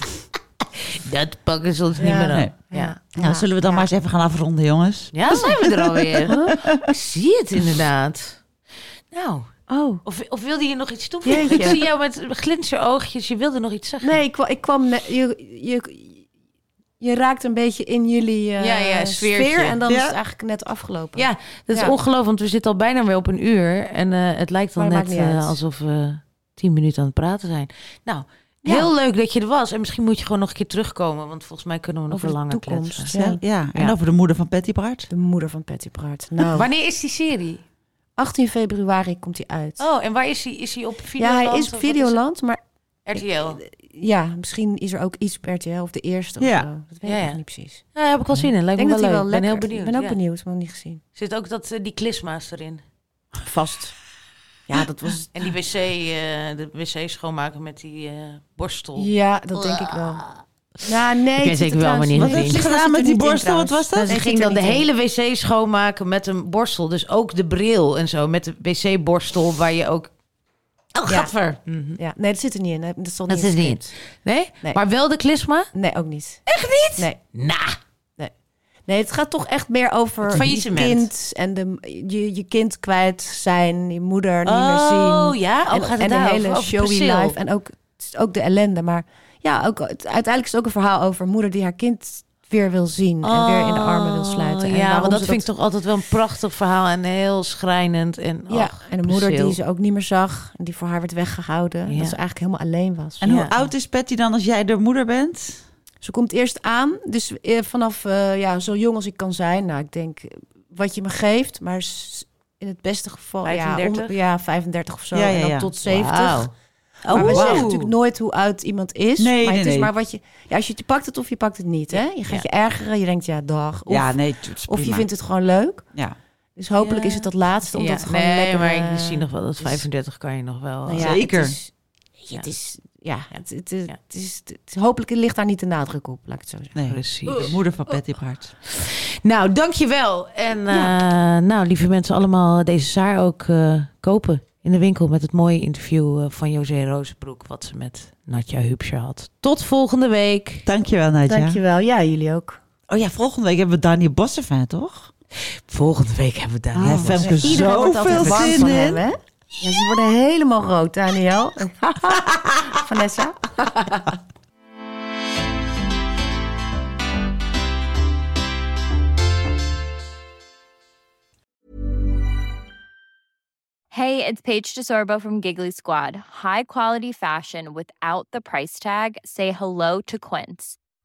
[SPEAKER 2] Dat pakken ze ons niet
[SPEAKER 3] Ja.
[SPEAKER 2] meer aan.
[SPEAKER 1] Nee.
[SPEAKER 2] Ja.
[SPEAKER 1] Nou, zullen we dan maar eens even gaan afronden, jongens?
[SPEAKER 2] ja, zijn we er alweer. Ik zie het inderdaad. Nou,
[SPEAKER 3] Oh.
[SPEAKER 2] of, of wilde je nog iets toevoegen?
[SPEAKER 3] Jeetje.
[SPEAKER 2] Ik zie jou met glinsteroogjes. Je wilde nog iets zeggen.
[SPEAKER 3] Nee, ik, kwa- ik kwam... net- Je, je, je raakt een beetje in jullie eh,
[SPEAKER 2] Ja, ja,
[SPEAKER 3] sfeer.
[SPEAKER 2] sfeertje.
[SPEAKER 3] En dan
[SPEAKER 1] Ja.
[SPEAKER 3] is het eigenlijk net afgelopen.
[SPEAKER 2] Ja, dat is
[SPEAKER 3] Ja.
[SPEAKER 2] ongelooflijk, want we zitten al bijna weer op een uur. En eh, het lijkt dan
[SPEAKER 3] Maar
[SPEAKER 2] net
[SPEAKER 3] maakt niet
[SPEAKER 2] eh,
[SPEAKER 3] uit.
[SPEAKER 2] alsof we tien minuten aan het praten zijn. Nou,
[SPEAKER 3] Ja.
[SPEAKER 2] heel leuk dat je er was. En misschien moet je gewoon nog een keer terugkomen, want volgens mij kunnen we nog
[SPEAKER 3] Over
[SPEAKER 2] wel
[SPEAKER 3] de
[SPEAKER 2] langer
[SPEAKER 3] toekomst.
[SPEAKER 2] kletsen.
[SPEAKER 1] Ja. ja. En
[SPEAKER 2] Ja.
[SPEAKER 1] over de moeder van Patty Bart.
[SPEAKER 3] De moeder van Patty Bart. Nou,
[SPEAKER 2] Wanneer is die serie?
[SPEAKER 3] 18 februari komt hij uit.
[SPEAKER 2] Oh, en waar is hij? Is hij op
[SPEAKER 3] ja,
[SPEAKER 2] Videoland?
[SPEAKER 3] hij is op
[SPEAKER 2] of wat
[SPEAKER 3] Videoland, maar
[SPEAKER 2] het? RTL.
[SPEAKER 3] ja, misschien is er ook iets op RTL of de eerste
[SPEAKER 1] Ja.
[SPEAKER 3] of zo. Dat weet
[SPEAKER 2] Ja,
[SPEAKER 3] ik
[SPEAKER 2] ja.
[SPEAKER 3] nog niet precies.
[SPEAKER 2] Ja, daar heb ik wel zin in.
[SPEAKER 3] Ik
[SPEAKER 2] Lijkt
[SPEAKER 3] denk
[SPEAKER 2] me
[SPEAKER 3] dat hij
[SPEAKER 2] wel
[SPEAKER 3] wel
[SPEAKER 2] leuk. Ik ben heel
[SPEAKER 3] lekker...
[SPEAKER 2] benieuwd.
[SPEAKER 3] Ik ben ook
[SPEAKER 2] ja.
[SPEAKER 3] benieuwd, maar nog niet gezien.
[SPEAKER 2] Zit ook dat, eh, die klisma's erin.
[SPEAKER 3] Vast. Ja, dat was...
[SPEAKER 2] En die wc, eh, de wc schoonmaken met die eh, borstel.
[SPEAKER 3] Ja, dat denk ik wel. Nou, nee.
[SPEAKER 2] weet
[SPEAKER 3] het zit er
[SPEAKER 2] zeker wel
[SPEAKER 3] trouwens-
[SPEAKER 2] wanneer het
[SPEAKER 3] dat
[SPEAKER 2] is.
[SPEAKER 3] zit
[SPEAKER 2] Wat
[SPEAKER 3] er
[SPEAKER 1] heeft ze gedaan
[SPEAKER 3] niet
[SPEAKER 1] met die
[SPEAKER 3] in,
[SPEAKER 1] borstel? Wat
[SPEAKER 3] trouwens.
[SPEAKER 1] was dat?
[SPEAKER 3] Dat
[SPEAKER 2] Ze
[SPEAKER 3] zit
[SPEAKER 2] ging
[SPEAKER 3] er
[SPEAKER 2] dan de
[SPEAKER 3] niet in.
[SPEAKER 2] hele wc schoonmaken met een borstel. Dus ook de bril en zo. Met de wc-borstel waar je ook... Oh,
[SPEAKER 3] Ja.
[SPEAKER 2] gadver.
[SPEAKER 3] Ja, nee, dat zit er niet in. Dat stond
[SPEAKER 2] Dat
[SPEAKER 3] niet in
[SPEAKER 2] is
[SPEAKER 3] het
[SPEAKER 2] niet.
[SPEAKER 3] script.
[SPEAKER 2] Nee?
[SPEAKER 3] Nee.
[SPEAKER 2] Maar wel de klisma?
[SPEAKER 3] Nee, ook niet.
[SPEAKER 2] Echt niet?
[SPEAKER 3] Nee.
[SPEAKER 2] Nah.
[SPEAKER 3] Nee. Nee, het gaat toch echt meer over
[SPEAKER 2] Het
[SPEAKER 3] je
[SPEAKER 2] faillissement.
[SPEAKER 3] kind en de, je, je kind kwijt zijn, je moeder niet meer zien.
[SPEAKER 2] Oh, ja? Oh,
[SPEAKER 3] en
[SPEAKER 2] gaat het
[SPEAKER 3] en de
[SPEAKER 2] daarover?
[SPEAKER 3] hele
[SPEAKER 2] Over
[SPEAKER 3] showy
[SPEAKER 2] Priscil?
[SPEAKER 3] life en ook, het is ook de ellende. Maar ja, ook, het- uiteindelijk is het ook een verhaal over een moeder die haar kind weer wil zien en weer in de armen wil sluiten. En
[SPEAKER 2] Oh, ja,
[SPEAKER 3] waarom
[SPEAKER 2] want dat
[SPEAKER 3] ze
[SPEAKER 2] vind ik toch altijd wel een prachtig verhaal. En heel schrijnend. En,
[SPEAKER 3] Ja,
[SPEAKER 2] ach,
[SPEAKER 3] en een moeder die
[SPEAKER 2] Priscil.
[SPEAKER 3] ze ook niet meer zag en die voor haar werd weggehouden.
[SPEAKER 2] Ja.
[SPEAKER 3] Dat ze eigenlijk helemaal alleen was.
[SPEAKER 1] En
[SPEAKER 2] Ja.
[SPEAKER 1] hoe oud is Patty dan als jij de moeder bent?
[SPEAKER 3] Ze komt eerst aan, dus eh, vanaf eh, ja, zo jong als ik kan zijn. Nou, ik denk eh, wat je me geeft, maar s- in het beste geval Ja,
[SPEAKER 2] 35?
[SPEAKER 3] onder- ja, 35 of zo.
[SPEAKER 1] Ja, ja,
[SPEAKER 3] en dan
[SPEAKER 1] ja. Oh,
[SPEAKER 3] tot 70.
[SPEAKER 2] Wauw.
[SPEAKER 3] maar Oh, we
[SPEAKER 2] wauw.
[SPEAKER 3] zeggen natuurlijk nooit hoe oud iemand is.
[SPEAKER 1] Nee,
[SPEAKER 3] maar
[SPEAKER 1] nee,
[SPEAKER 3] het is
[SPEAKER 1] nee.
[SPEAKER 3] maar wat je. Ja, als je, het- je pakt het of je pakt het niet. Hè? Je gaat je ergeren, je denkt ja, dag. Of,
[SPEAKER 1] ja, nee. het is
[SPEAKER 3] of je
[SPEAKER 1] prima.
[SPEAKER 3] vindt het gewoon leuk.
[SPEAKER 1] Ja.
[SPEAKER 3] Dus hopelijk
[SPEAKER 2] Ja.
[SPEAKER 3] is het dat laatste, omdat
[SPEAKER 2] Ja,
[SPEAKER 3] het gewoon
[SPEAKER 2] nee,
[SPEAKER 3] lekker...
[SPEAKER 2] maar ik
[SPEAKER 3] eh,
[SPEAKER 2] zie nog wel dat
[SPEAKER 3] is-
[SPEAKER 2] 35 kan je nog wel...
[SPEAKER 3] nou
[SPEAKER 2] eh,
[SPEAKER 3] ja,
[SPEAKER 1] Zeker.
[SPEAKER 3] Het is, ja, het is, ja,
[SPEAKER 2] Ja.
[SPEAKER 3] het, het, het,
[SPEAKER 2] Ja.
[SPEAKER 3] het is, het- hopelijk ligt daar niet de nadruk op, laat ik het zo zeggen.
[SPEAKER 1] Nee.
[SPEAKER 2] eh, Precies.
[SPEAKER 1] De moeder van Patty Bart.
[SPEAKER 2] Nou, dankjewel. En eh, nou, lieve mensen, allemaal deze zaar ook eh, kopen in de winkel met het mooie interview eh, van José Rozenbroek, wat ze met Natja Hupsje had. Tot volgende week.
[SPEAKER 1] Dankjewel, Nadja.
[SPEAKER 3] Dankjewel. Ja, jullie ook.
[SPEAKER 1] Oh ja, volgende week hebben we Daniel Bossevin, toch?
[SPEAKER 2] Volgende week hebben we daar.
[SPEAKER 1] Ja, Femke,
[SPEAKER 3] Iedereen wordt
[SPEAKER 1] zoveel
[SPEAKER 3] altijd warm
[SPEAKER 1] zin
[SPEAKER 3] van
[SPEAKER 1] in.
[SPEAKER 3] hem, hè? Ja, ze worden helemaal rood, Daniel. Vanessa.
[SPEAKER 4] Hey, it's Paige DeSorbo from Giggly Squad. High quality fashion without the price tag. Say hello to Quince.